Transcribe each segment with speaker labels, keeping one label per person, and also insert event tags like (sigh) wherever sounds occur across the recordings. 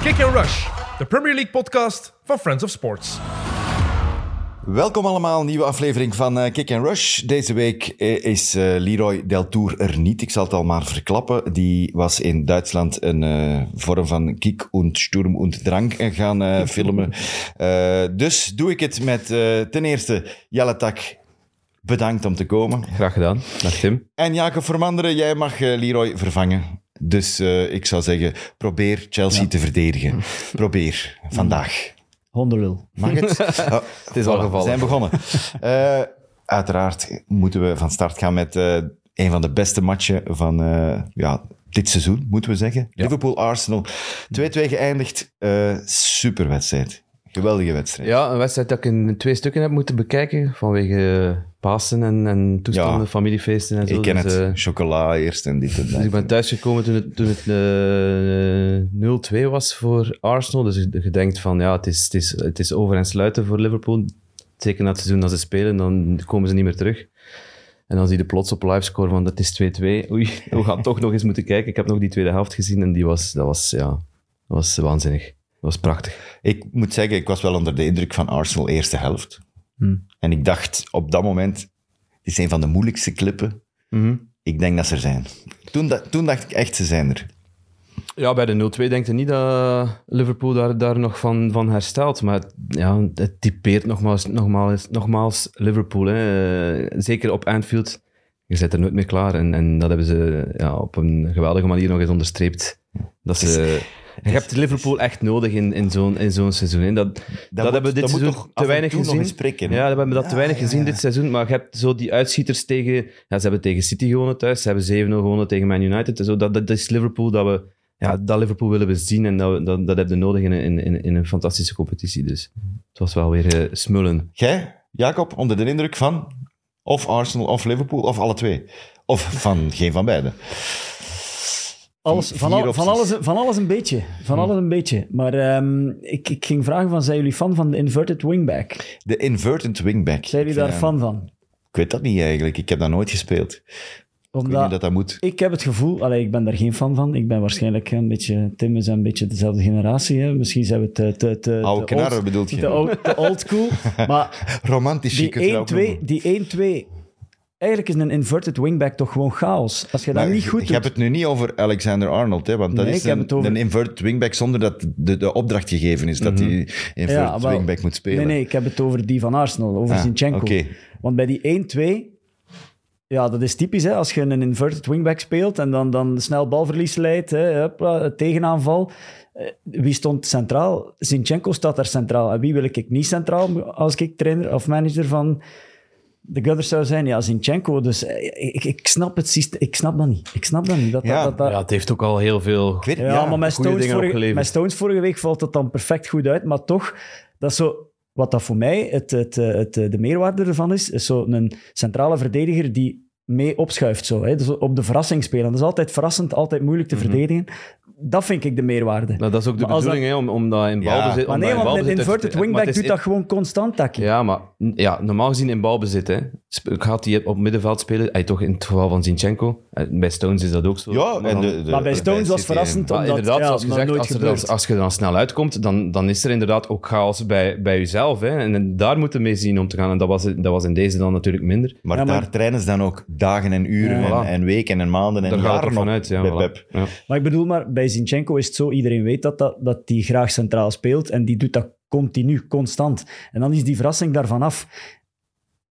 Speaker 1: Kick and Rush, de Premier League podcast van Friends of Sports.
Speaker 2: Welkom allemaal, nieuwe aflevering van eh, Kick and Rush. Deze week eh, is eh, Leroy Deltour er niet. Ik zal het al maar verklappen. Die was in Duitsland een eh, vorm van kick und sturm und drank eh, gaan eh, filmen. Eh, dus doe ik het met eh, ten eerste Jelle Tak. Bedankt om te komen.
Speaker 3: Graag gedaan. Dag Tim.
Speaker 2: En Jacob Vermanderen, jij mag eh, Leroy vervangen. Dus eh, ik zou zeggen, probeer Chelsea te verdedigen. Probeer, vandaag.
Speaker 4: Hondenlul.
Speaker 2: Mag het? (laughs) Oh, het
Speaker 3: is al gevallen.
Speaker 2: We zijn begonnen. (laughs) Eh, uiteraard moeten we van start gaan met eh, een van de beste matchen van eh, ja, dit seizoen, moeten we zeggen. Liverpool-Arsenal. 2-2 geëindigd. Eh, super wedstrijd. Geweldige wedstrijd.
Speaker 3: Ja, een wedstrijd dat ik in twee stukken heb moeten bekijken vanwege eh, Pasen en, en toestanden,
Speaker 2: Ja.
Speaker 3: familiefeesten en zo.
Speaker 2: ik ken
Speaker 3: Dus,
Speaker 2: het.
Speaker 3: eh,
Speaker 2: Chocola eerst en dit en dat.
Speaker 3: dus ik ben thuisgekomen toen het, toen het eh, 0-2 was voor Arsenal. Dus je je denkt van ja, het is, het, is, het is over en sluiten voor Liverpool. Zeker na het seizoen dat ze spelen, dan komen ze niet meer terug. En dan zie je plots op livescore van dat is 2-2. Oei, (laughs) we gaan toch nog eens moeten kijken. Ik heb nog die tweede helft gezien en die was, dat was, ja, dat was waanzinnig. Dat was prachtig.
Speaker 2: Ik moet zeggen, ik was wel onder de indruk van Arsenal eerste helft.
Speaker 3: Hmm.
Speaker 2: En ik dacht op dat moment, het is een van de moeilijkste klippen.
Speaker 3: Mhm.
Speaker 2: Ik denk dat ze er zijn. Toen, da- toen dacht ik echt, ze zijn er.
Speaker 3: Ja, bij de 0-2 denk je niet dat Liverpool daar, daar nog van, van herstelt. Maar het- ja, het typeert nogmaals, nogmaals, nogmaals Liverpool. Hè. Eh, Zeker op Anfield. Je zit er nooit meer klaar. En, en dat hebben ze ja, op een geweldige manier nog eens onderstreept. Dat ze, je hebt Liverpool echt nodig in, in zo'n in zo'n seizoen. Hè. Dat, dat,
Speaker 2: moet-
Speaker 3: hebben we
Speaker 2: dat
Speaker 3: dit
Speaker 2: moet
Speaker 3: seizoen
Speaker 2: toch af
Speaker 3: te
Speaker 2: en
Speaker 3: weinig
Speaker 2: toe nog
Speaker 3: gezien.
Speaker 2: eens prikken, hè?
Speaker 3: ja, we hebben dat te
Speaker 2: Ja,
Speaker 3: weinig
Speaker 2: ja,
Speaker 3: gezien
Speaker 2: ja.
Speaker 3: dit seizoen. Maar je hebt zo die uitschieters tegen... Ja, ze hebben tegen City gewonnen thuis. Ze hebben 7-0 gewonnen tegen Man United. en Zo, dat, dat is Liverpool dat we... Ja, dat Liverpool willen we zien. En dat, we- dat, dat heb je nodig in, een- in, in, in een fantastische competitie. Dus het was wel weer eh, smullen.
Speaker 2: Jij, Jacob, onder de indruk van of Arsenal of Liverpool of alle twee? Of
Speaker 4: (laughs)
Speaker 2: van geen van beiden?
Speaker 4: Alles,
Speaker 2: Vier
Speaker 4: van, al-
Speaker 2: opties.
Speaker 4: van, alles, van alles een beetje. Van alles een beetje. Maar ehm, ik, ik ging vragen van, zijn jullie fan van de inverted wingback?
Speaker 2: De inverted wingback.
Speaker 4: Zijn jullie
Speaker 2: Ik vind
Speaker 4: daar
Speaker 2: dat-
Speaker 4: fan van?
Speaker 2: Ik weet dat niet eigenlijk. Ik heb dat nooit gespeeld. Ik weet niet
Speaker 4: Omdat
Speaker 2: dat dat moet.
Speaker 4: ik heb het gevoel, allee, ik ben daar geen fan van. Ik ben waarschijnlijk een beetje, Tim is een beetje dezelfde generatie. Hè? Misschien zijn we te, te, te,
Speaker 2: Oude
Speaker 4: te, old,
Speaker 2: knarren bedoelt
Speaker 4: te,
Speaker 2: je?
Speaker 4: old, te old
Speaker 2: (laughs)
Speaker 4: school. Maar
Speaker 2: Romantisch
Speaker 4: die
Speaker 2: chic. het wel
Speaker 4: 1-2,
Speaker 2: noemen.
Speaker 4: die 1-2, eigenlijk is een inverted wingback toch gewoon chaos. Als je dat
Speaker 2: Maar
Speaker 4: niet goed
Speaker 2: Ik
Speaker 4: doet...
Speaker 2: heb het nu niet over Alexander Arnold, hè, want dat
Speaker 4: Nee,
Speaker 2: is
Speaker 4: ik heb
Speaker 2: een,
Speaker 4: het over- Mhm.
Speaker 2: een inverted wingback zonder dat de, de opdracht gegeven is dat hij inverted
Speaker 4: wel.
Speaker 2: wingback moet spelen.
Speaker 4: Nee, nee, ik heb het over die van Arsenal, over
Speaker 2: Ah,
Speaker 4: Zinchenko.
Speaker 2: oké.
Speaker 4: Want bij die 1-2, ja, dat is typisch. Hè? Als je een inverted wingback speelt en dan, dan snel balverlies leidt, hè? hopla, het tegenaanval. Eh, Wie stond centraal? Zinchenko staat daar centraal. En wie wil ik niet centraal als ik trainer of manager van de Gunners zou zijn? Ja, Zinchenko. Dus eh, ik, ik snap het systeem. Ik snap dat niet. Ik snap dat niet. Dat, dat-
Speaker 2: Ja,
Speaker 4: dat, dat,
Speaker 3: Ja, het heeft ook al heel veel...
Speaker 2: Ik weet,
Speaker 4: ja, maar met
Speaker 3: goede
Speaker 4: Stones,
Speaker 3: dingen
Speaker 4: vorige,
Speaker 3: opgeleverd.
Speaker 4: met Stones vorige week valt het dan perfect goed uit. Maar toch, dat is zo, wat dat voor mij het, het, eh, het, eh, de meerwaarde ervan is, is zo'n centrale verdediger die mee opschuift. Zo, hè. Dus op de verrassing spelen. Dat is altijd verrassend, altijd moeilijk te verdedigen. Dat vind ik de meerwaarde.
Speaker 3: Nou, Mhm. dat is ook de
Speaker 4: Maar als dat-
Speaker 3: bedoeling, hè, om, om dat in
Speaker 2: Ja.
Speaker 3: balbezit... om
Speaker 4: maar
Speaker 3: dat
Speaker 4: nee,
Speaker 3: in
Speaker 4: want een
Speaker 3: balbezit te-
Speaker 4: inverted
Speaker 3: maar het
Speaker 4: wingback
Speaker 3: is
Speaker 4: doet
Speaker 3: in-
Speaker 4: dat gewoon constant, takkie.
Speaker 3: Ja, maar n- ja, normaal gezien in balbezit. Hè. Sp- Gaat hij op middenveld spelen? Hij toch in het geval van Zinchenko. Eh, Bij Stones is dat ook zo.
Speaker 2: ja,
Speaker 3: Maar
Speaker 2: en
Speaker 3: dan-
Speaker 2: de, de,
Speaker 4: maar bij Stones was
Speaker 2: City,
Speaker 4: verrassend,
Speaker 3: Maar
Speaker 4: omdat
Speaker 3: inderdaad,
Speaker 4: ja,
Speaker 3: zoals
Speaker 4: dat
Speaker 3: gezegd,
Speaker 4: nooit
Speaker 3: als, er dan,
Speaker 4: gebeurt.
Speaker 3: als je er dan snel uitkomt, dan, dan is er inderdaad ook chaos bij, bij jezelf. Hè. En, en daar moeten we mee zien om te gaan. En dat was, dat was in deze dan natuurlijk minder.
Speaker 2: Maar,
Speaker 4: Ja, maar-
Speaker 2: daar trainen ze dan ook dagen en uren
Speaker 3: Ja.
Speaker 2: en, en weken en maanden en
Speaker 3: Daar gaat
Speaker 2: jaren
Speaker 3: het
Speaker 2: op
Speaker 3: vanuit. Ja,
Speaker 2: bij
Speaker 3: voilà.
Speaker 2: Pep.
Speaker 3: Ja.
Speaker 4: Maar ik bedoel maar, bij Zinchenko is het zo, iedereen weet dat, dat, dat die graag centraal speelt en die doet dat continu, constant. En dan is die verrassing daarvan af.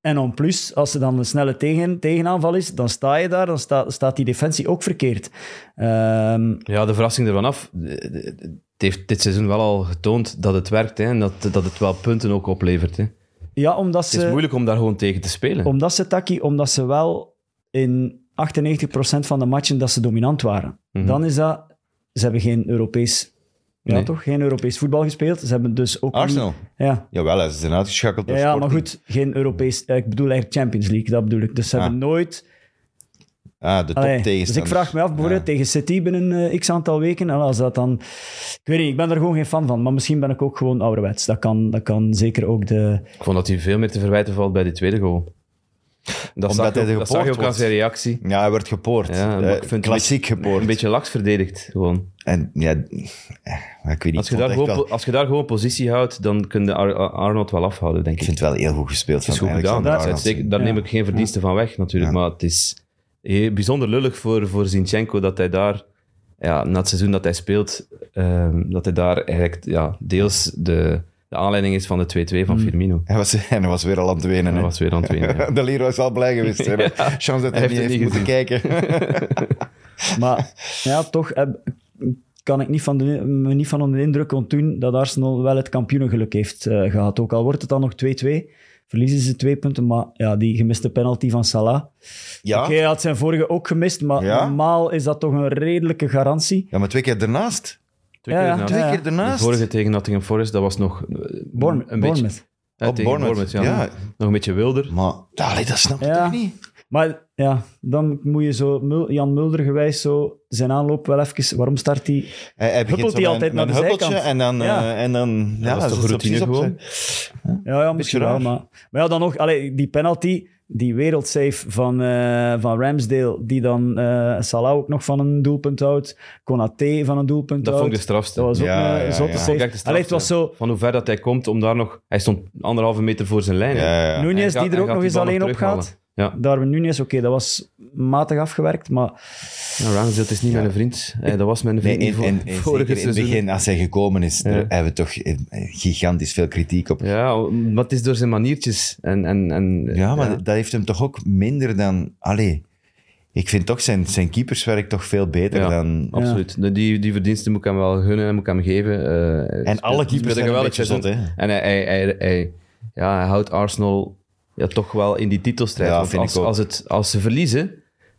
Speaker 4: En dan plus, als er dan een snelle tegen, tegenaanval is, dan sta je daar, dan sta- staat die defensie ook verkeerd. Ehm,
Speaker 3: Ja, de verrassing ervan af. De- de- Het heeft dit seizoen wel al getoond dat het werkt. Hè. En dat, dat het wel punten ook oplevert. Hè. Het
Speaker 4: ja, omdat
Speaker 3: is
Speaker 4: ze,
Speaker 3: moeilijk om daar gewoon tegen te spelen.
Speaker 4: omdat ze, Taki, omdat ze wel in 98% van de matchen dat ze dominant waren.
Speaker 3: Mhm.
Speaker 4: Dan is dat, ze hebben geen Europees... Ja,
Speaker 3: Nee.
Speaker 4: toch? Geen Europees voetbal gespeeld. Ze hebben dus ook... niet-
Speaker 2: Arsenal?
Speaker 4: Ja.
Speaker 2: Jawel, hè, ze zijn uitgeschakeld door
Speaker 4: Ja, ja, maar
Speaker 2: Sporting.
Speaker 4: goed, geen Europees. eh, Ik bedoel eigenlijk Champions League, dat bedoel ik. Dus ze
Speaker 2: Ah,
Speaker 4: hebben nooit.
Speaker 2: Ah, de top
Speaker 4: Allee, dus ik
Speaker 2: tegenstanders.
Speaker 4: vraag me af, bijvoorbeeld tegen City binnen eh, x aantal weken. En als dat dan. Ik weet niet, ik ben er gewoon geen fan van. Maar misschien ben ik ook gewoon ouderwets. Dat kan, dat kan zeker ook de.
Speaker 3: Ik vond dat hij veel meer te verwijten valt bij die tweede goal. Dat, zag,
Speaker 2: hij
Speaker 3: je ook- dat zag je ook
Speaker 2: gepoord
Speaker 3: aan zijn
Speaker 2: wordt.
Speaker 3: reactie.
Speaker 2: Ja, hij werd gepoord.
Speaker 3: Ja, maar
Speaker 2: Eh,
Speaker 3: ik vind het
Speaker 2: klassiek gepoord.
Speaker 3: Een beetje laks verdedigd, gewoon.
Speaker 2: En ja, eh, ik weet niet.
Speaker 3: Als je,
Speaker 2: ik vond het
Speaker 3: daar
Speaker 2: echt
Speaker 3: gewoon,
Speaker 2: wel-
Speaker 3: po- als je daar gewoon positie houdt, dan kun je Ar- Ar- Arnold wel afhouden, denk ik.
Speaker 2: Ik vind het wel heel goed gespeeld
Speaker 3: Het
Speaker 2: van
Speaker 3: is goed gedaan.
Speaker 2: Alexander
Speaker 3: Dat is
Speaker 2: Arnoldsen.
Speaker 3: uitstekend. Daar
Speaker 4: Ja.
Speaker 3: neem ik geen verdiensten van weg, natuurlijk.
Speaker 2: Ja.
Speaker 3: Maar het is heel- bijzonder lullig voor, voor Zinchenko dat hij daar, ja, na het seizoen dat hij speelt, ehm, dat hij daar eigenlijk ja, deels de, de aanleiding is van de 2-2
Speaker 4: Mm.
Speaker 3: van Firmino.
Speaker 2: Hij was, (laughs) en hij was weer al aan het wenen.
Speaker 3: En
Speaker 2: hè.
Speaker 3: dat was weer aan
Speaker 2: (laughs)
Speaker 3: het winnen. ja.
Speaker 2: De Leroy is al blij geweest. hè.
Speaker 3: (laughs)
Speaker 2: Chance dat hij,
Speaker 3: Hij
Speaker 2: niet heeft
Speaker 3: heeft het
Speaker 2: moeten
Speaker 3: niet
Speaker 2: kijken.
Speaker 3: (laughs)
Speaker 4: Maar (laughs) ja, toch eh, kan ik niet van de, me niet van onder de indruk ontdoen dat Arsenal wel het kampioenengeluk heeft eh, gehad. Ook al wordt het dan nog 2-2, verliezen ze twee punten. Maar ja, die gemiste penalty van Salah.
Speaker 2: Ja.
Speaker 4: Oké, hij had zijn vorige ook gemist, maar
Speaker 2: Ja?
Speaker 4: normaal is dat toch een redelijke garantie.
Speaker 2: ja, maar twee keer daarnaast.
Speaker 3: Twee
Speaker 4: Ja,
Speaker 3: keer
Speaker 4: ja.
Speaker 3: ernaast.
Speaker 2: Twee
Speaker 4: ja.
Speaker 2: keer
Speaker 3: De
Speaker 2: daarnaast.
Speaker 3: vorige tegen Nottingham Forest, dat was nog eh,
Speaker 4: Bournemouth.
Speaker 3: een beetje...
Speaker 4: Bournemouth.
Speaker 3: Ja,
Speaker 2: Op
Speaker 3: tegen
Speaker 2: Bournemouth, ja.
Speaker 3: Nog een beetje wilder.
Speaker 2: Maar allee, dat snap ik
Speaker 4: Ja.
Speaker 2: toch niet?
Speaker 4: Maar ja, dan moet je zo Mul- Jan Mulder gewijs zo zijn aanloop wel even... Waarom start hij?
Speaker 2: Hij, hij begint
Speaker 4: Huppelt
Speaker 2: zo
Speaker 4: hij
Speaker 2: met-
Speaker 4: altijd
Speaker 2: met
Speaker 4: naar de
Speaker 2: een huppeltje
Speaker 4: zijkant?
Speaker 2: en dan... eh,
Speaker 4: Ja.
Speaker 2: en dan ja,
Speaker 3: dat is toch
Speaker 2: zit
Speaker 3: routine
Speaker 2: precies op
Speaker 3: gewoon?
Speaker 2: zijn-
Speaker 4: Ja, ja misschien
Speaker 2: raar.
Speaker 4: wel, maar... Maar ja, dan nog, allee, die penalty, die wereldsave van, eh, van Ramsdale, die dan eh, Salah ook nog van een doelpunt houdt, Konaté van een doelpunt
Speaker 3: Dat vond ik
Speaker 4: houdt.
Speaker 3: de strafste.
Speaker 4: Dat was ook
Speaker 2: Ja,
Speaker 4: een
Speaker 2: ja,
Speaker 4: zotte
Speaker 2: ja.
Speaker 3: Vond ik
Speaker 4: save.
Speaker 3: echt de strafste.
Speaker 4: Allee, het was zo...
Speaker 3: Van hoe ver dat hij komt om daar nog... Hij stond anderhalve meter voor zijn lijn. hè.
Speaker 2: Ja, ja.
Speaker 4: Nunez,
Speaker 3: Hij gaat-
Speaker 4: die er
Speaker 3: hij
Speaker 4: ook
Speaker 3: gaat
Speaker 4: nog
Speaker 3: die
Speaker 4: eens
Speaker 3: bal
Speaker 4: alleen op
Speaker 3: terughalen.
Speaker 4: gaat.
Speaker 3: Ja.
Speaker 4: Darwin Nunez, oké, dat was matig afgewerkt, maar...
Speaker 3: Ja, Nou, Ramsdale is niet mijn vriend. Eh, dat was mijn
Speaker 2: Nee,
Speaker 3: vriend
Speaker 2: in,
Speaker 3: voor-
Speaker 2: in, in,
Speaker 3: (laughs) vorige
Speaker 2: zeker in het
Speaker 3: seizoen.
Speaker 2: begin, als hij gekomen is,
Speaker 3: Ja.
Speaker 2: er- hebben we toch eh, gigantisch veel kritiek op.
Speaker 3: Ja, maar het is door zijn maniertjes. En, en, en,
Speaker 2: Ja, maar
Speaker 3: ja.
Speaker 2: dat heeft hem toch ook minder dan... Allee, ik vind toch zijn, zijn keeperswerk toch veel beter
Speaker 3: Ja,
Speaker 2: dan...
Speaker 3: absoluut. Die, die verdiensten moet ik hem wel gunnen en moet ik hem geven. Eh, speelt-
Speaker 2: alle keepers
Speaker 3: speelt
Speaker 2: zijn een
Speaker 3: geweldig
Speaker 2: beetje
Speaker 3: seizoen.
Speaker 2: zot, hè?
Speaker 3: En hij, hij, hij, hij- ja, hij houdt Arsenal ja, toch wel in die titelstrijd.
Speaker 2: Ja,
Speaker 3: Want
Speaker 2: vind
Speaker 3: als,
Speaker 2: ik ook.
Speaker 3: Als, het, als ze verliezen,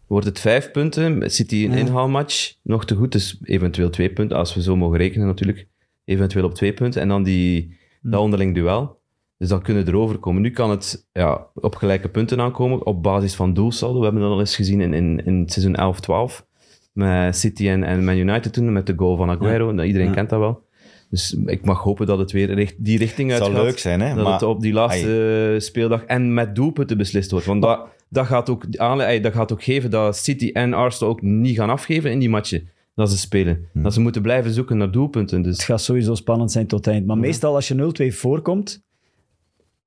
Speaker 3: wordt het vijf punten. City een inhaalmatch nog te goed. Dus eventueel twee punten, als we zo mogen rekenen natuurlijk. Eventueel op twee punten. En dan die, dat onderling duel. Dus dan kunnen we erover komen. Nu kan het ja, op gelijke punten aankomen op basis van doelsaldo. We hebben dat al eens gezien in, in, in het seizoen 11-12. Met City en, en Man United toen, met de goal van Aguero. Nou, Iedereen kent dat wel. Dus ik mag hopen dat het weer richt- die richting
Speaker 2: Het
Speaker 3: uit
Speaker 2: zou
Speaker 3: gaat.
Speaker 2: leuk zijn, hè?
Speaker 3: Dat
Speaker 2: maar
Speaker 3: het op die laatste eh, speeldag en met doelpunten beslist wordt. Want dat, dat, gaat ook, die aanle- ey, dat gaat ook geven dat City en Arsenal ook niet gaan afgeven in die matchen. Dat ze spelen.
Speaker 2: Hm.
Speaker 3: Dat ze moeten blijven zoeken naar doelpunten. Dus
Speaker 4: Het gaat sowieso spannend zijn tot het eind. Maar meestal als je 0-2 voorkomt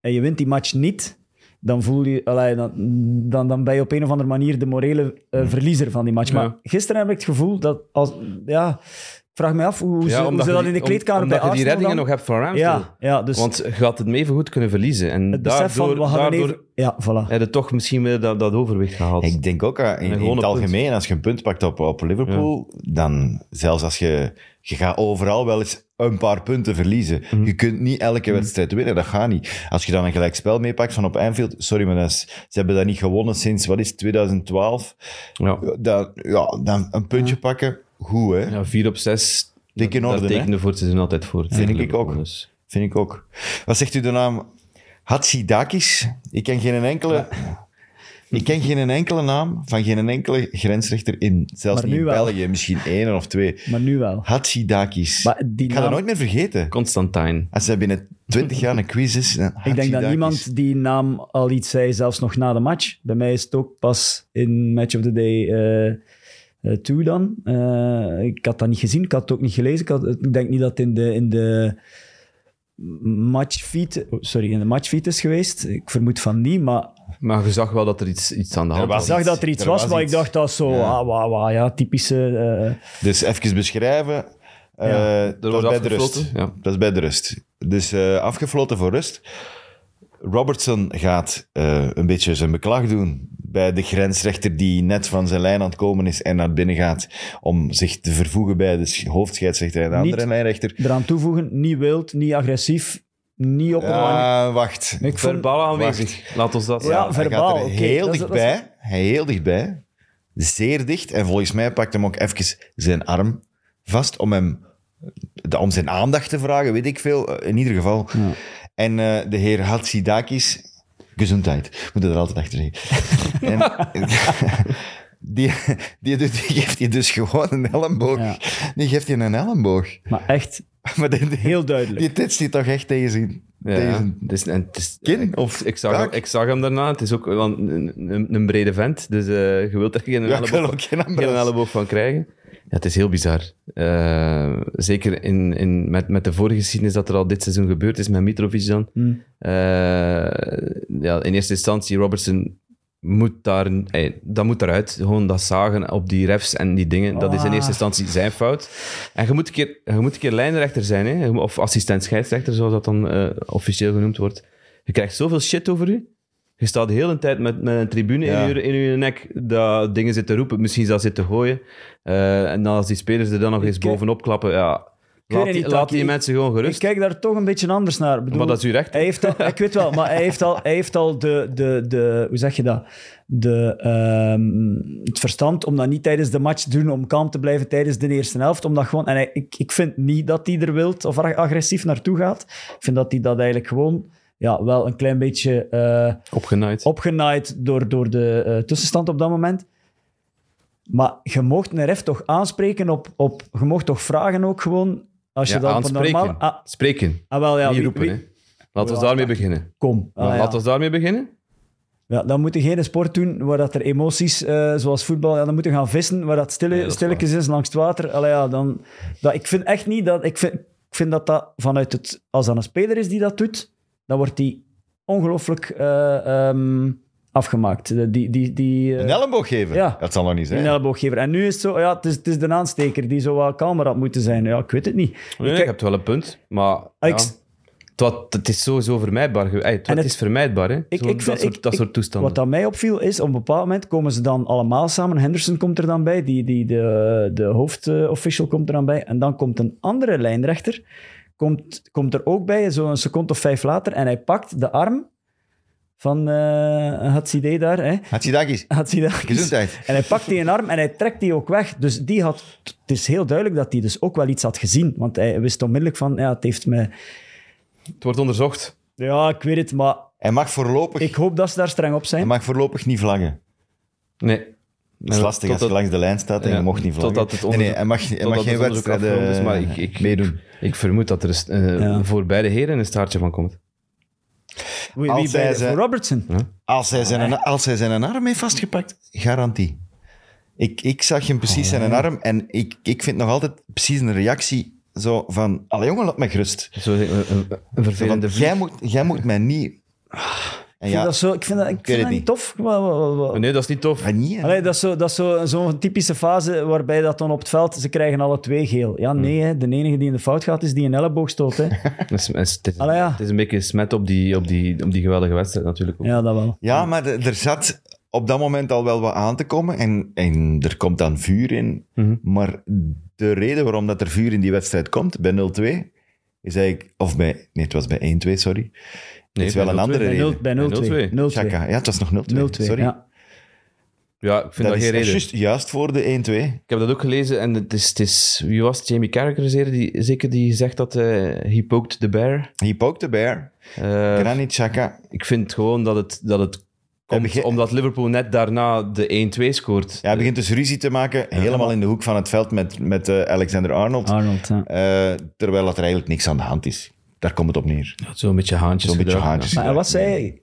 Speaker 4: en je wint die match niet, dan voel je, allee, dan, dan, dan ben je op een of andere manier de morele eh, verliezer van die match. Maar
Speaker 3: Ja.
Speaker 4: gisteren heb ik het gevoel dat als, ja, ik vraag me af hoe ze, hoe
Speaker 3: omdat
Speaker 4: ze
Speaker 3: je
Speaker 4: dat
Speaker 3: die-
Speaker 4: in de
Speaker 3: om-
Speaker 4: kleedkamer
Speaker 3: omdat
Speaker 4: bij
Speaker 3: je die
Speaker 4: Arsenal
Speaker 3: reddingen
Speaker 4: dan-
Speaker 3: nog hebt van Ramsdale.
Speaker 4: ja, ja, dus
Speaker 3: Want je had het mee voor goed kunnen verliezen. En
Speaker 4: het besef
Speaker 3: daardoor,
Speaker 4: van we hadden
Speaker 3: daardoor
Speaker 4: even... Ja, voilà.
Speaker 3: heb je toch misschien weer dat, dat overwicht gehaald.
Speaker 2: Ik denk ook aan, in, in
Speaker 3: En gewoon
Speaker 2: het
Speaker 3: een punt.
Speaker 2: algemeen, als je een punt pakt op, op Liverpool, dan zelfs als je, je gaat overal wel eens een paar punten verliezen.
Speaker 3: Mhm.
Speaker 2: Je kunt niet elke wedstrijd winnen, dat gaat niet. Als je dan een gelijkspel meepakt van op Anfield, sorry, maar dat is- ze hebben dat niet gewonnen sinds, wat is het, 2012?
Speaker 3: ja.
Speaker 2: Dan, ja, dan een puntje pakken, goed hè,
Speaker 3: ja, vier op zes.
Speaker 2: Dik in
Speaker 3: dat-
Speaker 2: orde,
Speaker 3: Daar
Speaker 2: hè?
Speaker 3: tekende voor het seizoen altijd voor.
Speaker 2: Vind ik
Speaker 3: Liverpool,
Speaker 2: ook.
Speaker 3: dus.
Speaker 2: vind ik ook. Wat zegt u de naam? Hatsidakis? Ik ken geen enkele... Ik ken geen enkele naam van geen enkele grensrechter in, zelfs
Speaker 4: Maar
Speaker 2: niet in
Speaker 4: nu wel.
Speaker 2: België, misschien één of twee.
Speaker 4: Maar nu wel.
Speaker 2: Hatsidakis.
Speaker 4: Maar die
Speaker 2: ik ga dat
Speaker 4: naam-
Speaker 2: nooit meer vergeten.
Speaker 3: Constantijn.
Speaker 2: Als hij binnen 20 jaar een quiz is, dan
Speaker 4: Ik denk dat
Speaker 2: Hatzidakis.
Speaker 4: niemand die naam al iets zei, zelfs nog na de match. Bij mij is het ook pas in Match of the Day eh, eh, 2 dan. Eh, ik had dat niet gezien, ik had het ook niet gelezen. Ik, had- ik denk niet dat het in de, in de matchfeed, oh, sorry, in de matchfeed is geweest. Ik vermoed van niet, maar
Speaker 3: Maar je zag wel dat er iets, iets aan de hand
Speaker 2: was
Speaker 3: was.
Speaker 4: ik zag dat er iets
Speaker 2: er
Speaker 4: was,
Speaker 2: was
Speaker 4: maar
Speaker 2: iets.
Speaker 4: ik dacht dat zo,
Speaker 2: Ja.
Speaker 4: ah, wauw, wauw, ja, typische... eh,
Speaker 2: Dus even beschrijven. Eh,
Speaker 4: Ja.
Speaker 2: dat was
Speaker 3: wordt
Speaker 2: bij de rust.
Speaker 3: afgefloten, ja.
Speaker 2: Dat is bij de rust. Dus eh, afgefloten voor rust. Robertson gaat eh, een beetje zijn beklag doen bij de grensrechter die net van zijn lijn aan het komen is en naar binnen gaat om zich te vervoegen bij de sch- hoofdscheidsrechter en de
Speaker 4: Niet-
Speaker 2: andere lijnrechter.
Speaker 4: eraan toevoegen, niet wild, niet agressief, niet op een manier...
Speaker 2: Ja, Eh, wacht.
Speaker 4: Ik vond-
Speaker 3: Verbaal aanwezig. Laat ons dat
Speaker 4: Ja,
Speaker 3: zeggen.
Speaker 2: Hij
Speaker 4: verbaal.
Speaker 2: gaat er
Speaker 4: oké,
Speaker 2: heel
Speaker 4: dat is- dat is-
Speaker 2: dichtbij. Hij heel dichtbij. Zeer dicht. En volgens mij pakt hem ook even zijn arm vast om hem de- om zijn aandacht te vragen, weet ik veel. Eh, In ieder geval. En eh, de heer Hatsidakis... Gezondheid. Moet er altijd achter zeggen.
Speaker 4: (laughs)
Speaker 2: en, (laughs) die, die, doet- die geeft hij dus gewoon een elleboog.
Speaker 4: Ja.
Speaker 2: Die geeft hij een elleboog. (laughs)
Speaker 4: Maar echt
Speaker 2: Maar die, die,
Speaker 4: heel duidelijk.
Speaker 2: die titst hij toch echt tegen zijn
Speaker 3: Ja,
Speaker 2: Tegen
Speaker 3: het is- en het is-
Speaker 2: kin
Speaker 3: ik-
Speaker 2: of
Speaker 3: ik zag, hem,
Speaker 2: kaak?
Speaker 3: ik zag hem daarna. Het is ook wel een, een, een brede vent, dus eh, je wilt er geen
Speaker 2: Ja, ik
Speaker 3: elleboog
Speaker 2: wil
Speaker 3: van-
Speaker 2: ook
Speaker 3: (laughs)
Speaker 2: geen
Speaker 3: geen
Speaker 2: ambulance.
Speaker 3: elleboog van krijgen. Ja, het is heel bizar. Eh, zeker in, in, met, met de vorige geschiedenis dat er al dit seizoen gebeurd is met Mitrovic dan. Eh, ja, in eerste instantie, Robertson moet daar... ey, dat moet eruit. Gewoon dat zagen op die refs en die dingen. Dat is in
Speaker 4: Ah.
Speaker 3: eerste instantie zijn fout. En je moet een keer, je moet een keer lijnrechter zijn, hè? of assistent scheidsrechter, zoals dat dan eh, officieel genoemd wordt. Je krijgt zoveel shit over je. Je staat de hele tijd met, met een tribune
Speaker 2: Ja.
Speaker 3: in, je, in je nek dat dingen zit te roepen, misschien zelfs zit te gooien. Eh, en als die spelers er dan nog eens
Speaker 4: kijk-
Speaker 3: bovenop klappen, ja, laat,
Speaker 4: weet
Speaker 3: die,
Speaker 4: eh, niet,
Speaker 3: laat
Speaker 4: Taki.
Speaker 3: die mensen gewoon
Speaker 4: Ik
Speaker 3: gerust.
Speaker 4: kijk daar toch een beetje anders naar. Ik Bedoel,
Speaker 3: maar dat is uw recht.
Speaker 4: Hij heeft al, ik weet wel, maar hij heeft al, hij heeft al de, de, de, hoe zeg je dat? De, ehm, het verstand om dat niet tijdens de match te doen, om kalm te blijven tijdens de eerste helft. Om dat gewoon, en hij- ik, ik vind niet dat hij er wild of ag- agressief naartoe gaat. Ik vind dat hij dat eigenlijk gewoon ja, wel een klein beetje eh,
Speaker 3: Opgenaaid.
Speaker 4: opgenaaid door, door de eh, tussenstand op dat moment. Maar je mocht een ref toch aanspreken op, op je mocht toch vragen ook gewoon. Als je
Speaker 3: Ja,
Speaker 4: dat op een
Speaker 3: aanspreken.
Speaker 4: normaal... Ah,
Speaker 3: Spreken,
Speaker 4: ah, wel, ja,
Speaker 3: niet
Speaker 4: wie-
Speaker 3: roepen.
Speaker 4: wie-
Speaker 3: hè. Laten we
Speaker 4: Ja.
Speaker 3: daarmee beginnen.
Speaker 4: Kom. Ah, ja.
Speaker 3: Laten we daarmee beginnen.
Speaker 4: Ja, dan moet je geen sport doen waar dat er emoties, eh, zoals voetbal, ja, dan moet je gaan vissen waar dat, stille,
Speaker 3: Nee, dat is
Speaker 4: stilletjes is langs het water. Allee, ja, dan, dat, ik vind echt niet dat... Ik vind, ik vind dat dat vanuit het... Als dat een speler is die dat doet, dan wordt die ongelooflijk eh, ehm, afgemaakt. Die, die, die, eh,
Speaker 2: Een elleboog geven?
Speaker 4: Ja.
Speaker 2: Dat zal nog niet
Speaker 4: een
Speaker 2: zijn.
Speaker 4: ellebooggever. En nu is het zo, ja, het is, het is de aansteker die zo wat kalmer had moeten zijn. Ja, ik weet het niet.
Speaker 3: Nee,
Speaker 4: Ik
Speaker 3: ik
Speaker 4: kijk-
Speaker 3: heb wel een punt, maar
Speaker 4: Ah, ik-
Speaker 3: ja, het, wa- het is sowieso vermijdbaar. ge- Ey, het, wa-
Speaker 4: En
Speaker 3: het
Speaker 4: het-
Speaker 3: is vermijdbaar, hè? Zo-
Speaker 4: ik
Speaker 3: dat,
Speaker 4: vind-
Speaker 3: soort,
Speaker 4: ik-
Speaker 3: dat
Speaker 4: ik-
Speaker 3: soort toestanden.
Speaker 4: Wat dat mij opviel is, op een bepaald moment komen ze dan allemaal samen. Henderson komt er dan bij, die, die, de, de hoofdofficial komt er dan bij. En dan komt een andere lijnrechter, komt, komt er ook bij, zo'n seconde of vijf later. En hij pakt de arm van eh Hatsidé daar. Hè.
Speaker 2: Hatzidakis,
Speaker 4: Hatsidakis.
Speaker 2: gezondheid.
Speaker 4: En hij pakt die een arm en hij trekt die ook weg. Dus die had, het is heel duidelijk dat hij dus ook wel iets had gezien. Want hij wist onmiddellijk van, ja, het heeft me...
Speaker 3: Het wordt onderzocht.
Speaker 4: Ja, ik weet het, maar
Speaker 2: Hij mag voorlopig,
Speaker 4: ik hoop dat ze daar streng op
Speaker 2: hij
Speaker 4: zijn.
Speaker 2: mag voorlopig niet vlaggen.
Speaker 3: Nee.
Speaker 2: Dat is lastig als je langs de lijn staat en
Speaker 3: Ja,
Speaker 2: je mocht niet vlaggen.
Speaker 3: totdat het
Speaker 2: nee, nee,
Speaker 3: onderzoek-
Speaker 2: hij mag, hij mag
Speaker 3: totdat
Speaker 2: geen
Speaker 3: het onderzoek
Speaker 2: wedstrijden eh,
Speaker 3: afgerond is, maar ik- ik-
Speaker 2: meedoen.
Speaker 3: Ik vermoed dat er eh,
Speaker 4: Ja.
Speaker 3: voor beide heren een staartje van komt.
Speaker 4: Wie,
Speaker 2: Als
Speaker 4: wie bij
Speaker 2: hij ze-
Speaker 4: voor Robertson?
Speaker 2: Als hij zijn, als hij zijn arm heeft vastgepakt, garantie. Ik, ik zag hem precies
Speaker 3: Ah.
Speaker 2: zijn arm en ik, ik vind nog altijd precies een reactie zo van... Allee jongen, laat mij gerust.
Speaker 3: Zo, eh, een, een, een
Speaker 2: Zo van,
Speaker 3: vervelende
Speaker 2: jij, moet, jij moet mij niet... En
Speaker 3: Ah,
Speaker 4: Ik vind
Speaker 2: ja,
Speaker 4: dat, zo, ik vind dat, ik vind
Speaker 2: weet
Speaker 4: dat
Speaker 2: het
Speaker 4: niet
Speaker 2: niet.
Speaker 4: tof. Wa- wa- wa- wa-
Speaker 3: vlie- Nee, dat is niet tof.
Speaker 2: maar niet, hè.
Speaker 4: Allee, dat is zo'n dat is zo, zo'n typische fase waarbij dat dan op het veld, ze krijgen alle twee geel. Ja,
Speaker 2: Hmm.
Speaker 4: nee, hè, de enige die in de fout gaat, is die een elleboog stoot.
Speaker 2: (laughs)
Speaker 4: Hè.
Speaker 3: Het is, het is-
Speaker 4: Allee, ja.
Speaker 3: het is een beetje smet op die, op die, op die geweldige wedstrijd natuurlijk. ook.
Speaker 4: Ja, dat wel.
Speaker 2: Ja, maar de- er zat op dat moment al wel wat aan te komen en, en er komt dan vuur in.
Speaker 3: Mhm.
Speaker 2: Maar de reden waarom dat er vuur in die wedstrijd komt, bij 0-2, is eigenlijk... Of bij... Nee, het was bij 1-2, sorry.
Speaker 3: Nee,
Speaker 2: is wel
Speaker 3: bij
Speaker 2: een
Speaker 3: 0-2.
Speaker 2: andere
Speaker 4: Bij nul-
Speaker 2: reden.
Speaker 4: Bij 0-2.
Speaker 3: 0-2.
Speaker 4: 0-2.
Speaker 2: Chaka. Ja, het was nog 0-2.
Speaker 4: 0-2,
Speaker 2: Sorry.
Speaker 4: ja.
Speaker 3: Ja, ik vind dat,
Speaker 2: dat
Speaker 3: geen
Speaker 2: is
Speaker 3: reden.
Speaker 2: juist, juist voor de 1-2.
Speaker 3: Ik heb dat ook gelezen en het is, het is wie was het? Jamie Carragher zeker die, zeker die zegt dat eh he poked the bear.
Speaker 2: He poked the bear.
Speaker 3: Eh,
Speaker 2: Granit Xhaka.
Speaker 3: ik vind gewoon dat het, dat het
Speaker 2: Hij
Speaker 3: komt
Speaker 2: begin-
Speaker 3: omdat Liverpool net daarna de 1-2 scoort.
Speaker 2: Ja, hij begint dus ruzie te maken, helemaal in de hoek van het veld met, met eh, Alexander Arnold.
Speaker 3: Ah.
Speaker 4: Arnold, ja.
Speaker 2: Eh, terwijl dat er eigenlijk niks aan de hand is. Daar komt het op neer.
Speaker 3: Zo'n beetje haantjes.
Speaker 2: Zo'n beetje
Speaker 3: gedrag,
Speaker 2: haantjes.
Speaker 4: Maar en wat zei hij?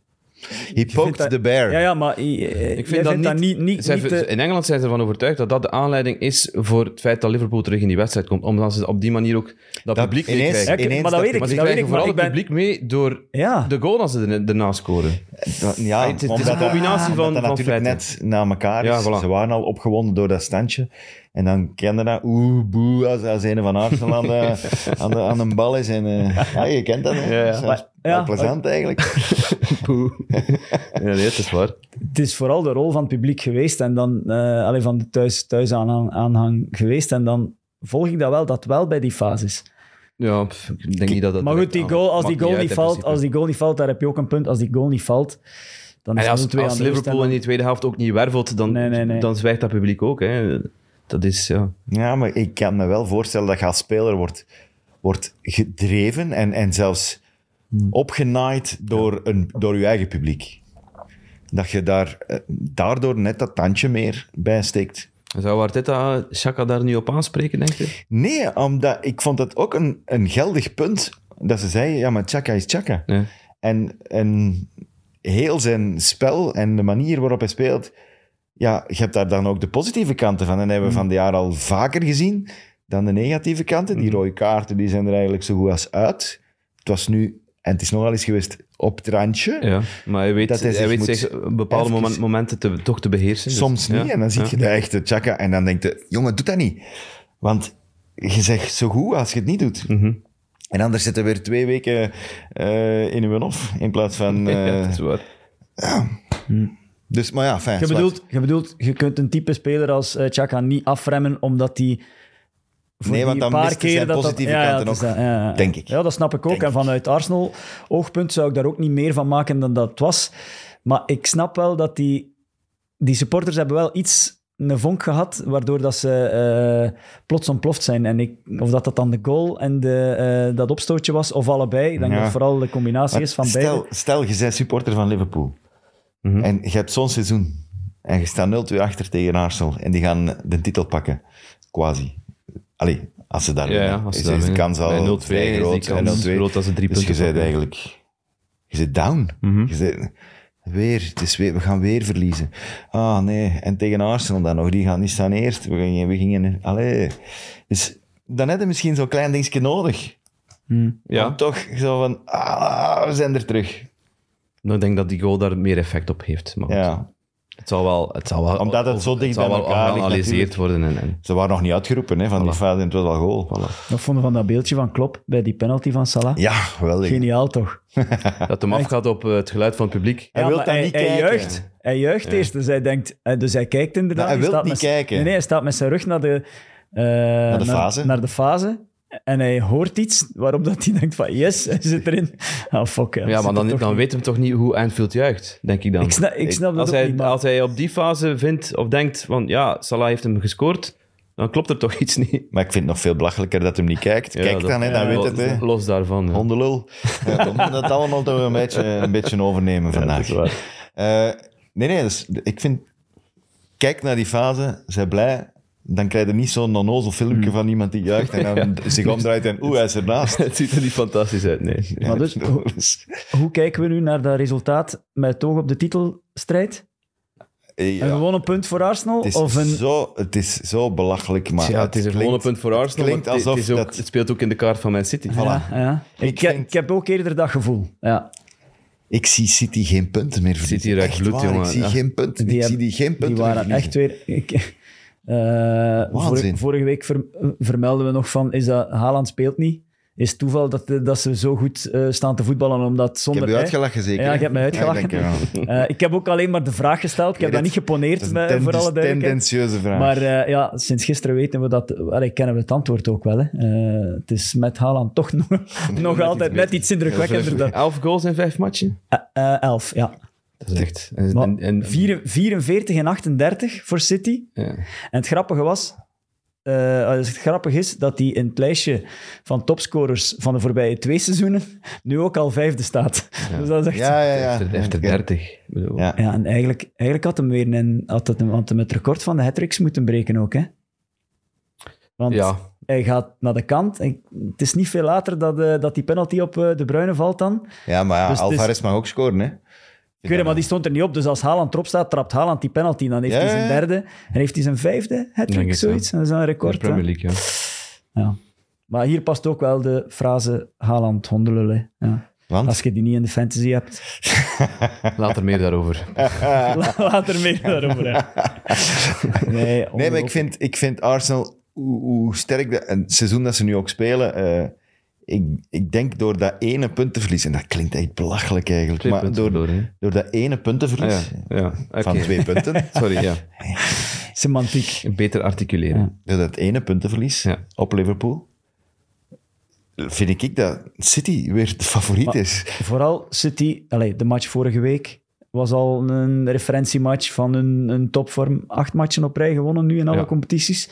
Speaker 2: He poked
Speaker 4: dat-
Speaker 2: the bear.
Speaker 4: Ja, ja, maar ik
Speaker 3: Ik
Speaker 4: vind
Speaker 3: vind dat niet,
Speaker 4: niet... niet,
Speaker 3: zij-
Speaker 4: niet eh,
Speaker 3: In Engeland zijn ze ervan overtuigd dat dat de aanleiding is voor het feit dat Liverpool terug in die wedstrijd komt. Omdat ze op die manier ook dat,
Speaker 2: Dat
Speaker 3: publiek
Speaker 2: ineens-
Speaker 3: meekrijgen.
Speaker 4: ja, ik-
Speaker 2: ineens
Speaker 4: maar
Speaker 2: dat-
Speaker 4: dat weet ik,
Speaker 3: Maar ze
Speaker 4: dat weet
Speaker 3: krijgen
Speaker 4: ik, maar
Speaker 3: vooral
Speaker 4: ik
Speaker 3: het
Speaker 4: ben...
Speaker 3: publiek mee door
Speaker 4: Ja,
Speaker 3: de goal als ze er- erna scoren.
Speaker 2: Dat- ja,
Speaker 3: het is- het is
Speaker 2: omdat
Speaker 3: een combinatie
Speaker 2: dat,
Speaker 3: van-
Speaker 2: omdat dat
Speaker 3: van
Speaker 2: natuurlijk net na elkaar is.
Speaker 3: Ja, voilà.
Speaker 2: Ze waren al opgewonden door dat standje. En dan kende dat, oeh, boe, als, als een van Arsenal aan,
Speaker 3: (laughs)
Speaker 2: de, aan, de, aan een bal is. En, eh, ja, je kent dat, hè.
Speaker 3: Ja, ja.
Speaker 2: Dat is wel- wel
Speaker 4: Ja.
Speaker 2: plezant eigenlijk.
Speaker 3: Ja, nee, het is waar.
Speaker 4: het is vooral de rol van het publiek geweest en dan eh, allee, van de thuis, thuis aanhang, aanhang geweest. En dan volg ik dat wel, dat wel bij die fases.
Speaker 3: Ja, pff, ik denk niet dat dat...
Speaker 4: Maar
Speaker 3: direct
Speaker 4: goed, die
Speaker 3: aan-
Speaker 4: goal, als
Speaker 3: maakt
Speaker 4: die goal,
Speaker 3: uit
Speaker 4: niet
Speaker 3: in
Speaker 4: valt,
Speaker 3: principe.
Speaker 4: als die goal niet valt, daar heb je ook een punt. Als die goal niet valt, dan is
Speaker 3: En
Speaker 4: het
Speaker 3: als,
Speaker 4: 0-2 aan
Speaker 3: als
Speaker 4: de rust en
Speaker 3: Liverpool in
Speaker 4: dan-
Speaker 3: die tweede helft ook niet wervelt, dan,
Speaker 4: Nee, nee, nee.
Speaker 3: dan zwijgt dat publiek ook. Hè. Dat is, ja.
Speaker 2: Ja, maar ik kan me wel voorstellen dat je als speler wordt, wordt gedreven en, en zelfs
Speaker 3: Hmm.
Speaker 2: opgenaaid door, een, door je eigen publiek. Dat je daar, eh, daardoor net dat tandje meer bij steekt.
Speaker 3: Zou Arteta Chaka daar nu op aanspreken, denk je?
Speaker 2: Nee, omdat ik vond het ook een, een geldig punt Dat ze zeiden, ja, maar Chaka is Chaka.
Speaker 3: Ja.
Speaker 2: En, en heel zijn spel en de manier waarop hij speelt, ja, je hebt daar dan ook de positieve kanten van. En hebben we van de jaar al vaker gezien dan de negatieve kanten. Die rode kaarten die zijn er eigenlijk zo goed als uit. Het was nu, en het is nogal eens geweest, op het randje.
Speaker 3: Ja, maar hij weet,
Speaker 2: Dat hij
Speaker 3: hij
Speaker 2: zich
Speaker 3: weet
Speaker 2: moet
Speaker 3: zich bepaalde
Speaker 2: even-
Speaker 3: momen- momenten te, toch te beheersen. dus-
Speaker 2: Soms niet.
Speaker 3: ja,
Speaker 2: En dan zie
Speaker 3: ja.
Speaker 2: je de echte Chaka en dan denk je, jongen, doe dat niet. Want je zegt zo goed als je het niet doet.
Speaker 3: Mhm.
Speaker 2: En anders zitten we weer twee weken eh, in uw hof in plaats van...
Speaker 3: (laughs) Ja,
Speaker 2: eh,
Speaker 3: dat is waar.
Speaker 2: dus, maar ja, fijn.
Speaker 4: Je
Speaker 2: zwart.
Speaker 4: bedoelt, je bedoelt, je kunt een type speler als eh, Chaka niet afremmen, omdat die. voor
Speaker 2: Nee,
Speaker 4: die
Speaker 2: want dan
Speaker 4: paar
Speaker 2: mist hij
Speaker 4: keer
Speaker 2: zijn
Speaker 4: dat dat-
Speaker 2: positieve
Speaker 4: ja, ja,
Speaker 2: kanten
Speaker 4: het is
Speaker 2: ook,
Speaker 4: dat, ja, ja.
Speaker 2: denk ik.
Speaker 4: Ja, dat snap ik ook.
Speaker 2: Denk
Speaker 4: en vanuit Arsenal-oogpunt zou ik daar ook niet meer van maken dan dat het was. Maar ik snap wel dat die, die supporters hebben wel iets een vonk gehad, waardoor dat ze eh, plots ontploft zijn. En ik, of dat dat dan de goal en de, eh, dat opstootje was, of allebei. Ik denk
Speaker 2: Ja.
Speaker 4: dat het vooral de combinatie
Speaker 2: Maar
Speaker 4: is van
Speaker 2: stel,
Speaker 4: beide. Mhm.
Speaker 2: stel, je bent supporter van Liverpool. En je hebt zo'n seizoen. En je staat 0-2 achter tegen Arsenal. En die gaan de titel pakken. Quasi. Allee, als ze daar
Speaker 3: Ja, ja, als
Speaker 2: als
Speaker 3: ze
Speaker 2: is,
Speaker 3: daar
Speaker 2: is de
Speaker 3: winnen.
Speaker 2: kans al
Speaker 3: Bij 0-2 is
Speaker 2: vrij
Speaker 3: die
Speaker 2: groot.
Speaker 3: kans
Speaker 2: En 0-2.
Speaker 3: groot dat ze drie
Speaker 2: dus je
Speaker 3: punten
Speaker 2: bent
Speaker 3: pakken.
Speaker 2: eigenlijk... Je zit down.
Speaker 4: Mhm.
Speaker 2: Je zit weer, het is weer, we gaan weer verliezen. Ah, nee. En tegen Arsenal dan nog. Die gaan niet staan eerst. We gingen... We gingen allee. Dus dan heb je misschien zo'n klein dingetje nodig. Ja.
Speaker 3: Ja,
Speaker 2: Om toch zo van, ah, we zijn er terug.
Speaker 3: Nou, ik denk dat die goal daar meer effect op heeft. Maar goed.
Speaker 2: Ja.
Speaker 3: het zal wel, het zal wel,
Speaker 2: Omdat het zo dicht
Speaker 3: zal
Speaker 2: bij
Speaker 3: wel
Speaker 2: elkaar ligt
Speaker 3: geanalyseerd worden. En, en,
Speaker 2: Ze waren nog niet uitgeroepen hè, van die fase en het was al goal.
Speaker 4: Wat vonden we van dat beeldje van Klopp bij die penalty van Salah?
Speaker 2: Ja, geweldig.
Speaker 4: Geniaal toch?
Speaker 3: dat hem afgaat op eh, het geluid van het publiek.
Speaker 2: Hij
Speaker 4: Ja,
Speaker 2: wil
Speaker 4: maar
Speaker 2: dat
Speaker 4: hij,
Speaker 2: niet
Speaker 4: hij
Speaker 2: kijken.
Speaker 4: juicht. Hij juicht eerst, dus hij denkt... eh, Dus hij kijkt inderdaad.
Speaker 2: Maar Nou, hij wil
Speaker 4: staat
Speaker 2: niet
Speaker 4: met,
Speaker 2: kijken.
Speaker 4: Nee, nee, hij staat met zijn rug naar de... eh, naar
Speaker 2: de fase.
Speaker 4: Naar de fase. En hij hoort iets waarop dat hij denkt van... Yes, hij zit erin. Ah, fuck. Ja,
Speaker 3: Ja,
Speaker 4: zit
Speaker 3: maar
Speaker 4: er
Speaker 3: dan,
Speaker 4: toch
Speaker 3: dan
Speaker 4: niet.
Speaker 3: weet hem toch niet hoe Anfield juicht, denk ik dan.
Speaker 4: Ik snap, ik snap dat
Speaker 3: als,
Speaker 4: ook
Speaker 3: hij,
Speaker 4: niet, maar-
Speaker 3: als hij op die fase vindt of denkt van ja, Salah heeft hem gescoord, dan klopt er toch iets niet.
Speaker 2: Maar ik vind het nog veel belachelijker dat hem niet kijkt. Kijk dan, hè, dan
Speaker 3: weet
Speaker 2: weet het. Hè.
Speaker 3: Los daarvan. ja.
Speaker 2: Hondelul. Ja, (laughs) we moeten dat allemaal toch een beetje, een beetje overnemen vandaag. Eh, nee, nee, dus ik vind... Kijk naar die fase, zij blij. Dan krijg je niet zo'n onnozel filmpje van iemand die juicht en dan zich omdraait en oeh, hij is ernaast.
Speaker 3: (laughs) (laughs) Het ziet er niet fantastisch uit, nee.
Speaker 4: Maar dus, hoe, hoe kijken we nu naar dat resultaat met het oog op de titelstrijd? Een
Speaker 2: (laughs) Ja.
Speaker 4: gewonnen punt voor Arsenal?
Speaker 2: Het is,
Speaker 4: Of een...
Speaker 2: zo, het is zo belachelijk, maar
Speaker 3: Ja, Ah, het is een
Speaker 2: klinkt-
Speaker 3: gewone punt voor Arsenal.
Speaker 2: klinkt
Speaker 3: maar het-
Speaker 2: alsof
Speaker 3: het, is ook,
Speaker 2: dat-
Speaker 3: het speelt ook in de kaart van Man City. (laughs)
Speaker 4: Ja, ja. Ik,
Speaker 2: Ik
Speaker 4: heb-
Speaker 2: vind-
Speaker 4: ik heb ook eerder dat gevoel. Ja.
Speaker 2: Ik zie City geen punten meer verliezen.
Speaker 3: City ruikt
Speaker 2: Echt
Speaker 3: bloed,
Speaker 2: waar,
Speaker 3: jongen.
Speaker 2: Ik zie
Speaker 3: Ja.
Speaker 2: geen punten. ik zie die geen punten
Speaker 4: Die waren
Speaker 2: meer
Speaker 4: echt
Speaker 2: verliezen.
Speaker 4: weer... Ik, eh, vorige,
Speaker 2: Waanzin.
Speaker 4: vorige week ver- vermelden we nog van, is dat Haaland speelt niet? Is toeval dat, dat ze zo goed eh, staan te voetballen, omdat
Speaker 2: Ik
Speaker 4: zonder...
Speaker 2: heb je
Speaker 4: hè?
Speaker 2: uitgelachen, zeker?
Speaker 4: Ja,
Speaker 2: hè?
Speaker 4: je hebt mij uitgelachen.
Speaker 2: ik denk, ja.
Speaker 4: Eh, ik heb ook alleen maar de vraag gesteld. Ik heb
Speaker 2: weet
Speaker 4: dat niet geponeerd,
Speaker 2: Dat is een
Speaker 4: eh,
Speaker 2: ten-
Speaker 4: voor alle duidelijkheid.
Speaker 2: tendentieuze vraag.
Speaker 4: Maar eh, ja, sinds gisteren weten we dat... Allee, kennen we het antwoord ook wel. Hè. Eh, het is met Haaland toch nog, (laughs) nog altijd net iets indrukwekkender dan...
Speaker 3: Elf goals in vijf matchen.
Speaker 4: Eh, eh, elf, ja.
Speaker 3: Dat is echt... En,
Speaker 4: Maar
Speaker 3: en- en-
Speaker 4: vier- 44 en 38 voor City.
Speaker 3: ja.
Speaker 4: En het grappige was... eh, het grappige is dat hij in het lijstje van topscorers van de voorbije twee seizoenen nu ook al vijfde staat. Dus dat is echt...
Speaker 2: ja, ja, ja.
Speaker 3: Hij heeft er
Speaker 2: Oké.
Speaker 3: dertig. Ik bedoel,
Speaker 2: Ja.
Speaker 4: Ja, en eigenlijk, eigenlijk had hem weer een, had het, hem- had hem het record van de hat moeten breken ook, hè? Want
Speaker 3: Ja.
Speaker 4: hij gaat naar de kant. En het is niet veel later dat, eh, dat die penalty op eh, De Bruyne valt dan.
Speaker 2: Ja, maar ja,
Speaker 4: Dus het is-
Speaker 2: Alvarez mag ook scoren, hè?
Speaker 4: Ik weet het, maar die stond er niet op. Dus als Haaland erop staat, trapt Haaland die penalty. Dan heeft
Speaker 2: Ja,
Speaker 4: hij
Speaker 2: ja,
Speaker 4: zijn
Speaker 2: ja.
Speaker 4: derde en heeft hij zijn vijfde
Speaker 3: Denk
Speaker 4: hat-trick,
Speaker 3: het, ja.
Speaker 4: zoiets. Dat is een
Speaker 3: in
Speaker 4: record,
Speaker 3: de
Speaker 4: hè?
Speaker 3: Premier League, ja.
Speaker 4: Ja. Maar hier past ook wel de frase Haaland hondelullen. Ja.
Speaker 2: Want?
Speaker 4: Als je die niet in de fantasy hebt,
Speaker 3: Later meer daarover.
Speaker 4: (laughs) laat er meer daarover. hè. Nee,
Speaker 2: Nee, maar ik vind, ik vind Arsenal, hoe, hoe sterk dat, en het seizoen dat ze nu ook spelen, eh, ik, ik denk door dat ene punt te verliezen, en dat klinkt echt belachelijk eigenlijk,
Speaker 3: Twee
Speaker 2: maar
Speaker 3: punten
Speaker 2: door,
Speaker 3: verloren, hè.
Speaker 2: door dat ene punt te
Speaker 3: Ah, ja,
Speaker 2: verliezen
Speaker 3: ja.
Speaker 2: van
Speaker 3: oké.
Speaker 2: twee punten,
Speaker 3: (laughs) Sorry, ja.
Speaker 4: Semantiek.
Speaker 3: Beter articuleren.
Speaker 2: door dat ene puntenverlies
Speaker 3: Ja.
Speaker 2: op Liverpool, vind ik dat City weer de favoriet is.
Speaker 4: Vooral City, allee, de match vorige week was al een referentiematch van een, een topvorm. Acht matchen op rij gewonnen nu in alle
Speaker 3: Ja.
Speaker 4: competities.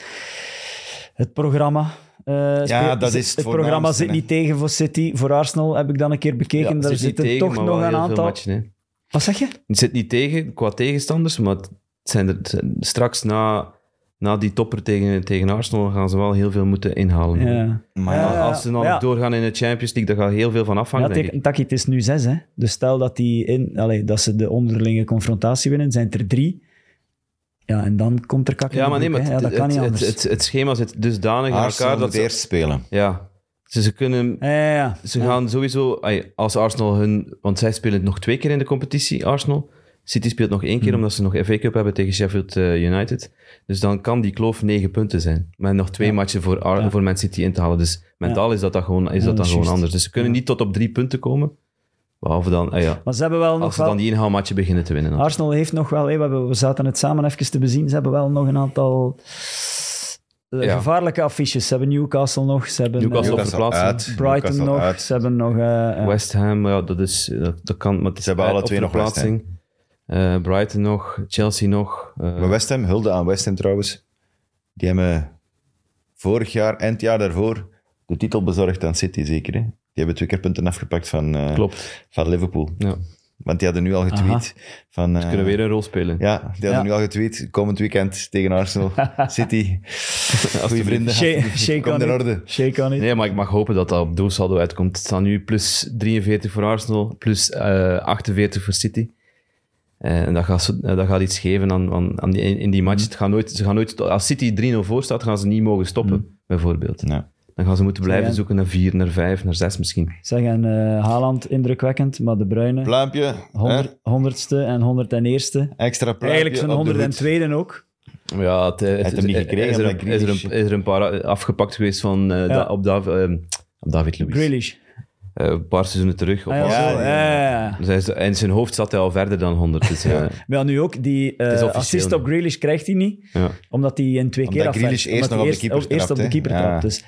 Speaker 4: Het programma. eh, speelt-
Speaker 2: dat is het
Speaker 4: het programma
Speaker 2: voornaamste,
Speaker 4: zit niet tegen voor City. Voor Arsenal heb ik dan een keer bekeken.
Speaker 3: Ja,
Speaker 4: Daar
Speaker 3: zit niet
Speaker 4: zitten
Speaker 3: tegen,
Speaker 4: toch
Speaker 3: maar wel
Speaker 4: nog een
Speaker 3: heel veel
Speaker 4: aantal.
Speaker 3: matchen, hè.
Speaker 4: Wat zeg je?
Speaker 3: Het zit niet tegen qua tegenstanders, maar het zijn er het zijn straks na na die topper tegen, tegen Arsenal gaan ze wel heel veel moeten inhalen.
Speaker 4: Ja.
Speaker 2: Maar
Speaker 4: Ja,
Speaker 3: Als ze dan
Speaker 4: ja.
Speaker 3: doorgaan in de Champions League, daar gaat heel veel van afhangen,
Speaker 4: Ja,
Speaker 3: denk
Speaker 4: teken-
Speaker 3: ik.
Speaker 4: Taki, het is nu zes, hè. Dus stel dat, die in, allee, dat ze de onderlinge confrontatie winnen, zijn het er drie. Ja, en dan komt er kakken.
Speaker 3: Ja, maar nee, maar
Speaker 4: ja,
Speaker 3: het,
Speaker 4: dat kan
Speaker 3: het,
Speaker 4: niet
Speaker 3: het,
Speaker 4: anders.
Speaker 3: het, het schema zit dusdanig in
Speaker 2: Arsenal
Speaker 3: elkaar
Speaker 2: moet
Speaker 3: dat ze...
Speaker 2: eerst spelen.
Speaker 3: Ja, ze, ze kunnen...
Speaker 4: ja, ja, ja.
Speaker 3: Ze
Speaker 4: Ja.
Speaker 3: gaan sowieso... ai, Als Arsenal hun... Want zij spelen nog twee keer in de competitie, Arsenal. City speelt nog één keer,
Speaker 4: Hmm.
Speaker 3: omdat ze nog FA Cup hebben tegen Sheffield eh, United. Dus dan kan die kloof negen punten zijn. Maar nog twee matchen voor, Ar-
Speaker 4: Ja.
Speaker 3: voor Man City in te halen. Dus mentaal is dat, dan gewoon, is
Speaker 4: Ja,
Speaker 3: dat
Speaker 4: dat
Speaker 3: dan
Speaker 4: is
Speaker 3: gewoon
Speaker 4: juist.
Speaker 3: anders. Dus ze kunnen niet tot op drie punten komen. Behalve dan... ah ja,
Speaker 4: Maar ze hebben wel nog
Speaker 3: als ze
Speaker 4: wel...
Speaker 3: dan die inhaalmatje beginnen te winnen. dan.
Speaker 4: Arsenal heeft nog wel... hé, we, hebben- we zaten het samen even te bezien. Ze hebben wel nog een aantal eh,
Speaker 3: Ja.
Speaker 4: gevaarlijke affiches. Ze hebben Newcastle nog. Ze hebben
Speaker 3: Newcastle
Speaker 4: eh,
Speaker 3: op verplaatsen.
Speaker 4: Brighton
Speaker 2: Newcastle
Speaker 4: nog.
Speaker 2: uit.
Speaker 4: Ze hebben nog... eh, eh,
Speaker 3: West Ham, ja, dat, is, dat, dat kan. Maar het is
Speaker 2: Ze hebben alle
Speaker 3: op
Speaker 2: twee nog West Ham.
Speaker 3: verplaatsing. Eh, Brighton nog, Chelsea nog. eh,
Speaker 2: Maar West Ham, hulde aan West Ham trouwens. Die hebben vorig jaar en het jaar daarvoor de titel bezorgd aan City, zeker. Hè? Die hebben twee keer punten afgepakt van, eh,
Speaker 3: Klopt.
Speaker 2: van Liverpool.
Speaker 3: Ja.
Speaker 2: Want die hadden nu al getweet van... eh,
Speaker 3: Kunnen weer een rol spelen.
Speaker 2: Ja, die hadden
Speaker 4: Ja.
Speaker 2: nu al getweet. Komend weekend tegen
Speaker 4: (laughs)
Speaker 2: Arsenal, City. Goeie vrienden.
Speaker 3: (laughs)
Speaker 4: Shea- Shea
Speaker 2: Komt
Speaker 4: kan
Speaker 2: in
Speaker 4: niet.
Speaker 2: orde.
Speaker 4: Shea kan niet.
Speaker 3: Nee, maar ik mag hopen dat dat op doelsaldo uitkomt. Het staat nu plus 43 voor Arsenal, plus eh, 48 voor City. Eh, en dat gaat, zo- eh, dat gaat iets geven aan, aan, aan die, in die
Speaker 2: Mm.
Speaker 3: match. Het gaat nooit, ze gaan nooit, als City 3-0 voor staat, gaan ze niet mogen stoppen,
Speaker 2: Mm.
Speaker 3: bijvoorbeeld.
Speaker 2: Ja.
Speaker 3: Dan gaan ze moeten blijven
Speaker 4: Ja.
Speaker 3: zoeken naar 4, naar 5, naar 6 misschien.
Speaker 4: Zeg, en eh, Haaland indrukwekkend, maar De Bruyne...
Speaker 2: Pluimpje. hè?
Speaker 4: 100, honderdste en 101ste.
Speaker 2: Extra pluimpje
Speaker 4: Eigenlijk zijn
Speaker 2: op de hoed.
Speaker 4: 102e ook.
Speaker 3: Ja, het, eh, het,
Speaker 2: hem niet gekregen,
Speaker 3: Is er,
Speaker 2: omdat
Speaker 3: een, is, er
Speaker 2: Grealish-
Speaker 3: een, is er een paar eh, afgepakt geweest van, eh, da- op, Dav- ehm, op David Luiz.
Speaker 4: Grealish.
Speaker 3: Eh, een paar seizoenen terug. Op
Speaker 4: Ah, ja,
Speaker 2: Ja, ja,
Speaker 4: zo, ja, ja, ja.
Speaker 3: Dus hij is- en zijn hoofd zat hij al verder dan 100. Dus, ja.
Speaker 4: Maar ja, nu ook, die eh,
Speaker 3: is officieel
Speaker 4: assist
Speaker 3: nu.
Speaker 4: op Grealish krijgt hij niet,
Speaker 3: Ja.
Speaker 4: omdat hij in twee
Speaker 2: Omdat
Speaker 4: keer afwerkt.
Speaker 2: Grealish eerst nog
Speaker 4: hij
Speaker 2: op de keeper
Speaker 4: ook eerst op de
Speaker 2: trapt, hè.
Speaker 4: keeper
Speaker 2: Ja.
Speaker 4: trapt, dus.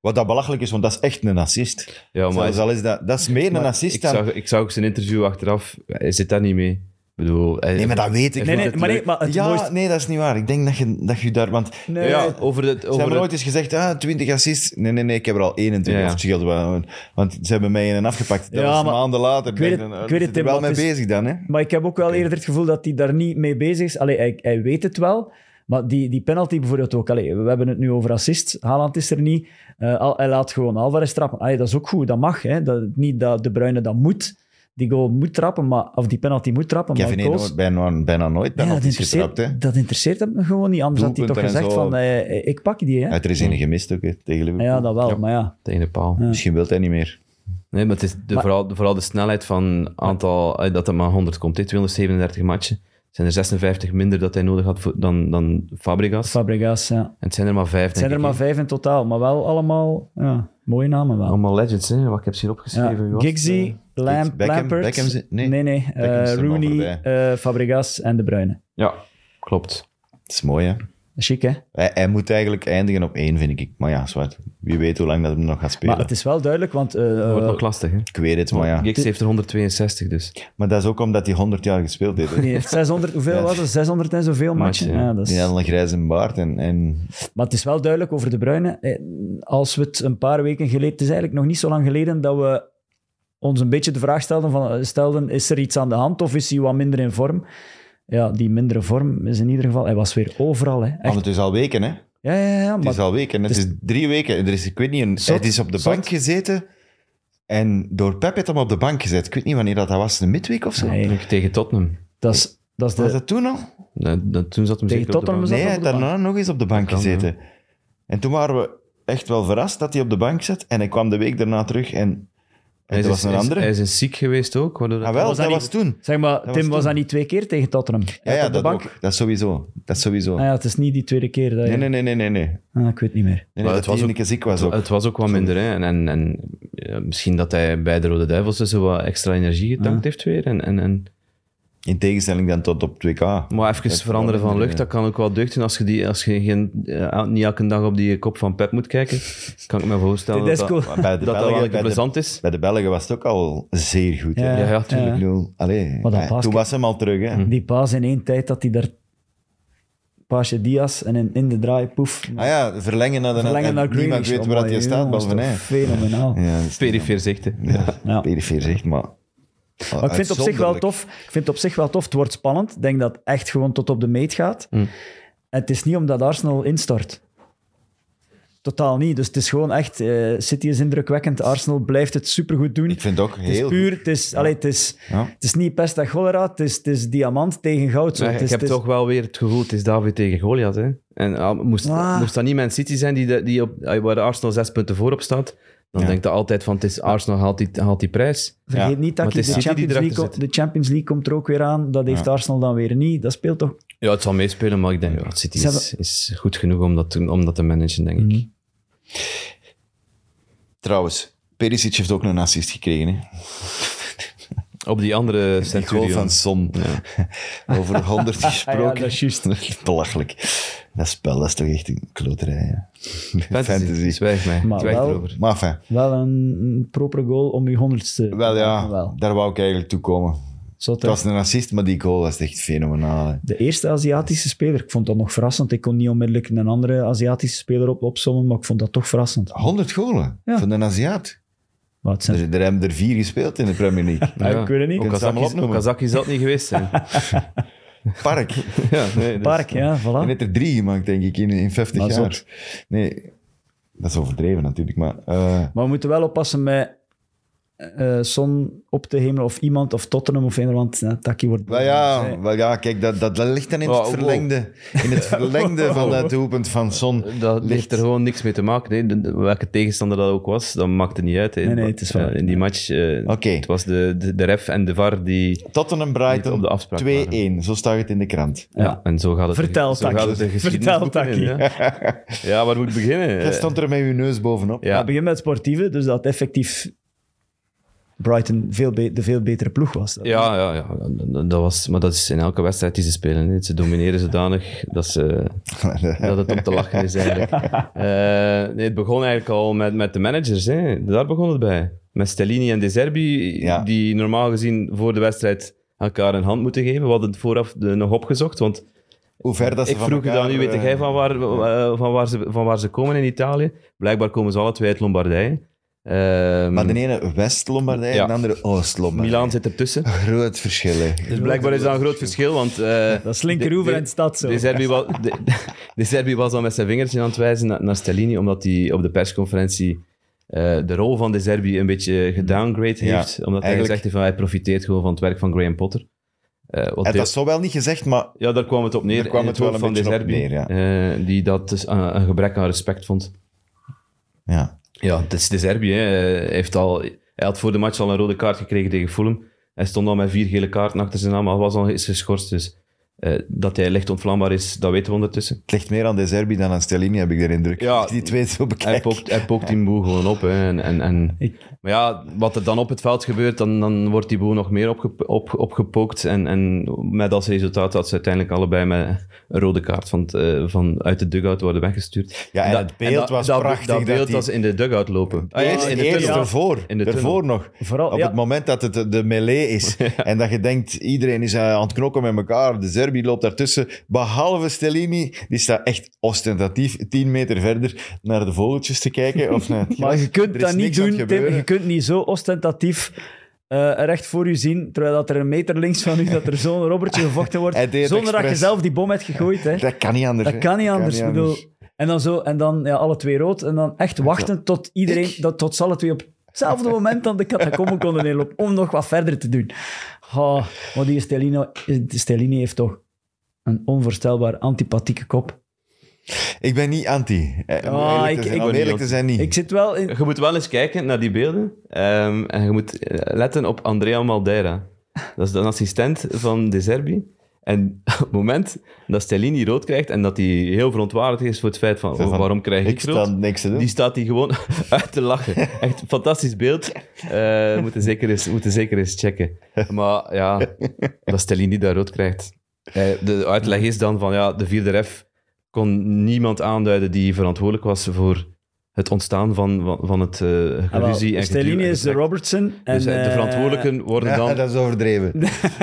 Speaker 2: Wat dat belachelijk is, want dat is echt een assist.
Speaker 3: Ja, maar
Speaker 2: Zelfs al is dat, dat is meer een assist
Speaker 3: Ik
Speaker 2: dan...
Speaker 3: zag, ik zag ook zijn interview achteraf. Hij zit daar niet mee. Ik bedoel, hij-
Speaker 2: Nee, maar dat weet ik
Speaker 4: Nee,
Speaker 2: niet.
Speaker 4: nee, maar, nee, maar het
Speaker 2: ja,
Speaker 4: mooiste...
Speaker 2: nee, dat is niet waar. Ik denk dat je, dat je daar... Want
Speaker 4: Nee,
Speaker 3: ja, over het,
Speaker 2: ze
Speaker 3: over
Speaker 2: hebben
Speaker 3: het-
Speaker 2: nooit eens gezegd, ah, 20 assists. Nee, nee, nee, ik heb er al 21.
Speaker 3: Ja, ja.
Speaker 2: Of het scheelt wel. Want ze hebben mij in een afgepakt. Dat
Speaker 4: Ja,
Speaker 2: was
Speaker 4: maar-
Speaker 2: maanden later.
Speaker 4: Ik weet het-
Speaker 2: Denk dan,
Speaker 4: ik
Speaker 2: ah,
Speaker 4: weet
Speaker 2: ze
Speaker 4: het,
Speaker 2: zijn
Speaker 4: Tim,
Speaker 2: er wel
Speaker 4: maar
Speaker 2: mee
Speaker 4: het is-
Speaker 2: bezig dan, hè.
Speaker 4: Maar ik heb ook wel eerder het gevoel dat hij daar niet mee bezig is. Allee, hij, hij weet het wel. Maar die, die penalty bijvoorbeeld ook. Allee, we hebben het nu over assist. Haaland is er niet. Eh, Al- hij laat gewoon Alvarez trappen. Allee, dat is ook goed, dat mag. Hè. Dat, niet dat De Bruyne dat moet. Die goal moet trappen, maar, of die penalty moet trappen.
Speaker 2: Kevin
Speaker 4: maar
Speaker 2: heeft
Speaker 4: goals-
Speaker 2: nooit- bijna, bijna nooit
Speaker 4: Ja, dat,
Speaker 2: penalties getrapt.
Speaker 4: interesseert,
Speaker 2: Hè.
Speaker 4: dat interesseert hem gewoon niet. Anders had hij toch
Speaker 2: Doelpunten en
Speaker 4: gezegd
Speaker 2: zo.
Speaker 4: van, eh, ik pak die. Hè?
Speaker 2: Hij heeft er is een gemist ook hè, tegen Liverpool.
Speaker 4: Ja, dat wel, maar ja.
Speaker 3: tegen de paal.
Speaker 2: Misschien wil hij niet meer.
Speaker 3: Nee, maar het is de, vooral, de- vooral de snelheid van aantal, eh, dat het maar 100 komt. hè. 237 matchen. Het zijn er 56 minder dat hij nodig had voor- dan, dan Fabregas.
Speaker 4: Fabregas, ja.
Speaker 3: en het zijn er maar vijf,
Speaker 4: Het zijn er maar vijf in totaal, maar wel allemaal ja, mooie namen wel.
Speaker 3: Allemaal legends, hè? Wat ik heb ze hier opgeschreven. Eh, wie
Speaker 4: Ja.
Speaker 3: was het?
Speaker 4: Giggsy, Lamp,
Speaker 2: Beckham-
Speaker 4: Lampert,
Speaker 2: Beckham zit- nee.
Speaker 4: nee, nee,
Speaker 2: Beckham
Speaker 4: eh,
Speaker 2: is er maar
Speaker 4: Rooney,
Speaker 2: voorbij.
Speaker 4: eh, Fabregas en De Bruyne.
Speaker 3: Ja, klopt.
Speaker 2: Dat is mooi, hè.
Speaker 4: Chic, hè?
Speaker 2: Hij, hij moet eigenlijk eindigen op één, vind ik. Maar ja, zwart. Wie weet hoe lang dat hem nog gaat spelen.
Speaker 4: Maar het is wel duidelijk, want eh,
Speaker 3: Wordt
Speaker 4: eh,
Speaker 3: nog lastig, hè?
Speaker 2: Ik weet het, maar ja.
Speaker 3: Giggs heeft er 162, dus.
Speaker 2: Maar dat is ook omdat hij 100 jaar gespeeld heeft. hè.
Speaker 4: die heeft
Speaker 2: (laughs)
Speaker 4: 600, hoeveel
Speaker 2: Ja.
Speaker 4: was het? 600 en zoveel matchen.
Speaker 3: Matchen, ja.
Speaker 4: Ja, (laughs) dat is-
Speaker 2: Die had een grijze baard en... en
Speaker 4: Maar het is wel duidelijk over De Bruyne. eh, Als we het een paar weken geleden... Het is eigenlijk nog niet zo lang geleden dat we ons een beetje de vraag stelden, van, eh, stelden is er iets aan de hand of is hij wat minder in vorm? Ja, die mindere vorm is in ieder geval... Hij was weer overal, hè.
Speaker 2: want
Speaker 4: Echt.
Speaker 2: het is al weken, hè.
Speaker 4: Ja, ja, ja.
Speaker 2: Ah. Het
Speaker 4: Maar
Speaker 2: is al weken.
Speaker 3: dus
Speaker 2: Het is drie weken. Er is, ik weet niet, een,
Speaker 4: Zot,
Speaker 2: het is op de
Speaker 4: zot.
Speaker 2: bank gezeten. En door Pep heeft hem op de bank gezet. Ik weet niet wanneer dat, dat was. Een midweek of zo?
Speaker 4: Nee.
Speaker 3: Tegen Tottenham.
Speaker 4: dat is, dat is
Speaker 2: Was
Speaker 4: de...
Speaker 2: dat toen al?
Speaker 3: Dat- dat- toen zat hem
Speaker 4: Tegen
Speaker 3: zeker op de
Speaker 4: Tottenham
Speaker 3: bank.
Speaker 4: zat
Speaker 2: Nee, hij
Speaker 4: op
Speaker 2: heeft
Speaker 4: de
Speaker 2: daarna nog eens op de bank
Speaker 3: kan,
Speaker 2: gezeten. En toen waren we echt wel verrast dat hij op de bank zat. En hij kwam de week daarna terug en, en
Speaker 3: Hij is,
Speaker 2: er was een
Speaker 3: hij is-
Speaker 2: andere.
Speaker 3: Hij is in ziek geweest ook. Waardoor dat-
Speaker 2: ah, wel,
Speaker 4: Was
Speaker 2: dat,
Speaker 4: dat
Speaker 2: was
Speaker 4: niet-
Speaker 2: toen.
Speaker 4: Zeg maar,
Speaker 2: was
Speaker 4: Tim, was,
Speaker 2: toen.
Speaker 4: dat niet twee keer tegen Tottenham?
Speaker 2: Ja, ja
Speaker 4: op de
Speaker 2: dat
Speaker 4: bank?
Speaker 2: ook. Dat sowieso. Dat sowieso.
Speaker 4: Ah, ja, het is niet die tweede keer. Dat je-
Speaker 2: Nee, nee, nee, nee, nee. nee. nee,
Speaker 4: Ah, ik weet niet meer.
Speaker 2: nee dat
Speaker 3: het was
Speaker 2: hij een
Speaker 3: ook-
Speaker 2: keer ziek was ook.
Speaker 3: Het was ook wat minder. Hè? En, en, en ja, misschien dat hij bij de Rode Duivels dus zo wat extra energie getankt heeft weer. En, en, en,
Speaker 2: In tegenstelling dan tot op 2K.
Speaker 3: maar even veranderen van lucht, dat kan ook wel deugd doen. Als je, die, als je geen, eh, niet elke dag op die kop van Pep moet (laughs) kijken, kan ik me voorstellen
Speaker 4: Dit is
Speaker 3: dat
Speaker 4: cool.
Speaker 3: dat,
Speaker 2: Maar bij de,
Speaker 3: dat, dat wel
Speaker 2: Belgen,
Speaker 3: lekker
Speaker 2: bij, de,
Speaker 3: plezant is.
Speaker 2: bij de Belgen was het ook al zeer goed. hè.
Speaker 4: Ja,
Speaker 3: Ja, ja,
Speaker 2: Ik
Speaker 3: tuurlijk.
Speaker 2: bedoel, allee,
Speaker 4: Maar dat
Speaker 2: hij-
Speaker 4: basket- Mm.
Speaker 2: toen was hem al terug. Hè.
Speaker 4: Die paas in één tijd dat hij daar... Paasje Diaz en in, in de draai, poef.
Speaker 2: Ah ja, verlengen naar de
Speaker 4: Verlengen
Speaker 2: en
Speaker 4: naar Greenish.
Speaker 2: Niemand weet waar
Speaker 4: Amai,
Speaker 2: hij staat,
Speaker 4: jongens,
Speaker 2: behalve
Speaker 4: toch
Speaker 2: hij.
Speaker 4: Fenomenaal.
Speaker 2: Ja, dat is-
Speaker 3: Perifeer zicht. hè.
Speaker 4: Ja.
Speaker 2: perifeer zegt, maar...
Speaker 4: Maar ik vind, het op zich wel tof, ik vind het op zich wel tof. Het wordt spannend. Ik denk dat het echt gewoon tot op de meet gaat. En het is niet omdat Arsenal instort. Totaal niet. Dus het is gewoon echt... eh, City is indrukwekkend. Arsenal blijft het supergoed doen.
Speaker 2: Ik vind het ook
Speaker 4: Het is
Speaker 2: heel...
Speaker 4: puur, het is, allee, het is,
Speaker 2: Ja.
Speaker 4: het is niet pest en cholera, het is, het is diamant tegen goud. Zo.
Speaker 3: Maar
Speaker 4: het
Speaker 3: ik
Speaker 4: is,
Speaker 3: heb
Speaker 4: het is-
Speaker 3: toch wel weer het gevoel, het is David tegen Goliath. Hè? En ah, moest,
Speaker 4: Ah.
Speaker 3: moest dat niet Man City zijn die, de- die op, ah, waar Arsenal zes punten voorop staat, dan
Speaker 2: Ja.
Speaker 3: denkt hij altijd van, het is Arsenal haalt die, haalt die prijs.
Speaker 4: Vergeet
Speaker 2: Ja.
Speaker 4: niet
Speaker 3: Maar het
Speaker 4: dat de
Speaker 3: is City die
Speaker 4: Champions,
Speaker 3: erachter
Speaker 4: League,
Speaker 3: zit.
Speaker 4: de Champions League komt er ook weer aan. Dat heeft Arsenal dan weer niet. Dat speelt toch...
Speaker 3: Ja, het zal meespelen, maar ik denk, ja, City
Speaker 4: Ze Mhm.
Speaker 3: is, is goed genoeg om dat, te- om dat te managen, denk ik.
Speaker 2: Trouwens, Perisic heeft ook een assist gekregen. Hè?
Speaker 4: (laughs)
Speaker 3: Op die andere
Speaker 2: Die goal
Speaker 3: Centurion.
Speaker 2: van Son. Over 100 gesproken.
Speaker 4: Ah (laughs) ja, dat
Speaker 2: (laughs)
Speaker 4: is juist.
Speaker 2: Belachelijk. Dat spel dat is toch echt een kloterij. ja. (laughs)
Speaker 3: Fantasy.
Speaker 2: Fantasy.
Speaker 3: Zwijg mij.
Speaker 4: Maar
Speaker 3: Zwijg
Speaker 4: wel-
Speaker 3: erover.
Speaker 2: Maar enfin,
Speaker 4: Wel een propere goal om je honderdste. te
Speaker 2: wel ja,
Speaker 4: maken, wel.
Speaker 2: daar wou ik eigenlijk toe komen.
Speaker 4: Zo
Speaker 2: Het was een assist, maar die goal was echt fenomenaal. hè.
Speaker 4: De eerste Aziatische speler. Ik vond dat nog verrassend. Ik kon niet onmiddellijk een andere Aziatische speler op, opzommen, maar ik vond dat toch verrassend.
Speaker 2: 100 golen
Speaker 4: Ja.
Speaker 2: van een Aziat. Dus
Speaker 4: Maar het zijn...
Speaker 2: Er, er hebben er vier gespeeld in de Premier
Speaker 3: (laughs)
Speaker 2: League.
Speaker 4: Ja, ik weet het niet.
Speaker 3: Ook
Speaker 2: Kunt ze allemaal
Speaker 3: Kazakis-
Speaker 2: opnoemen?
Speaker 3: ook Kazakis zal het niet geweest
Speaker 4: (laughs)
Speaker 3: zijn.
Speaker 2: Park.
Speaker 3: ja, nee, dus-
Speaker 4: Park, ja,
Speaker 2: Je
Speaker 4: voilà.
Speaker 2: hebt er drie gemaakt, denk ik, in, in 50
Speaker 4: Maar
Speaker 2: jaar.
Speaker 4: zot.
Speaker 2: Nee, dat is overdreven natuurlijk, maar... eh,
Speaker 4: Maar we moeten wel oppassen met eh, Son op te hemelen of iemand of Tottenham of een want eh, Taki wordt...
Speaker 2: Wel Nou ja, wel ja, kijk, dat, dat, dat ligt dan in
Speaker 3: Wow,
Speaker 2: het
Speaker 3: wow.
Speaker 2: verlengde, in het
Speaker 3: (laughs) Oh,
Speaker 2: verlengde van dat doelpunt van Son.
Speaker 3: Dat
Speaker 2: ligt-
Speaker 3: heeft er gewoon niks mee te maken. Nee, de- de- welke tegenstander dat ook was, dat maakte niet uit. hè.
Speaker 4: Nee, nee, het is waar.
Speaker 3: Ja, In die match, eh,
Speaker 2: Oké.
Speaker 3: het was de, de, de ref en de VAR die...
Speaker 2: Tottenham
Speaker 3: Niet op de
Speaker 2: Brighton
Speaker 3: afspraak
Speaker 2: 2-1, zo staat het in de krant.
Speaker 3: Ja.
Speaker 4: Ja.
Speaker 3: en zo gaat het.
Speaker 4: Ah. Vertel,
Speaker 3: zo gaat
Speaker 4: Taki.
Speaker 3: het de (laughs)
Speaker 4: Vertel,
Speaker 3: geschiedenisboeken in, ja. ja, waar moet ik
Speaker 4: (laughs)
Speaker 3: beginnen?
Speaker 2: Jij stond er met je neus bovenop.
Speaker 4: Ja.
Speaker 3: Ja.
Speaker 4: begin met sportieve, dus dat effectief Brighton veel be- de veel betere ploeg was. Dat-
Speaker 3: Ja, ja, ja. Dat- Dat was, maar dat is in elke wedstrijd die ze spelen. hè. Ze domineren zodanig dat, ze, dat het om te lachen
Speaker 2: (laughs)
Speaker 3: is eigenlijk. Eh, nee, het begon eigenlijk al met, met de managers. Hè. Daar begon het bij. Met Stellini en De Zerbi,
Speaker 2: Ja.
Speaker 3: die normaal gezien voor de wedstrijd elkaar een hand moeten geven. We hadden het vooraf eh, nog opgezocht,
Speaker 2: (laughs)
Speaker 3: want
Speaker 2: Hoe ver dat ze
Speaker 3: ik
Speaker 2: van
Speaker 3: vroeg je
Speaker 2: elkaar,
Speaker 3: dan, nu weet
Speaker 2: eh,
Speaker 3: jij van waar, eh, van, waar ze, van waar ze komen in Italië? Blijkbaar komen ze alle twee uit Lombardije. Ehm,
Speaker 2: Maar de ene West-Lombardij
Speaker 3: Ja.
Speaker 2: en de andere Oost-Lombardij.
Speaker 3: Milaan zit ertussen.
Speaker 2: Groot verschil, hè.
Speaker 3: Dus blijkbaar is dat een groot verschil, want... eh,
Speaker 4: Dat is linkeroever en stad zo.
Speaker 3: De Serbi,
Speaker 4: (laughs)
Speaker 3: was, de, de Serbi was al met zijn vingertje aan het wijzen naar, naar Stellini, omdat hij op de persconferentie eh, de rol van De Serbi een beetje gedowngrade
Speaker 2: Ja,
Speaker 3: heeft. omdat hij
Speaker 2: eigenlijk-
Speaker 3: gezegd heeft van hij profiteert gewoon van het werk van Graham Potter. Eh, wat
Speaker 2: Het
Speaker 3: deel-
Speaker 2: was zo wel niet gezegd, maar
Speaker 3: ja, daar kwam het op neer.
Speaker 2: Daar kwam
Speaker 3: in
Speaker 2: het wel
Speaker 3: hoofd
Speaker 2: een
Speaker 3: van De
Speaker 2: beetje op
Speaker 3: Serbi, eh, die dat dus een, een gebrek aan respect vond.
Speaker 2: ja.
Speaker 3: Ja, het is de Serbië. hè. Hij, heeft al, hij had voor de match al een rode kaart gekregen tegen Fulham. Hij stond al met vier gele kaarten achter zijn naam, maar was al eens geschorst. Dus eh, dat hij licht ontvlambaar is, dat weten we ondertussen.
Speaker 2: het ligt meer aan De Zerbi dan aan Stellini, heb ik de indruk.
Speaker 3: Ja.
Speaker 2: Als ik die twee zo
Speaker 3: Hij
Speaker 2: bekijk.
Speaker 3: pookt, hij pookt die boel gewoon op. Hè. En, en, en,
Speaker 4: Ik-
Speaker 3: maar ja, wat er dan op het veld gebeurt, dan, dan wordt die boel nog meer opge, op, opgepookt. En, en met als resultaat dat ze uiteindelijk allebei met een rode kaart van, het, eh, van, uit de dugout worden weggestuurd.
Speaker 2: Ja, en
Speaker 3: Dat-
Speaker 2: het beeld
Speaker 3: dat-
Speaker 2: was
Speaker 3: dat,
Speaker 2: prachtig
Speaker 3: Dat
Speaker 2: dat
Speaker 3: beeld
Speaker 2: die-
Speaker 3: was in de dugout lopen. Ah, ja,
Speaker 2: Eerst,
Speaker 3: in de
Speaker 2: eerst
Speaker 3: tunnel.
Speaker 2: ervoor.
Speaker 3: In de
Speaker 2: ervoor nog.
Speaker 4: Vooral,
Speaker 2: Op
Speaker 4: ja.
Speaker 2: het moment dat het de, de melee
Speaker 4: (laughs)
Speaker 2: is. En dat je denkt, iedereen is eh, aan het knokken met elkaar. De Zerbi loopt daartussen. Behalve Stellini. Die staat echt ostentatief tien meter verder naar de vogeltjes te kijken. Of naar het
Speaker 4: (laughs) Maar
Speaker 2: gras.
Speaker 4: je
Speaker 2: Er
Speaker 4: kunt
Speaker 2: is
Speaker 4: dat niet
Speaker 2: niks aan
Speaker 4: doen,
Speaker 2: het
Speaker 4: Tim.
Speaker 2: gebeuren.
Speaker 4: Je kunt niet zo ostentatief eh, recht voor u zien, terwijl dat er een meter links van u dat er zo'n robbertje gevochten
Speaker 2: (laughs)
Speaker 4: wordt,
Speaker 2: Hij deed het
Speaker 4: zonder dat je
Speaker 2: expres.
Speaker 4: zelf die bom hebt gegooid. Hè.
Speaker 2: (laughs) Dat kan niet anders.
Speaker 4: Dat kan niet anders. ik bedoel,
Speaker 2: anders.
Speaker 4: en dan zo, en dan ja, alle twee rood, en dan echt wachten tot iedereen, dat, tot ze alle twee op hetzelfde moment dan
Speaker 2: (laughs)
Speaker 4: de catacomben konden inlopen, om nog wat verder te doen. Oh, maar die Stellino, eh, Stellini heeft toch een onvoorstelbaar antipathieke kop.
Speaker 2: Ik ben niet anti. Eh, om
Speaker 4: Ah,
Speaker 2: eerlijk
Speaker 4: ik-
Speaker 2: te zijn,
Speaker 4: ik
Speaker 2: om
Speaker 3: ben
Speaker 2: eerlijk
Speaker 3: niet
Speaker 2: te zijn niet.
Speaker 4: Ik zit wel in...
Speaker 3: Je moet wel eens kijken naar die beelden. Ehm, en je moet eh, letten op Andrea Maldeira. Dat is de assistent van De Zerbi. En (laughs) op het moment dat Stellini rood krijgt en dat hij heel verontwaardigd is voor het feit van, oh,
Speaker 2: Zo van,
Speaker 3: waarom krijg ik,
Speaker 2: ik sta
Speaker 3: rood,
Speaker 2: niks te doen.
Speaker 3: die staat hij gewoon (laughs) uit te lachen. Echt een fantastisch beeld. Eh moeten, zeker eens, moeten zeker eens checken. Maar ja, dat Stellini daar rood krijgt. Eh, de uitleg is dan van ja, de vierde ref kon niemand aanduiden die verantwoordelijk was voor het ontstaan van, van, van het eh
Speaker 4: Ah, wel,
Speaker 3: geruzie. en geduw
Speaker 4: Stellini
Speaker 3: en
Speaker 4: is de
Speaker 3: getrek.
Speaker 4: Robertson. En,
Speaker 3: Dus eh, de
Speaker 4: eh,
Speaker 3: verantwoordelijken worden
Speaker 2: Ja,
Speaker 3: dan,
Speaker 2: dat is overdreven.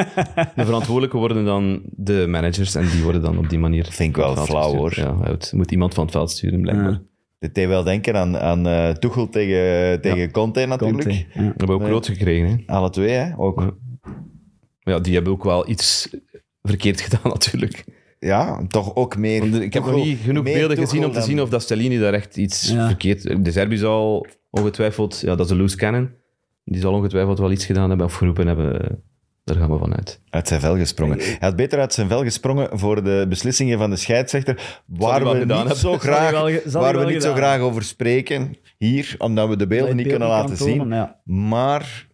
Speaker 3: (laughs) de verantwoordelijken worden dan de managers en die worden dan op die manier.
Speaker 2: Vind ik wel
Speaker 3: van het
Speaker 2: flauw,
Speaker 3: veld gestuurd. Ja, het moet iemand van het veld sturen, blijkbaar.
Speaker 4: Ja.
Speaker 2: Dat deed wel denken aan, aan eh, Tuchel tegen, tegen Conte natuurlijk.
Speaker 4: Conte.
Speaker 3: We hebben ook rood gekregen. Hè?
Speaker 2: Alle twee, hè? Ook. (laughs)
Speaker 3: Ja, die hebben ook wel iets verkeerd gedaan, natuurlijk.
Speaker 2: ja, toch ook meer.
Speaker 3: Want ik heb nog
Speaker 2: Tuchel-
Speaker 3: niet genoeg
Speaker 2: meer
Speaker 3: beelden gezien
Speaker 2: Tuchel
Speaker 3: om te
Speaker 2: dan-
Speaker 3: zien of dat Stellini daar echt iets
Speaker 4: Ja.
Speaker 3: verkeerd... De Serbi zal ongetwijfeld... Ja, dat is een loose cannon. Die zal ongetwijfeld wel iets gedaan hebben of geroepen hebben. Daar gaan we vanuit.
Speaker 2: Uit zijn vel gesprongen. Hij had beter uit zijn vel gesprongen voor de beslissingen van de scheidsrechter, waar
Speaker 3: wel
Speaker 2: we
Speaker 3: gedaan
Speaker 2: niet,
Speaker 3: hebben. (laughs)
Speaker 2: zo
Speaker 3: Zal
Speaker 4: hij
Speaker 2: graag,
Speaker 4: wel ge- zal
Speaker 2: waar
Speaker 4: hij
Speaker 2: we
Speaker 4: wel
Speaker 2: niet zo
Speaker 4: gedaan
Speaker 2: graag over spreken hier, omdat we de beelden niet
Speaker 4: beeld
Speaker 2: kunnen
Speaker 4: niet
Speaker 2: laten
Speaker 4: kan tonen,
Speaker 2: zien.
Speaker 4: ja.
Speaker 2: Maar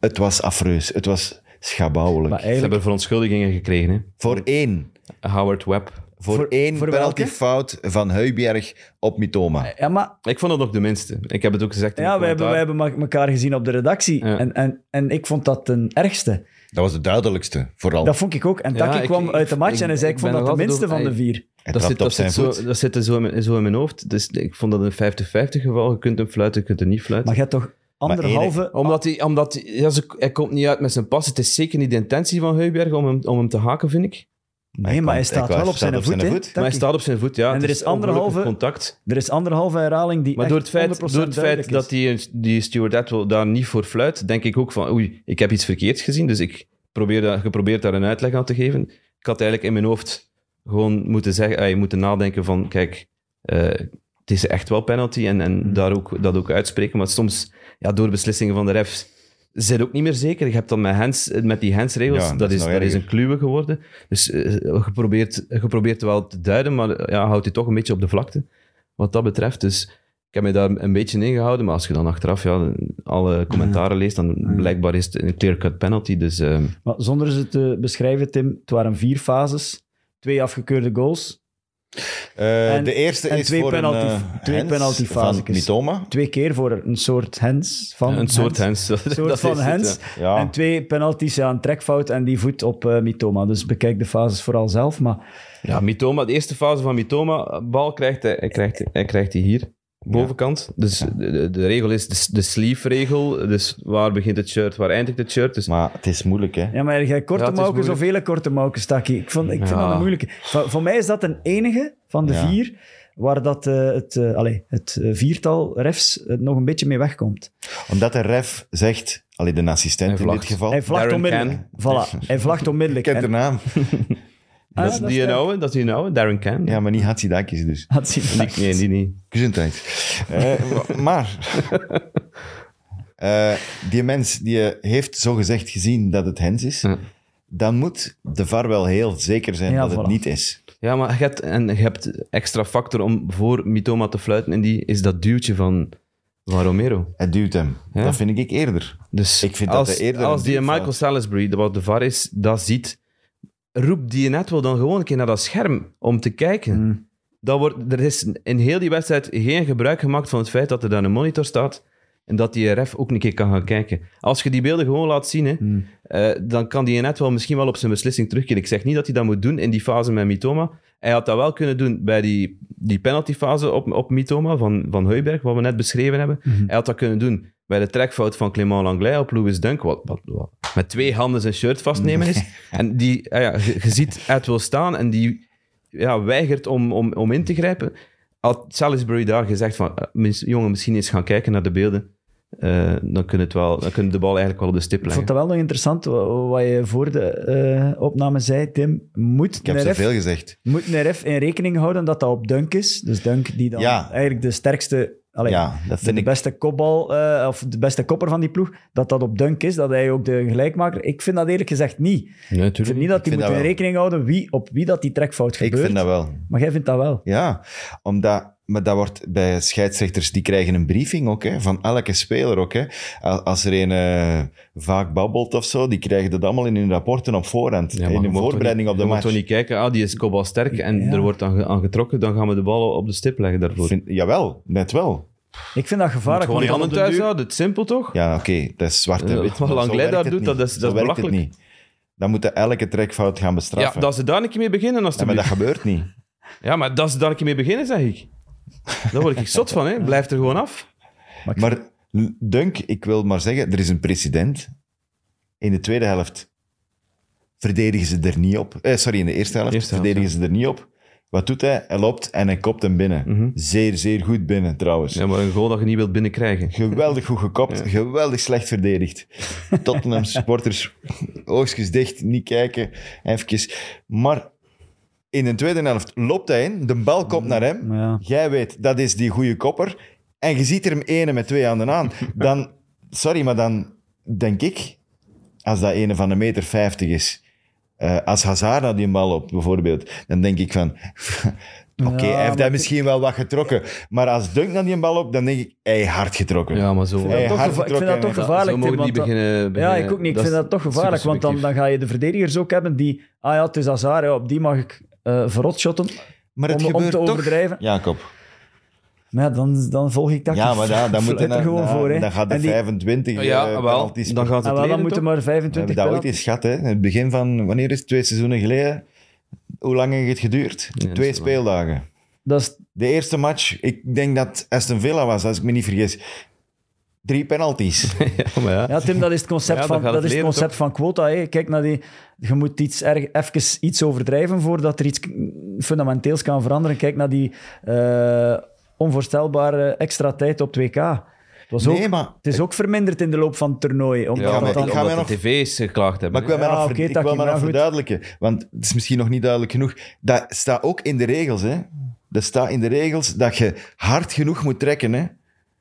Speaker 2: het was afreus. Het was schabouwelijk.
Speaker 4: Maar
Speaker 3: Ze
Speaker 4: eigenlijk,
Speaker 3: hebben verontschuldigingen gekregen, hè.
Speaker 2: voor één.
Speaker 3: Howard Webb.
Speaker 2: Voor,
Speaker 4: Voor-
Speaker 2: één
Speaker 4: voor welke?
Speaker 2: penaltyfout van Heuberg op Mitoma.
Speaker 4: ja, maar
Speaker 3: Ik vond dat ook de minste. Ik heb het ook gezegd in
Speaker 4: ja,
Speaker 3: de
Speaker 4: wij hebben, wij
Speaker 3: commentaar.
Speaker 4: hebben me- elkaar gezien op de redactie.
Speaker 3: Ja.
Speaker 4: En, en, en ik vond dat de ergste.
Speaker 2: Dat was de duidelijkste, vooral.
Speaker 4: Dat vond ik ook. En
Speaker 3: Ja,
Speaker 4: Taki
Speaker 3: ik-
Speaker 4: kwam uit de match
Speaker 3: ik-
Speaker 4: en hij zei, ik
Speaker 3: ik
Speaker 4: vond
Speaker 3: ben
Speaker 4: dat de
Speaker 3: nog altijd
Speaker 4: minste
Speaker 3: over-
Speaker 4: van de vier.
Speaker 2: Hij
Speaker 3: Dat
Speaker 2: trapt
Speaker 3: zit,
Speaker 2: op
Speaker 3: dat,
Speaker 2: zijn
Speaker 3: zit zo,
Speaker 2: voet.
Speaker 3: dat zit er zo in, mijn- zo in mijn hoofd. Dus ik vond dat een 50-50 geval. Je kunt hem fluiten, je kunt hem niet fluiten.
Speaker 4: Maar je hebt toch anderhalve...
Speaker 3: Omdat, Oh, hij, omdat hij, ja, ze- hij komt niet uit met zijn pas. Het is zeker niet de intentie van Heuberg om hem, om hem te haken, vind ik.
Speaker 4: nee, maar hij
Speaker 2: komt-
Speaker 4: staat
Speaker 2: hij
Speaker 4: wel op
Speaker 2: staat
Speaker 4: zijn
Speaker 2: op
Speaker 4: voet.
Speaker 2: zijn
Speaker 4: hè,
Speaker 2: voet.
Speaker 4: Taki.
Speaker 3: Maar hij staat op zijn voet, ja.
Speaker 4: En
Speaker 3: Het
Speaker 4: er is anderhalve-
Speaker 3: ongelukkig contact.
Speaker 4: Er is anderhalve herhaling die
Speaker 3: Maar door het
Speaker 4: echt
Speaker 3: feit,
Speaker 4: 100%
Speaker 3: door het feit
Speaker 4: duidelijk is.
Speaker 3: dat die, die stewardette wel daar niet voor fluit, denk ik ook van, oei, ik heb iets verkeerds gezien, dus ik probeer daar, geprobeerd daar een uitleg aan te geven. Ik had eigenlijk in mijn hoofd gewoon moeten zeggen, eh, moeten nadenken van, kijk, eh, het is echt wel penalty en, en daar ook, dat ook uitspreken. Maar soms, ja, door beslissingen van de refs, zit ook niet meer zeker. Je hebt dan met, hands, met die handsregels,
Speaker 2: Ja,
Speaker 3: dat,
Speaker 2: dat is
Speaker 3: is,
Speaker 2: nog
Speaker 3: dat is
Speaker 2: erger.
Speaker 3: een kluwe geworden. Dus eh, geprobeerd, geprobeerd wel te duiden, maar eh, ja, houdt hij toch een beetje op de vlakte, wat dat betreft. Dus ik heb me daar een beetje in gehouden, maar als je dan achteraf ja, alle commentaren leest, dan blijkbaar is het een clear-cut penalty. Dus ehm,
Speaker 4: Maar zonder ze te beschrijven, Tim, het waren vier fases. Twee afgekeurde goals,
Speaker 2: Eh,
Speaker 4: En-
Speaker 2: de eerste
Speaker 4: en
Speaker 2: is
Speaker 4: twee
Speaker 2: voor
Speaker 4: penalty-
Speaker 2: een, eh,
Speaker 4: twee
Speaker 2: hands van
Speaker 4: penaltyfasjes.
Speaker 2: Mitoma.
Speaker 4: twee keer voor een soort hens van
Speaker 3: een soort hands. (laughs)
Speaker 4: Een soort van hens.
Speaker 2: Ja.
Speaker 4: En twee penalties, ja, een trekfout en die voet op eh, Mitoma. Dus bekijk de fases vooral zelf. Maar
Speaker 3: Ja, Mitoma, de eerste fase van Mitoma, bal krijgt hij, hij krijgt, hij krijgt die hier, bovenkant. Dus de, de- de regel is de, s- de sleeve-regel, dus waar begint het shirt, waar eindigt het shirt. Dus
Speaker 2: Maar het is moeilijk, hè?
Speaker 4: ja, maar jij korte
Speaker 3: Ja, het is
Speaker 4: mouwen of
Speaker 3: moeilijk.
Speaker 4: vele korte mouwen, Taki. Ik, vond, ik vind
Speaker 3: Ja.
Speaker 4: dat een moeilijke. Voor, voor mij is dat een enige van de
Speaker 2: Ja.
Speaker 4: vier waar dat, eh, het, eh, allee, het eh, viertal refs eh, nog een beetje mee wegkomt.
Speaker 2: Omdat de ref zegt, allee, de assistent
Speaker 3: Hij
Speaker 2: in
Speaker 3: vlagt.
Speaker 2: dit geval.
Speaker 4: Hij vlagt
Speaker 3: Darren
Speaker 4: onmiddellijk. Voilà, (laughs) hij vlagt
Speaker 2: ik
Speaker 3: (laughs)
Speaker 4: onmiddellijk.
Speaker 2: ken
Speaker 4: En-
Speaker 2: de naam.
Speaker 4: Ah,
Speaker 3: dat, is die een
Speaker 4: sterk.
Speaker 3: oude, dat is die een oude, Darren Can.
Speaker 2: Ja, maar niet Hatzidakis dus.
Speaker 4: (laughs) Had zien.
Speaker 3: Die- nee, die niet.
Speaker 2: Gezondheid. Eh,
Speaker 4: (laughs)
Speaker 2: wa- maar... eh, die mens die eh, heeft zogezegd gezien dat het Hens is,
Speaker 3: Ja.
Speaker 2: dan moet de VAR wel heel zeker zijn
Speaker 4: Hm. Ja,
Speaker 2: dat het
Speaker 4: voilà.
Speaker 2: niet is.
Speaker 3: Ja, maar je hebt, en je hebt extra factor om voor Mitoma te fluiten, en die is dat duwtje van, van Romero.
Speaker 2: Het duwt hem.
Speaker 3: Ja.
Speaker 2: Dat vind ik eerder.
Speaker 3: Dus
Speaker 2: Ik vind dat
Speaker 3: als,
Speaker 2: hij eerder
Speaker 3: als
Speaker 2: een
Speaker 3: die
Speaker 2: diep
Speaker 3: Michael
Speaker 2: valt.
Speaker 3: Salisbury, de- wat de VAR is, dat ziet, roept die net wel dan gewoon een keer naar dat scherm om te kijken.
Speaker 2: Mm.
Speaker 3: Dat wordt, er is in heel die wedstrijd geen gebruik gemaakt van het feit dat er daar een monitor staat en dat die ref ook een keer kan gaan kijken. Als je die beelden gewoon laat zien, hè,
Speaker 2: Mm.
Speaker 3: eh, dan kan die net wel misschien wel op zijn beslissing terugkeren. Ik zeg niet dat hij dat moet doen in die fase met Mitoma. Hij had dat wel kunnen doen bij die, die penaltyfase op, op Mitoma van, van Heuberg, wat we net beschreven hebben.
Speaker 4: Mhm.
Speaker 3: Hij had dat kunnen doen bij de trekfout van Clément Langlais op Louis Dunk, wat, wat, wat met twee handen zijn shirt vastnemen
Speaker 4: (laughs)
Speaker 3: is. En die, ah ja, je, je ziet Ed wil staan en die ja, weigert om, om, om in te grijpen. Had Salisbury daar gezegd van, eh, mis- jongen, misschien eens gaan kijken naar de beelden, eh, dan, kunnen het wel, dan kunnen de bal eigenlijk wel op de stip
Speaker 4: Ik
Speaker 3: leggen.
Speaker 4: vond dat wel nog interessant wa- wa- wat je voor de eh, opname zei, Tim. Moet
Speaker 2: Ik heb
Speaker 4: een, ref,
Speaker 2: zoveel gezegd.
Speaker 4: moet een ref in rekening houden dat dat op Dunk is. Dus Dunk die dan
Speaker 2: Ja.
Speaker 4: eigenlijk de sterkste, allee,
Speaker 2: ja, dat
Speaker 4: de,
Speaker 2: vind ik...
Speaker 4: beste kopbal eh, of de beste kopper van die ploeg, dat dat op Dunk is, dat hij ook de gelijkmaker. Ik vind dat eerlijk gezegd niet. Ik vind niet dat die
Speaker 2: vind
Speaker 4: moeten
Speaker 2: dat
Speaker 4: in
Speaker 2: wel.
Speaker 4: rekening houden wie, op wie dat die trekfout
Speaker 2: Ik
Speaker 4: gebeurt.
Speaker 2: vind dat wel.
Speaker 4: Maar jij vindt dat wel.
Speaker 2: Ja, omdat, maar dat wordt bij scheidsrechters, die krijgen een briefing ook, hè, van elke speler ook. Hè. Al- Als er een eh, vaak babbelt of zo, die krijgen dat allemaal in hun rapporten op voorhand,
Speaker 3: Ja, maar
Speaker 2: in
Speaker 3: je
Speaker 2: hun
Speaker 3: mocht toch
Speaker 2: voorbereiding
Speaker 3: niet-
Speaker 2: op de
Speaker 3: je mocht
Speaker 2: match.
Speaker 3: toch niet kijken, ah, die is kopbal sterk en
Speaker 4: Ja.
Speaker 3: er wordt dan ge- aan getrokken, dan gaan we de bal op de stip leggen daarvoor.
Speaker 2: Vind- jawel, net wel.
Speaker 4: Ik vind dat
Speaker 3: Moet
Speaker 4: gevaarlijk.
Speaker 3: gewoon die
Speaker 4: want
Speaker 3: handen
Speaker 4: op de
Speaker 3: thuis
Speaker 4: duur-
Speaker 3: houden, het is simpel toch?
Speaker 2: Ja, oké, dat is zwart en
Speaker 3: Ja,
Speaker 2: wit.
Speaker 3: wat
Speaker 2: maar zo
Speaker 3: Langlais
Speaker 2: werkt
Speaker 3: daar
Speaker 2: het
Speaker 3: doet,
Speaker 2: niet.
Speaker 3: dat is- dat
Speaker 2: Zo
Speaker 3: is
Speaker 2: werkt
Speaker 3: belachelijk.
Speaker 2: het niet. Dan moeten elke trekfout gaan
Speaker 3: Ja,
Speaker 2: bestraffen.
Speaker 3: dat ze daar een keer mee beginnen als
Speaker 2: Ja, maar dat gebeurt niet.
Speaker 3: Ja, maar dat ze daar een keer mee beginnen, zeg ik. Daar word ik zot van, hè. Blijf er gewoon af.
Speaker 2: Maar Dunk, ik wil maar zeggen, er is een precedent. In de tweede helft verdedigen ze er niet op. Eh, sorry, in de eerste helft,
Speaker 3: Eerste helft,
Speaker 2: verdedigen ze er niet op. Wat doet hij? Hij loopt en hij kopt hem binnen.
Speaker 3: Mhm.
Speaker 2: Zeer, zeer goed binnen trouwens.
Speaker 3: Ja, maar een goal dat je niet wilt binnenkrijgen.
Speaker 2: Geweldig goed gekopt, geweldig slecht verdedigd. Tottenham supporters, oogstjes dicht, niet kijken, even. Maar In de tweede helft loopt hij in, de bal komt naar hem.
Speaker 4: Maar ja.
Speaker 2: Jij weet, dat is die goede kopper. En je ziet er hem ene met twee handen aan. Dan, sorry, maar dan denk ik, als dat ene van een meter vijftig is, eh, als Hazard naar die bal loopt bijvoorbeeld, dan denk ik van... (laughs) Oké,
Speaker 4: Ja,
Speaker 2: hij heeft
Speaker 4: maar-
Speaker 2: daar misschien wel wat getrokken. Maar als Dunk naar die bal loopt, dan denk ik, hij heeft hard getrokken.
Speaker 3: Ja, maar zo...
Speaker 2: Hey,
Speaker 4: toch
Speaker 2: hard
Speaker 4: geva- ik vind dat
Speaker 2: getrokken,
Speaker 4: toch gevaarlijk.
Speaker 3: Zo mogen
Speaker 4: Tim,
Speaker 3: niet
Speaker 4: want dan-
Speaker 3: beginnen,
Speaker 4: Ja,
Speaker 3: beginnen-
Speaker 4: ik ook niet. Ik
Speaker 3: is
Speaker 4: vind dat toch gevaarlijk, want dan, dan
Speaker 3: supersubjectief.
Speaker 4: ga je de verdedigers ook hebben die... Ah ja, het is Hazard, ja, op die mag ik eh verrotshotten
Speaker 2: maar het
Speaker 4: om, om
Speaker 2: gebeurt
Speaker 4: te
Speaker 2: toch...
Speaker 4: overdrijven.
Speaker 2: Jacob.
Speaker 4: Maar ja, dan, dan volg ik dat.
Speaker 2: Ja, maar
Speaker 4: (laughs)
Speaker 2: daar, dan
Speaker 4: Fluit
Speaker 2: moet je
Speaker 4: er
Speaker 2: naar-
Speaker 4: gewoon
Speaker 2: naar-
Speaker 4: voor. hè.
Speaker 2: Dan gaat de
Speaker 4: En die-
Speaker 2: 25 eh,
Speaker 3: Ja, wel,
Speaker 2: penalties
Speaker 3: dan gaat
Speaker 4: Ah,
Speaker 3: het
Speaker 4: wel, dan
Speaker 3: leren,
Speaker 4: moeten
Speaker 3: toch?
Speaker 4: maar
Speaker 2: We hebben
Speaker 4: 25
Speaker 2: dat ooit
Speaker 4: penalty-
Speaker 2: eens gehad, hè? In het begin van, wanneer is het? Twee seizoenen geleden. Hoe lang heeft het geduurd?
Speaker 3: dat is
Speaker 2: Twee
Speaker 3: wel.
Speaker 2: speeldagen.
Speaker 4: Dat is
Speaker 2: De eerste match, ik denk dat Aston Villa was, als ik me niet vergis. Drie
Speaker 3: (laughs)
Speaker 2: penalties.
Speaker 3: Ja, maar ja.
Speaker 4: Ja, Tim, dat is het concept,
Speaker 3: Ja, dan
Speaker 4: van,
Speaker 3: gaat
Speaker 4: dat
Speaker 3: het
Speaker 4: is
Speaker 3: leren,
Speaker 4: het concept van quota. Hè. Kijk naar die. Je moet iets erg, even iets overdrijven voordat er iets fundamenteels kan veranderen. Kijk naar die eh, onvoorstelbare extra tijd op 2K. Het, was ook,
Speaker 2: Nee, maar
Speaker 4: het is ook verminderd in de loop van het toernooi. Omdat
Speaker 2: ga
Speaker 4: dat
Speaker 2: mij-
Speaker 4: dan-
Speaker 2: ik
Speaker 3: omdat
Speaker 2: ga mij
Speaker 3: de
Speaker 2: nog-
Speaker 3: tv's geklaagd hebben.
Speaker 2: Maar ik wil
Speaker 3: hè.
Speaker 2: mij
Speaker 4: Ja,
Speaker 2: nog, ver-
Speaker 4: oké,
Speaker 2: ik
Speaker 4: Taki,
Speaker 2: wil mij
Speaker 4: maar
Speaker 2: nog
Speaker 4: goed.
Speaker 2: verduidelijken, want het is misschien nog niet duidelijk genoeg. Dat staat ook in de regels, hè. Dat staat in de regels dat je hard genoeg moet trekken, hè.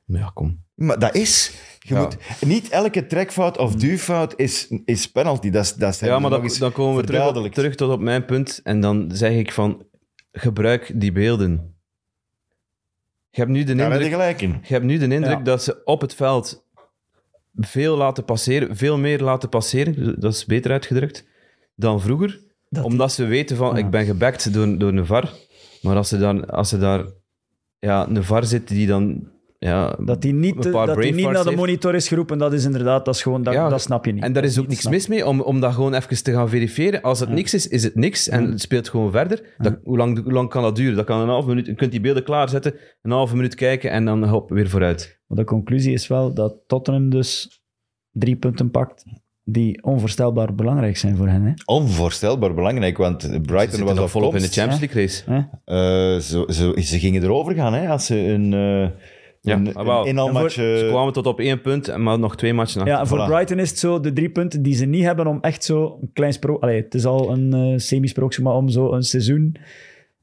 Speaker 3: Maar Ja, kom.
Speaker 2: Maar dat is... Je
Speaker 3: Ja.
Speaker 2: moet, niet elke trekfout of duwfout is, is penalty. Dat, is- dat zijn
Speaker 3: Ja, maar
Speaker 2: nog
Speaker 3: dan,
Speaker 2: eens
Speaker 3: dan komen we terug, op-
Speaker 2: verduidelijkt.
Speaker 3: terug tot op mijn punt. En dan zeg ik van, gebruik die beelden. Je hebt nu de
Speaker 2: Daar heb je
Speaker 3: indruk,
Speaker 2: gelijk in.
Speaker 3: je hebt nu de indruk
Speaker 4: Ja.
Speaker 3: dat ze op het veld veel laten passeren, veel meer laten passeren, dat is beter uitgedrukt, dan vroeger.
Speaker 4: Dat-
Speaker 3: omdat ze weten van,
Speaker 4: Ja.
Speaker 3: ik ben gebackt door, door een VAR. Maar als er, dan, als er daar ja, een VAR zit die dan... Ja,
Speaker 4: dat die niet,
Speaker 3: een paar
Speaker 4: dat die
Speaker 3: brave
Speaker 4: niet naar
Speaker 3: parts
Speaker 4: de
Speaker 3: heeft.
Speaker 4: monitor is geroepen, dat is inderdaad, dat, is gewoon, dat,
Speaker 3: Ja,
Speaker 4: dat snap je niet.
Speaker 3: En daar is ook niks mis mee om, om dat gewoon even te gaan verifiëren. Als het niks is, is het niks en het speelt gewoon verder. Dat, hoe, lang, hoe lang kan dat duren? Dat kan een half minuut. Je kunt die beelden klaarzetten, een halve minuut kijken en dan hop, weer vooruit.
Speaker 4: Maar de conclusie is wel dat Tottenham dus drie punten pakt die onvoorstelbaar belangrijk zijn voor hen. Hè?
Speaker 2: Onvoorstelbaar belangrijk, want
Speaker 3: Ze
Speaker 2: Brighton
Speaker 3: zitten
Speaker 2: was
Speaker 3: nog
Speaker 2: op
Speaker 3: volop in de
Speaker 2: komst.
Speaker 3: Champions League race.
Speaker 4: Hè?
Speaker 2: Eh, zo, zo, ze gingen erover gaan, hè, als ze een, eh
Speaker 3: Ja,
Speaker 2: een,
Speaker 3: ah, wel.
Speaker 2: een inhaalmatch...
Speaker 3: Ze
Speaker 2: eh,
Speaker 3: kwamen tot op één punt, maar nog twee matchen achter.
Speaker 4: Ja, en voor
Speaker 2: Ah, Voilà.
Speaker 4: Brighton is het zo de drie punten die ze niet hebben om echt zo een klein sprook... Allee, het is al een eh, semi-sprookje, maar om zo een seizoen...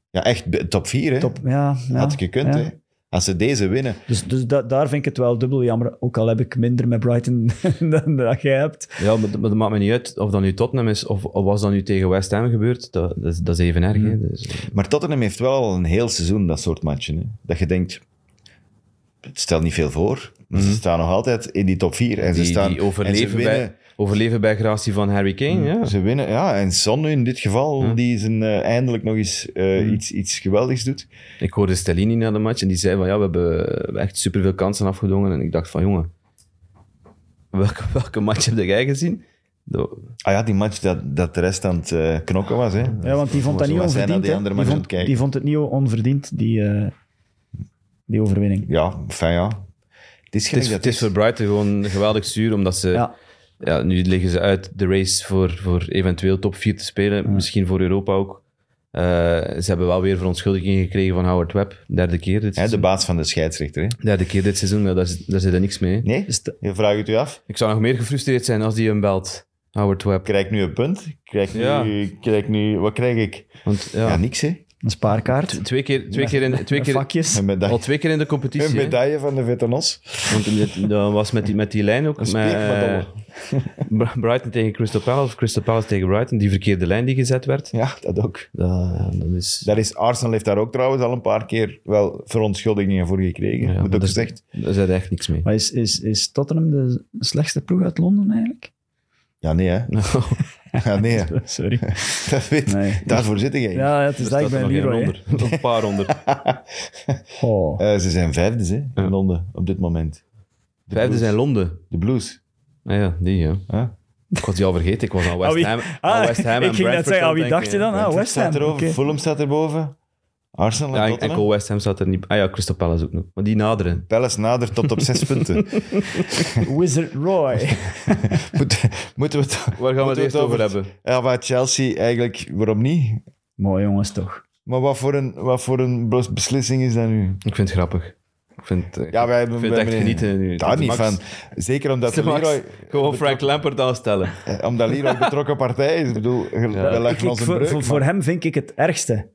Speaker 2: Ja, echt be- top 4, hè.
Speaker 4: Top, ja, ja,
Speaker 2: Had ik gekund,
Speaker 4: ja.
Speaker 2: hè. Als ze deze winnen.
Speaker 4: Dus, dus da- daar vind ik het wel dubbel jammer. Ook al heb ik minder met Brighton (laughs) dan dat jij hebt.
Speaker 3: Ja, maar, dat- maar dat maakt me niet uit of dat nu Tottenham is of, of was dat nu tegen West Ham gebeurd. Dat, dat, is- dat is even erg.
Speaker 4: Mm.
Speaker 3: hè. Dus, eh,
Speaker 2: Maar Tottenham heeft wel al een heel seizoen dat soort matchen. Hè. Dat je denkt, het stelt niet veel voor. Maar ze staan nog altijd in die top 4. En
Speaker 3: Mhm. die,
Speaker 2: ze staan
Speaker 3: die
Speaker 2: en ze
Speaker 3: overleven,
Speaker 2: winnen,
Speaker 3: bij, overleven bij gratie van Harry
Speaker 4: Mm.
Speaker 3: Kane. Ja.
Speaker 2: Ze winnen, ja. En Son nu in dit geval,
Speaker 3: Mhm.
Speaker 2: die zijn, eh, eindelijk nog eens eh, iets, iets geweldigs doet.
Speaker 3: Ik hoorde Stellini na de match en die zei van ja, we hebben echt superveel kansen afgedwongen. En ik dacht van jongen, welke, (laughs) welke match heb jij gezien? Dat-
Speaker 2: Ah ja, die match dat, dat de rest aan het eh, knokken was. Hè.
Speaker 4: Ja, want die vond dat
Speaker 2: Zo
Speaker 4: niet
Speaker 2: was hij naar
Speaker 4: onverdiend.
Speaker 2: die
Speaker 4: hè.
Speaker 2: andere
Speaker 4: die,
Speaker 2: match aan
Speaker 4: vond,
Speaker 2: het kijken.
Speaker 4: die vond het niet onverdiend, die, eh, die overwinning.
Speaker 2: Ja, fijn ja. Het is
Speaker 3: het,
Speaker 2: gelijk
Speaker 3: is,
Speaker 2: dat
Speaker 3: het is voor Brighton gewoon geweldig zuur, omdat ze...
Speaker 4: Ja.
Speaker 3: Ja. nu liggen ze uit de race voor, voor eventueel top 4 te spelen. Misschien voor Europa ook. Eh, ze hebben wel weer verontschuldiging gekregen van Howard Webb. Derde keer dit
Speaker 2: Hè, de
Speaker 3: seizoen.
Speaker 2: baas van de scheidsrechter. Hè.
Speaker 3: Derde keer dit seizoen, ja, daar, zit- daar zit er niks mee.
Speaker 2: Nee?
Speaker 4: Is het-
Speaker 2: Je vraagt het u af.
Speaker 3: Ik zou nog meer gefrustreerd zijn als die hem belt, Howard Webb.
Speaker 2: Krijg ik nu een punt? Krijg ik nu,
Speaker 3: Ja.
Speaker 2: krijg ik nu, wat krijg ik?
Speaker 3: Want ja,
Speaker 2: Ja, niks hè.
Speaker 4: Een spaarkaart.
Speaker 3: twee keer, twee keer, in, twee
Speaker 4: Twee
Speaker 3: keer,
Speaker 4: vakjes.
Speaker 2: Een
Speaker 3: al
Speaker 2: medaille,
Speaker 3: twee keer in de competitie.
Speaker 2: een
Speaker 3: hè.
Speaker 2: medaille van de Vetanos.
Speaker 3: Want dat- dat was met die, met die lijn ook.
Speaker 2: Een
Speaker 3: met,
Speaker 2: speelmedaille.
Speaker 3: eh, Bra- Brighton tegen Crystal Palace, of Crystal Palace tegen Brighton, die verkeerde lijn die gezet werd.
Speaker 2: Ja, dat ook.
Speaker 3: Dat, dat is,
Speaker 2: Dat is, Arsenal heeft daar ook trouwens al een paar keer wel verontschuldigingen voor gekregen.
Speaker 3: ja,
Speaker 2: Moet
Speaker 3: maar
Speaker 2: ook
Speaker 3: daar-
Speaker 2: gezegd.
Speaker 3: Daar zit echt niks mee. (laughs)
Speaker 4: Maar is, is, is Tottenham de slechtste ploeg uit Londen
Speaker 3: (laughs)
Speaker 4: eigenlijk?
Speaker 2: Ja, nee hè. Ja, nee. hè.
Speaker 4: Sorry.
Speaker 2: Dat weet,
Speaker 4: Nee.
Speaker 2: Daarvoor zit jij.
Speaker 4: Ja, het is Dus dat ik
Speaker 3: Er staat er
Speaker 4: ben
Speaker 3: nog één
Speaker 4: Leroy. hè.
Speaker 3: onder. Een paar onder.
Speaker 4: Oh.
Speaker 2: Eh, ze zijn vijfdes hè, in
Speaker 3: (laughs) Ja.
Speaker 2: Londen op dit moment.
Speaker 3: Vijfde
Speaker 2: Blues.
Speaker 3: zijn Londen.
Speaker 2: De Blues.
Speaker 3: Ah ja, die ja.
Speaker 2: hè?
Speaker 3: Ik was die al vergeten, ik was aan West Ham, aan West Ham en
Speaker 4: Ah, (laughs) ik ging net
Speaker 3: Brentford
Speaker 4: zeggen,
Speaker 3: aan
Speaker 4: aan wie
Speaker 3: het
Speaker 4: dacht je
Speaker 3: denken,
Speaker 4: dan? Ah,
Speaker 2: Brentford
Speaker 4: West Ham.
Speaker 2: staat erover,
Speaker 4: oké.
Speaker 2: Fulham staat erboven. Arsenal en
Speaker 3: Ja, en-
Speaker 2: Tottenham.
Speaker 3: enkel West Ham staat er niet Ah ja, Crystal Palace ook nog. Maar die naderen.
Speaker 2: Palace nadert tot op
Speaker 3: (laughs)
Speaker 2: zes punten.
Speaker 4: Wizard (laughs) Roy.
Speaker 2: Moet, moeten we het,
Speaker 3: Waar gaan we het
Speaker 2: moeten
Speaker 3: eerst over hebben?
Speaker 2: Ja, maar Chelsea eigenlijk, waarom niet?
Speaker 4: Mooi jongens toch.
Speaker 2: Maar wat voor een, wat voor een bes- beslissing is dat nu?
Speaker 3: Ik vind het grappig. Ik vind, eh,
Speaker 2: Ja, wij
Speaker 3: ik
Speaker 2: hebben
Speaker 3: vind het echt genieten nu.
Speaker 2: Daar
Speaker 3: De
Speaker 2: niet
Speaker 3: Max-
Speaker 2: van. Zeker omdat
Speaker 3: de Max
Speaker 2: Leroy,
Speaker 3: Gewoon Frank Lampert aanstellen.
Speaker 2: eh, omdat Leroy betrokken partij is. Ik bedoel, we
Speaker 4: Eh, Ik-
Speaker 2: leggen
Speaker 4: ik-
Speaker 2: ons een
Speaker 4: voor,
Speaker 2: breuk,
Speaker 4: voor,
Speaker 2: maar-
Speaker 4: voor hem vind ik het ergste.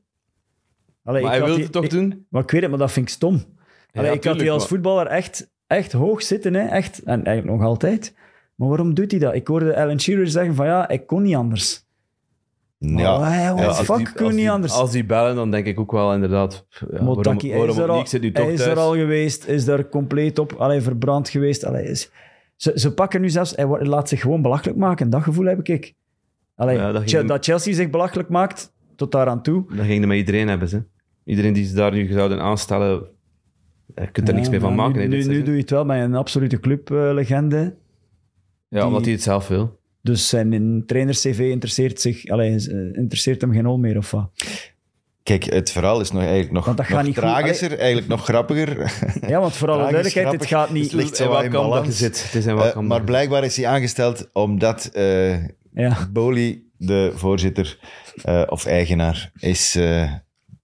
Speaker 4: Allee,
Speaker 3: Maar hij
Speaker 4: ik had
Speaker 3: wil
Speaker 4: die-
Speaker 3: het toch
Speaker 4: ik-
Speaker 3: doen?
Speaker 4: Maar ik weet het, maar dat vind ik stom. Allee, ik had
Speaker 3: tuurlijk,
Speaker 4: die als
Speaker 3: maar-
Speaker 4: voetballer echt, echt hoog zitten, hè? echt. En eigenlijk nog altijd. Maar waarom doet hij dat? Ik hoorde Alan Shearer zeggen van ja, ik kon niet anders. Oh,
Speaker 2: Ja.
Speaker 4: Allee, jongen,
Speaker 2: Ja,
Speaker 3: als
Speaker 4: fuck,
Speaker 3: die-
Speaker 4: kun
Speaker 3: als
Speaker 4: niet
Speaker 3: die-
Speaker 4: anders.
Speaker 3: Als die bellen, dan denk ik ook wel inderdaad... pff, Ja,
Speaker 4: Motaki, hij is,
Speaker 3: waarom
Speaker 4: er
Speaker 3: ook
Speaker 4: al,
Speaker 3: niet? Ik zit nu toch
Speaker 4: hij is er
Speaker 3: thuis.
Speaker 4: al geweest, is daar compleet op allee, verbrand geweest. Allee, is- ze, ze pakken nu zelfs, hij wordt- laat zich gewoon belachelijk maken. Dat gevoel heb ik. Allee,
Speaker 3: Ja, dat ging
Speaker 4: Che-
Speaker 3: hem-
Speaker 4: dat Chelsea zich belachelijk maakt, tot daar aan toe.
Speaker 3: Dat ging er met iedereen hebben, ze. Iedereen die ze daar nu zouden aanstellen, je kunt er niks
Speaker 4: Ja,
Speaker 3: meer van
Speaker 4: maar
Speaker 3: maken. hè,
Speaker 4: Nu,
Speaker 3: dit
Speaker 4: nu, nu
Speaker 3: seizoen.
Speaker 4: doe je het wel met een absolute clublegende.
Speaker 3: ja, omdat
Speaker 4: die-
Speaker 3: hij het zelf wil.
Speaker 4: Dus zijn in trainers-CV interesseert, zich, allee, is, eh, interesseert hem geen hol meer
Speaker 3: (laughs)
Speaker 4: of wat.
Speaker 2: Kijk, het verhaal is nog eigenlijk nog,
Speaker 4: Want dat gaat
Speaker 2: nog
Speaker 4: niet goed.
Speaker 2: tragischer, eigenlijk nog grappiger.
Speaker 4: Ja, want voor alle
Speaker 2: Tragisch,
Speaker 4: duidelijkheid,
Speaker 2: grappig.
Speaker 4: dit gaat niet...
Speaker 2: Het ligt zo
Speaker 3: In welk
Speaker 2: in
Speaker 3: kamp dat je
Speaker 2: balans.
Speaker 3: zit. Het is in welk
Speaker 2: Eh,
Speaker 3: kamp
Speaker 2: maar
Speaker 3: dat je
Speaker 2: blijkbaar is hij aangesteld omdat eh
Speaker 4: Ja.
Speaker 2: Boli, de voorzitter eh, of eigenaar, is eh,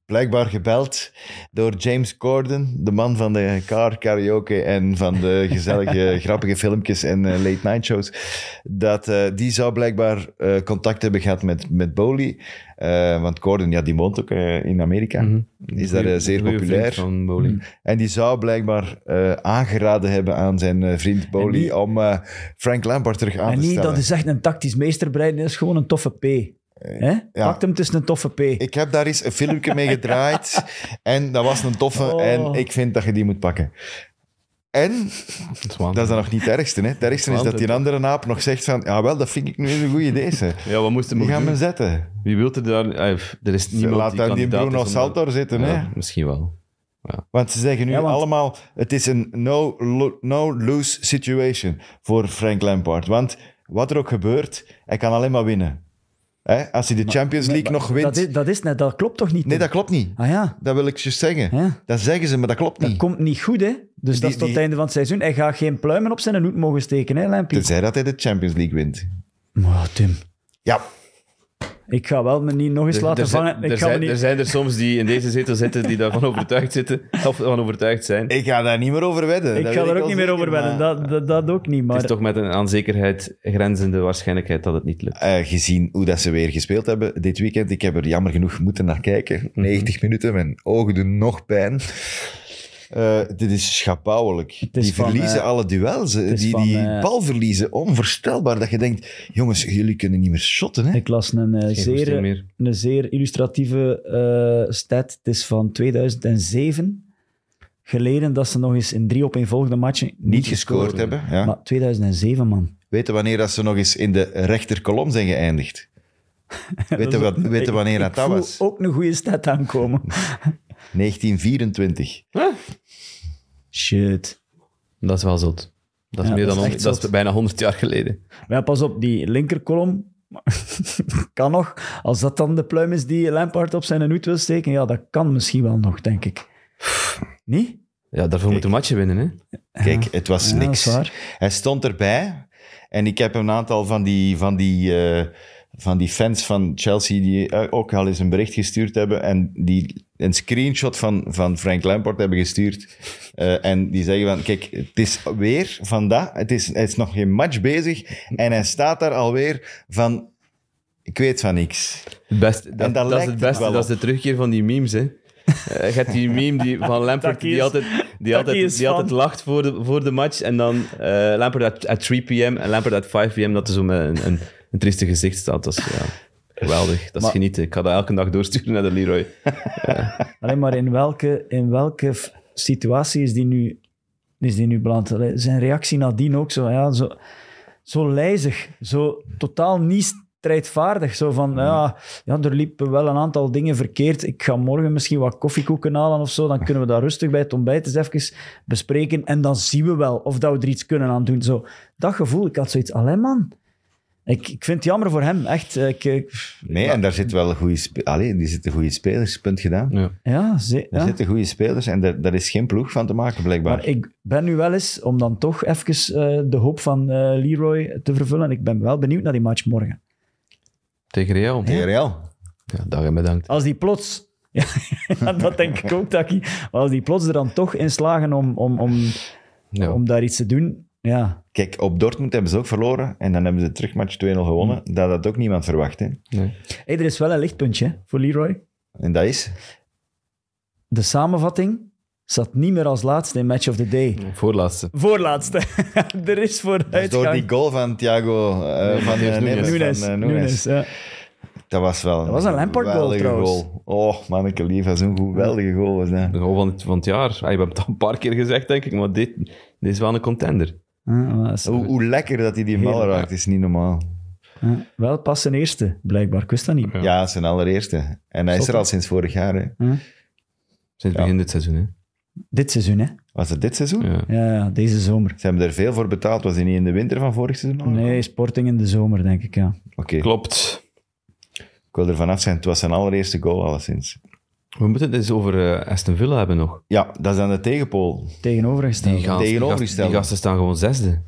Speaker 2: blijkbaar gebeld door James Corden, de man van de car karaoke en van de
Speaker 3: (laughs)
Speaker 2: gezellige, grappige filmpjes en eh, late night shows, dat eh, die zou blijkbaar eh, contact hebben gehad met, met Boli. Eh, want Corden, ja, die woont ook eh, in Amerika.
Speaker 3: Mhm.
Speaker 2: Die is
Speaker 3: zit.
Speaker 2: daar eh, zeer
Speaker 3: Goeie vriend
Speaker 2: populair. Hmm.
Speaker 3: Van bowling.
Speaker 2: En die zou blijkbaar eh, aangeraden hebben aan zijn eh, vriend Boli
Speaker 4: En niet-
Speaker 2: om eh, Frank Lampard terug aan
Speaker 4: En
Speaker 2: te
Speaker 4: niet,
Speaker 2: stellen.
Speaker 4: dat is echt een tactisch meesterbreid, dat is gewoon een toffe P.
Speaker 3: Eh,
Speaker 4: Hè? Pakt hem, het is een toffe P.
Speaker 2: Ik heb daar eens een filmpje mee gedraaid en dat was een toffe
Speaker 4: Oh.
Speaker 2: en ik vind dat je die moet pakken. En,
Speaker 3: Dat is waanzin.
Speaker 2: dat is dan nog niet het ergste, hè. Het ergste is dat die andere naap nog zegt van, ja wel, dat vind ik nu eens een goede idee, ze.
Speaker 3: Ja, wat moesten
Speaker 2: Die
Speaker 3: we
Speaker 2: gaan
Speaker 3: doen?
Speaker 2: me zetten.
Speaker 3: Wie wil er daar... Ah, pff, Er is niemand
Speaker 2: Laat
Speaker 3: die
Speaker 2: dan die
Speaker 3: kandidaat
Speaker 2: Bruno
Speaker 3: is om dat-
Speaker 2: Saltor zitten, hè.
Speaker 3: Ja, Misschien wel.
Speaker 2: Want ze zeggen nu
Speaker 4: Ja, want-
Speaker 2: allemaal, het is een no-lose situation voor Frank Lampard. Want wat er ook gebeurt, hij kan alleen maar winnen. Hè? Als hij de Champions League nog wint...
Speaker 4: Dat is, dat is net, dat klopt toch niet?
Speaker 2: Nee,
Speaker 4: Tim?
Speaker 2: dat klopt niet.
Speaker 4: Ah ja,
Speaker 2: Dat wil ik je zeggen.
Speaker 4: Ja.
Speaker 2: Dat zeggen ze, maar dat klopt
Speaker 4: dat
Speaker 2: niet.
Speaker 4: komt niet goed, hè? Dus dat is tot
Speaker 2: die-
Speaker 4: het einde van het seizoen. Hij gaat geen pluimen op zijn hoed mogen steken, hè, Lampie?
Speaker 2: Tenzij dat hij de Champions League wint.
Speaker 4: Maar Tim,
Speaker 2: Ja,
Speaker 4: ik ga wel me niet nog eens laten
Speaker 3: zijn-
Speaker 4: vangen.
Speaker 3: er
Speaker 4: Ik ga me
Speaker 3: zijn,
Speaker 4: niet...
Speaker 3: er zijn er soms die in deze zetel zitten die daarvan overtuigd zitten. Of van overtuigd zijn.
Speaker 2: ik ga daar niet meer over wedden.
Speaker 4: Ik
Speaker 2: Dat
Speaker 4: ga
Speaker 2: weet
Speaker 4: er ook
Speaker 2: al
Speaker 4: niet meer
Speaker 2: zeker,
Speaker 4: over wedden,
Speaker 2: maar,
Speaker 4: dat, dat, dat ook niet. Maar...
Speaker 3: Het is toch met een aan zekerheid grenzende waarschijnlijkheid dat het niet lukt.
Speaker 2: eh, gezien hoe dat ze weer gespeeld hebben dit weekend, ik heb er jammer genoeg moeten naar kijken.
Speaker 4: Mhm.
Speaker 2: 90 minuten, mijn ogen doen nog pijn. Eh, dit is schabouwelijk.
Speaker 4: is
Speaker 2: die
Speaker 4: van,
Speaker 2: verliezen
Speaker 4: eh,
Speaker 2: alle duels. eh,
Speaker 4: is
Speaker 2: Die,
Speaker 4: van,
Speaker 2: die
Speaker 4: eh,
Speaker 2: bal verliezen, onvoorstelbaar. Dat je denkt, jongens, jullie kunnen niet meer shotten. Hè?
Speaker 4: Ik las een, eh,
Speaker 3: Geen goesting
Speaker 4: zeer,
Speaker 3: meer.
Speaker 4: een zeer illustratieve eh stat. Het is van 2007 geleden dat ze nog eens in drie op een volgende matchen niet,
Speaker 2: Niet gescoord hebben. Ja.
Speaker 4: Maar 2007, man.
Speaker 2: Weten wanneer dat ze nog eens in de rechterkolom zijn geëindigd.
Speaker 4: (laughs)
Speaker 2: Weten, wat, weten wanneer
Speaker 4: ik,
Speaker 2: dat,
Speaker 4: ik
Speaker 2: dat
Speaker 4: voel
Speaker 2: was?
Speaker 4: ook een goede
Speaker 2: (laughs)
Speaker 4: stat aankomen.
Speaker 2: 1924.
Speaker 4: Shit.
Speaker 3: Dat is wel zot. Dat is, meer
Speaker 4: Ja, dat
Speaker 3: dan
Speaker 4: is
Speaker 3: honderd-
Speaker 4: echt
Speaker 3: dat is
Speaker 4: zot.
Speaker 3: bijna 100 jaar geleden.
Speaker 4: Maar ja, pas op, die linkerkolom (laughs) kan nog. Als dat dan de pluim is die Lampard op zijn hoed wil steken, ja, dat kan misschien wel nog, denk ik. Niet?
Speaker 3: Ja, daarvoor moet een matje winnen, hè?
Speaker 2: Kijk, het was
Speaker 4: Ja, dat
Speaker 2: niks.
Speaker 4: is waar.
Speaker 2: Hij stond erbij. En ik heb een aantal van die, van die, eh, van die fans van Chelsea die eh, ook al eens een bericht gestuurd hebben. En die een screenshot van, van Frank Lampard hebben gestuurd. Eh, en die zeggen van, kijk, het is weer vandaag. Het is, het is nog geen match bezig. En hij staat daar alweer van, ik weet van niks.
Speaker 3: Het beste, dat,
Speaker 2: dat
Speaker 3: dat
Speaker 2: lijkt
Speaker 3: is het
Speaker 2: het
Speaker 3: beste.
Speaker 2: wel
Speaker 3: dat is de terugkeer van die memes, hè? Eh, Je hebt die
Speaker 2: (laughs)
Speaker 3: meme die, van Lampard
Speaker 4: Taki
Speaker 3: die
Speaker 4: is-
Speaker 3: altijd, die
Speaker 4: Taki
Speaker 3: altijd,
Speaker 4: is
Speaker 3: die altijd
Speaker 4: fan.
Speaker 3: lacht voor de, voor de match. En dan eh Lampard at, at 3 p.m. en Lampard at 5 p.m. Dat er zo met een, een, een trieste gezicht staat. Dat is ja, geweldig. Dat is
Speaker 4: Maar-
Speaker 3: genieten. Ik ga dat elke dag doorsturen naar de Leroy.
Speaker 4: Alleen maar in welke, in welke f- situatie is die nu, is die nu beland? Allee, Zijn reactie nadien ook zo, ja, zo, zo lijzig, zo totaal niet strijdvaardig. Zo van, ja, ja, er liepen wel een aantal dingen verkeerd. Ik ga morgen misschien wat koffiekoeken halen of zo. Dan kunnen we dat rustig bij het ontbijt eens even bespreken. En dan zien we wel of dat we er iets kunnen aan doen. Zo, dat gevoel, ik had zoiets, alleen man. Ik, ik vind het jammer voor hem, echt. eh, Ik, ik-
Speaker 2: Nee, en daar zit wel een goede... spe- Allee, die zitten goede spelers, punt gedaan.
Speaker 3: Ja.
Speaker 4: ja, ze,
Speaker 2: Er
Speaker 4: ja.
Speaker 2: zitten goede spelers en daar, daar is geen ploeg van te maken, blijkbaar.
Speaker 4: Maar ik ben nu wel eens, om dan toch even eh, de hoop van eh, Leroy te vervullen, ik ben wel benieuwd naar die match morgen.
Speaker 3: Tegen Real.
Speaker 2: Tegen Real.
Speaker 3: Ja, dag en bedankt.
Speaker 4: Als die plots (laughs) Ja, dat denk ik ook, Taki. Maar als die plots er dan toch in slagen om, om, om,
Speaker 3: Ja.
Speaker 4: om daar iets te doen, ja.
Speaker 2: Kijk, op Dortmund hebben ze ook verloren en dan hebben ze de terugmatch 2-0 gewonnen.
Speaker 4: Hmm.
Speaker 2: Dat had ook niemand verwacht. Hè?
Speaker 3: Nee.
Speaker 4: Hey, er is wel een lichtpuntje hè, voor Leroy.
Speaker 2: En dat is...
Speaker 4: De samenvatting zat niet meer als laatste in Match of the Day.
Speaker 3: Voorlaatste.
Speaker 4: Voorlaatste. (laughs) er
Speaker 2: dat is
Speaker 4: is
Speaker 2: door die
Speaker 4: vooruitgang.
Speaker 2: goal van Thiago... eh, van eh,
Speaker 3: Nunes.
Speaker 2: Neves,
Speaker 4: Nunes.
Speaker 2: van, eh, Nunes.
Speaker 4: Nunes, ja.
Speaker 2: Dat was wel
Speaker 4: Dat was een Lampard goal,
Speaker 2: geweldige
Speaker 4: trouwens.
Speaker 2: goal. Oh, manneke lief, dat is een geweldige goal. Was dat.
Speaker 3: De goal van het, van het jaar. Ah, je hebt het al een paar keer gezegd, denk ik, maar dit, dit is wel een contender.
Speaker 4: Ja, maar dat Ah, is-
Speaker 2: Hoe, hoe lekker dat hij die bal
Speaker 4: Heerlijk,
Speaker 2: raakt, is niet normaal.
Speaker 4: ja. eh, Wel pas zijn eerste, blijkbaar. Ik wist dat niet.
Speaker 3: Ja.
Speaker 2: Ja, zijn allereerste. En hij is er
Speaker 4: Zot, hè?
Speaker 2: al sinds vorig jaar. Hè.
Speaker 3: Sinds
Speaker 2: Ja.
Speaker 3: begin dit seizoen, hè.
Speaker 4: Dit seizoen, hè?
Speaker 2: Was het dit seizoen?
Speaker 3: Ja.
Speaker 4: Ja, ja, deze zomer.
Speaker 2: Ze hebben er veel voor betaald. Was hij niet in de winter van vorig seizoen? al?
Speaker 4: Nee, Sporting in de zomer, denk ik, ja.
Speaker 2: Oké,
Speaker 3: Klopt.
Speaker 2: ik wil er vanaf zijn. Het was zijn allereerste goal, alleszins.
Speaker 3: We moeten het eens over eh, Aston Villa hebben nog.
Speaker 2: Ja, dat is aan de tegenpool.
Speaker 4: Tegenovergesteld.
Speaker 3: Die, gaan, die,
Speaker 2: tegenovergestelde.
Speaker 3: gasten, die gasten staan gewoon zesde.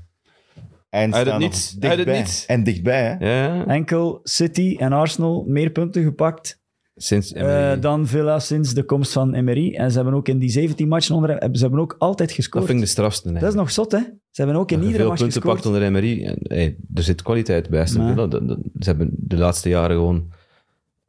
Speaker 2: En
Speaker 3: Uit het
Speaker 2: staan nog
Speaker 3: niets. Uit het
Speaker 2: Dichtbij.
Speaker 3: niets.
Speaker 2: En dichtbij, hè?
Speaker 3: Ja,
Speaker 4: Enkel City en Arsenal meer punten gepakt
Speaker 3: sinds...
Speaker 4: eh, dan Villa sinds de komst van Emery. En ze hebben ook in die 17 matchen onder hebben- ze hebben ook altijd
Speaker 3: dat
Speaker 4: gescoord.
Speaker 3: vind ik de strafste. hè.
Speaker 4: Dat is nog zot, hè? Ze hebben ook in
Speaker 3: Dat je
Speaker 4: iedere
Speaker 3: veel
Speaker 4: match
Speaker 3: punten
Speaker 4: gescoord.
Speaker 3: pakt onder Emery. En, hey, er zit kwaliteit bij Aston
Speaker 4: Maar-
Speaker 3: Villa. Dat- dat- Ze hebben de laatste jaren gewoon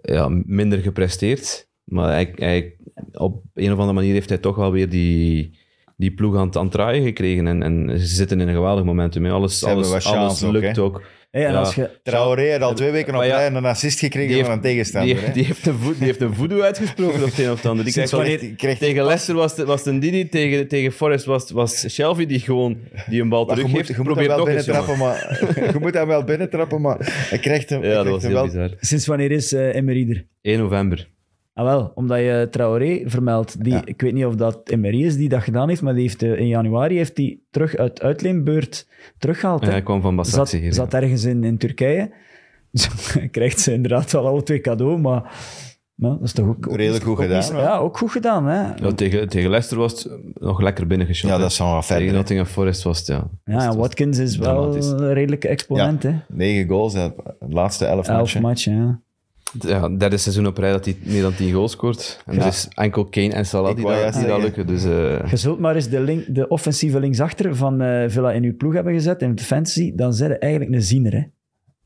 Speaker 3: ja, minder gepresteerd. Maar hij, hij- op een of andere manier heeft hij toch wel weer die, die ploeg aan het, aan het draaien gekregen. En, en ze zitten in een geweldig momentum. hè. Alles,
Speaker 2: Ze hebben
Speaker 3: alles,
Speaker 2: wat
Speaker 3: alles
Speaker 2: chance ook,
Speaker 3: lukt
Speaker 2: hè.
Speaker 3: ook.
Speaker 4: Hey, en
Speaker 3: Ja.
Speaker 4: als je,
Speaker 2: Traoré had al twee weken op
Speaker 3: Maar ja,
Speaker 2: rij een assist gekregen van een tegenstander.
Speaker 3: die,
Speaker 2: hè.
Speaker 3: die heeft een voet, die heeft een voodoo
Speaker 2: (laughs)
Speaker 3: uitgesproken op het een of het ander. Die
Speaker 2: Sinds
Speaker 3: krijgt wel
Speaker 2: wanneer-
Speaker 3: echt-
Speaker 2: krijgt-
Speaker 3: tegen Leicester was het, was het een Didi, tegen, tegen Forrest was, was Shelby die gewoon die een bal
Speaker 2: Maar je moet,
Speaker 3: teruggeeft.
Speaker 2: je moet hem
Speaker 3: Probeer
Speaker 2: wel
Speaker 3: nog eens, jongen.
Speaker 2: binnentrappen, maar... (laughs) je moet hem wel binnentrappen, maar... Hij krijgt hem, hij
Speaker 3: Ja, dat
Speaker 2: krijgt
Speaker 3: was
Speaker 2: hem
Speaker 3: heel
Speaker 2: wel...
Speaker 3: bizar.
Speaker 4: sinds wanneer is eh, Emery er?
Speaker 3: 1 november.
Speaker 4: Ah wel, omdat je Traoré vermeldt. Die,
Speaker 2: Ja.
Speaker 4: Ik weet niet of dat Emery is die dat gedaan heeft, maar die heeft, eh, in januari heeft hij terug uit uitleenbeurt teruggehaald.
Speaker 3: Ja,
Speaker 4: hè.
Speaker 3: hij kwam van
Speaker 4: zat,
Speaker 3: Basaksehir. hier.
Speaker 4: zat ergens in, in Turkije. (laughs) Dus krijgt ze inderdaad wel alle twee cadeau, maar, maar dat is toch ook... ook
Speaker 2: Redelijk goed
Speaker 4: ook
Speaker 2: gedaan,
Speaker 4: niet-
Speaker 2: wel.
Speaker 4: ja, ook goed gedaan. Hè?
Speaker 3: Ja, tegen, tegen Leicester was het eh, nog lekker binnengeschoten.
Speaker 2: Ja, dat is wel wat
Speaker 3: Tegen
Speaker 2: verder. hè.
Speaker 3: Nottingham Forest was het, ja.
Speaker 4: Ja, en Watkins is wel
Speaker 3: dramatisch.
Speaker 4: een redelijke exponent. Hè?
Speaker 2: Negen goals, hè. de laatste elf
Speaker 4: Elf
Speaker 2: matchen.
Speaker 4: matchen, ja.
Speaker 3: Ja, derde seizoen op rij dat hij meer dan 10 goals scoort. En
Speaker 2: Ja.
Speaker 3: er is enkel Kane en Salah
Speaker 2: Ik
Speaker 3: die,
Speaker 2: wou
Speaker 3: dat-
Speaker 2: juist
Speaker 3: die dat
Speaker 2: zeggen.
Speaker 3: lukken. Dus, eh,
Speaker 4: Je zult maar eens de, link, de offensieve linksachter van eh, Villa in uw ploeg hebben gezet, in de fantasy, dan zijn je eigenlijk een ziener. Hè?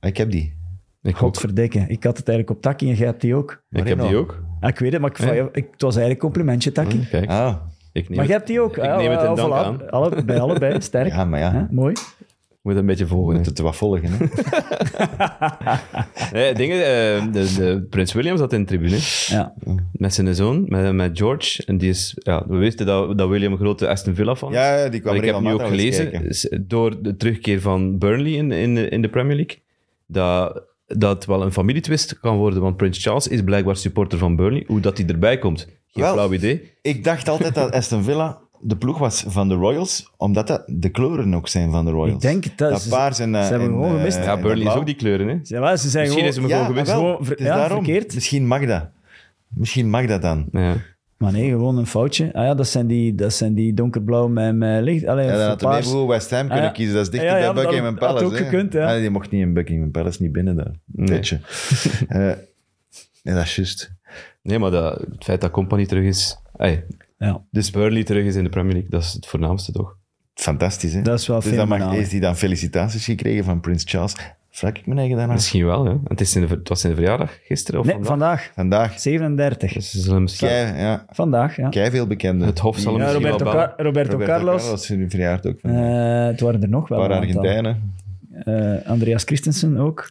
Speaker 2: Ik heb die.
Speaker 3: ik, ook.
Speaker 4: Godverdikke. Ik had het eigenlijk op Taki en jij hebt die ook.
Speaker 3: ik heb die ook.
Speaker 4: Ah, ik weet het, maar ik, vond- ik- het was eigenlijk een complimentje, Taki.
Speaker 3: Kijk,
Speaker 2: Ah,
Speaker 3: ik neem
Speaker 4: Maar
Speaker 3: het.
Speaker 4: jij hebt die ook.
Speaker 3: Ik
Speaker 4: Ah,
Speaker 3: neem het in
Speaker 4: ah,
Speaker 3: dank
Speaker 4: voilà.
Speaker 3: aan.
Speaker 4: Alle, bij allebei, sterk.
Speaker 2: ja, maar ja.
Speaker 4: Hè,
Speaker 2: Je
Speaker 4: mooi.
Speaker 3: Ik moet een beetje volgen. hè.
Speaker 2: moet het wat volgen,
Speaker 3: (laughs)
Speaker 2: hè.
Speaker 3: Nee, dingen, eh, de, de, Prins William zat in de tribune
Speaker 4: Ja.
Speaker 3: met zijn zoon, met, met George. En die is, ja, we wisten dat, dat William een grote Aston Villa fan is.
Speaker 2: Ja, die kwam
Speaker 3: Maar ik heb nu
Speaker 2: regelmatig
Speaker 3: ook
Speaker 2: wel eens
Speaker 3: gelezen,
Speaker 2: kijken.
Speaker 3: is door de terugkeer van Burnley in, in, de- in de Premier League, dat dat wel een familietwist kan worden, want Prins Charles is blijkbaar supporter van Burnley. Hoe dat hij erbij komt, geen
Speaker 2: Wel.
Speaker 3: flauw idee.
Speaker 2: Ik dacht altijd dat Aston Villa de ploeg was van de Royals, omdat dat de kleuren ook zijn van de Royals.
Speaker 4: Ik denk het, dat
Speaker 2: dat
Speaker 4: is-
Speaker 2: paars en, eh,
Speaker 4: ze hebben
Speaker 2: en,
Speaker 4: gewoon
Speaker 2: eh,
Speaker 4: gemist. Ja,
Speaker 2: en
Speaker 3: Ja,
Speaker 2: dat
Speaker 3: Burnley is
Speaker 2: blauw.
Speaker 3: ook die kleuren, hè.
Speaker 4: Ja, wel, ze zijn
Speaker 3: Misschien
Speaker 4: gewoon...
Speaker 3: is hem
Speaker 2: Ja,
Speaker 3: gewoon gewist.
Speaker 2: jawel.
Speaker 4: Gewoon ver-
Speaker 2: Het is
Speaker 4: ja,
Speaker 2: daarom. Dus-
Speaker 4: verkeerd.
Speaker 2: Misschien mag dat. Misschien mag dat dan.
Speaker 3: Ja.
Speaker 4: Maar nee, gewoon een foutje. Ah ja, dat zijn die, dat zijn die donkerblauw met, met licht. Allee,
Speaker 2: Ja, dan
Speaker 4: of
Speaker 2: had de
Speaker 4: paars.
Speaker 2: Maple West Ham kunnen
Speaker 4: Ah, ja.
Speaker 2: kiezen. Dat is dichter
Speaker 4: Ja, ja,
Speaker 2: bij
Speaker 4: maar dat
Speaker 2: Buckingham
Speaker 4: had
Speaker 2: Palace.
Speaker 4: ook
Speaker 2: hè.
Speaker 4: gekund, ja.
Speaker 2: Ah, die mocht niet in Buckingham Palace, niet binnen daar.
Speaker 4: (laughs)
Speaker 2: Tetje. Eh, ja, dat is juist.
Speaker 3: Nee, maar dat, het feit dat Company terug is... Hey,
Speaker 4: Ja,
Speaker 3: dus Burnley terug is in de Premier League, dat is het voornaamste, toch?
Speaker 2: Fantastisch, hè?
Speaker 4: dat is wel
Speaker 2: dus dan mag,
Speaker 4: fenomenaal.
Speaker 2: heeft hij dan felicitaties gekregen van Prins Charles. Vraag ik me eigen daarna.
Speaker 3: Misschien wel, hè. Het, is in de, het was in de verjaardag gisteren of
Speaker 4: nee,
Speaker 3: vandaag.
Speaker 4: vandaag.
Speaker 2: Vandaag,
Speaker 4: 37.
Speaker 3: Dus ze zullen misschien...
Speaker 2: kei, ja,
Speaker 4: Vandaag, ja.
Speaker 2: kei veel bekenden.
Speaker 3: Het Hof zal hem
Speaker 4: Ja,
Speaker 3: misschien
Speaker 4: Roberto,
Speaker 3: wel bellen.
Speaker 4: Car- Roberto,
Speaker 2: Roberto
Speaker 4: Carlos.
Speaker 2: Carlos in verjaardag ook. Van,
Speaker 4: Eh, het waren er nog wel.
Speaker 2: een paar
Speaker 4: een aantal.
Speaker 2: Argentijnen.
Speaker 4: Eh, Andreas Christensen ook.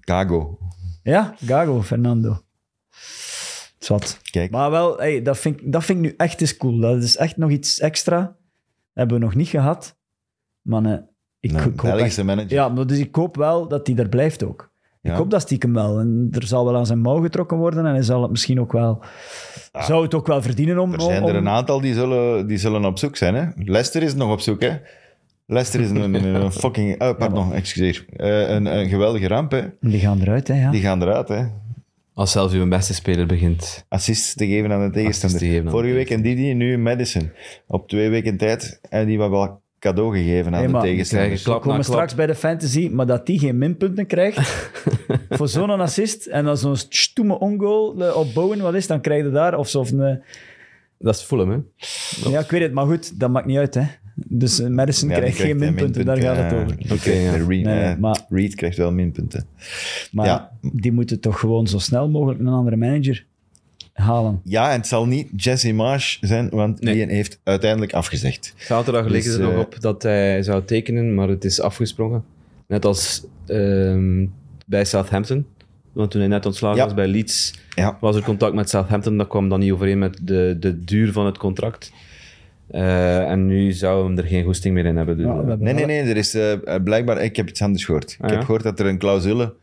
Speaker 2: Cago.
Speaker 4: Ja, Gago, Fernando. Zwat.
Speaker 2: Kijk.
Speaker 4: Maar wel, hey, dat, vind, ik- dat vind ik nu echt eens cool. Dat is echt nog iets extra. Dat hebben we nog niet gehad. Mannen, ik,
Speaker 2: Een
Speaker 4: ik hoop echt-
Speaker 2: Belgische manager.
Speaker 4: Ja, maar dus ik hoop wel dat hij er blijft ook.
Speaker 2: Ja.
Speaker 4: Ik hoop dat stiekem wel. En er zal wel aan zijn mouw getrokken worden en hij zal het misschien ook wel... Zou het ook wel verdienen om...
Speaker 2: Er zijn
Speaker 4: om-
Speaker 2: er een
Speaker 4: om-
Speaker 2: aantal die zullen, die zullen op zoek zijn. Hè? Leicester is nog op zoek. Hè? Leicester is een, een- een fucking... Oh, pardon, excuseer. Eh, een, een geweldige ramp. Hè?
Speaker 4: Die gaan eruit, hè, ja.
Speaker 2: Die gaan eruit. Hè?
Speaker 3: Als zelfs uw beste speler begint.
Speaker 2: Assists te geven aan de
Speaker 3: Assists te geven
Speaker 2: tegenstander.
Speaker 3: aan de
Speaker 2: Vorige week en Didi, nu Madison. Op twee weken tijd. En eh, die was wel cadeau gegeven aan
Speaker 4: Hey,
Speaker 2: de
Speaker 4: maar-
Speaker 2: tegenstanders.
Speaker 3: Krijgen klap.
Speaker 4: We komen
Speaker 3: na klap.
Speaker 4: straks bij de fantasy, maar dat die geen minpunten
Speaker 2: (laughs)
Speaker 4: krijgt voor zo'n assist en dan zo'n stoeme ongoal eh, op Bowen, wat is, dan krijg je daar of zo. Of een, eh,
Speaker 3: Dat is Fulham, hè?
Speaker 4: ja, ik weet het, maar goed, dat maakt niet uit. Hè. Dus eh, Madison
Speaker 2: Ja, die
Speaker 4: krijgt geen
Speaker 2: krijgt, eh,
Speaker 4: minpunten, daar gaat het
Speaker 2: eh,
Speaker 4: over.
Speaker 2: die
Speaker 3: Oké,
Speaker 2: krijgt,
Speaker 3: ja.
Speaker 2: eh, Re-
Speaker 4: Nee,
Speaker 2: eh,
Speaker 4: maar-
Speaker 2: Reed krijgt wel minpunten.
Speaker 4: Maar
Speaker 2: Ja.
Speaker 4: die moeten toch gewoon zo snel mogelijk een andere manager halen.
Speaker 2: Ja, en het zal niet Jesse Marsh zijn, want
Speaker 3: Nee.
Speaker 2: die heeft uiteindelijk afgezegd.
Speaker 3: Zaterdag leken
Speaker 2: Dus,
Speaker 3: ze er
Speaker 2: eh,
Speaker 3: nog op dat hij zou tekenen, maar het is afgesprongen. Net als ehm, bij Southampton. Want toen hij net ontslagen
Speaker 2: Ja.
Speaker 3: was bij Leeds,
Speaker 2: Ja.
Speaker 3: was er contact met Southampton. Dat kwam dan niet overeen met de, de duur van het contract. Eh, en nu zou hem er geen goesting meer in hebben. Dus,
Speaker 4: Ja,
Speaker 3: eh,
Speaker 4: we hebben
Speaker 2: Nee,
Speaker 4: wel-
Speaker 2: nee, nee. Er is eh, blijkbaar... Ik heb iets anders gehoord. ik
Speaker 3: Ah, ja?
Speaker 2: heb gehoord dat er een clausule eh,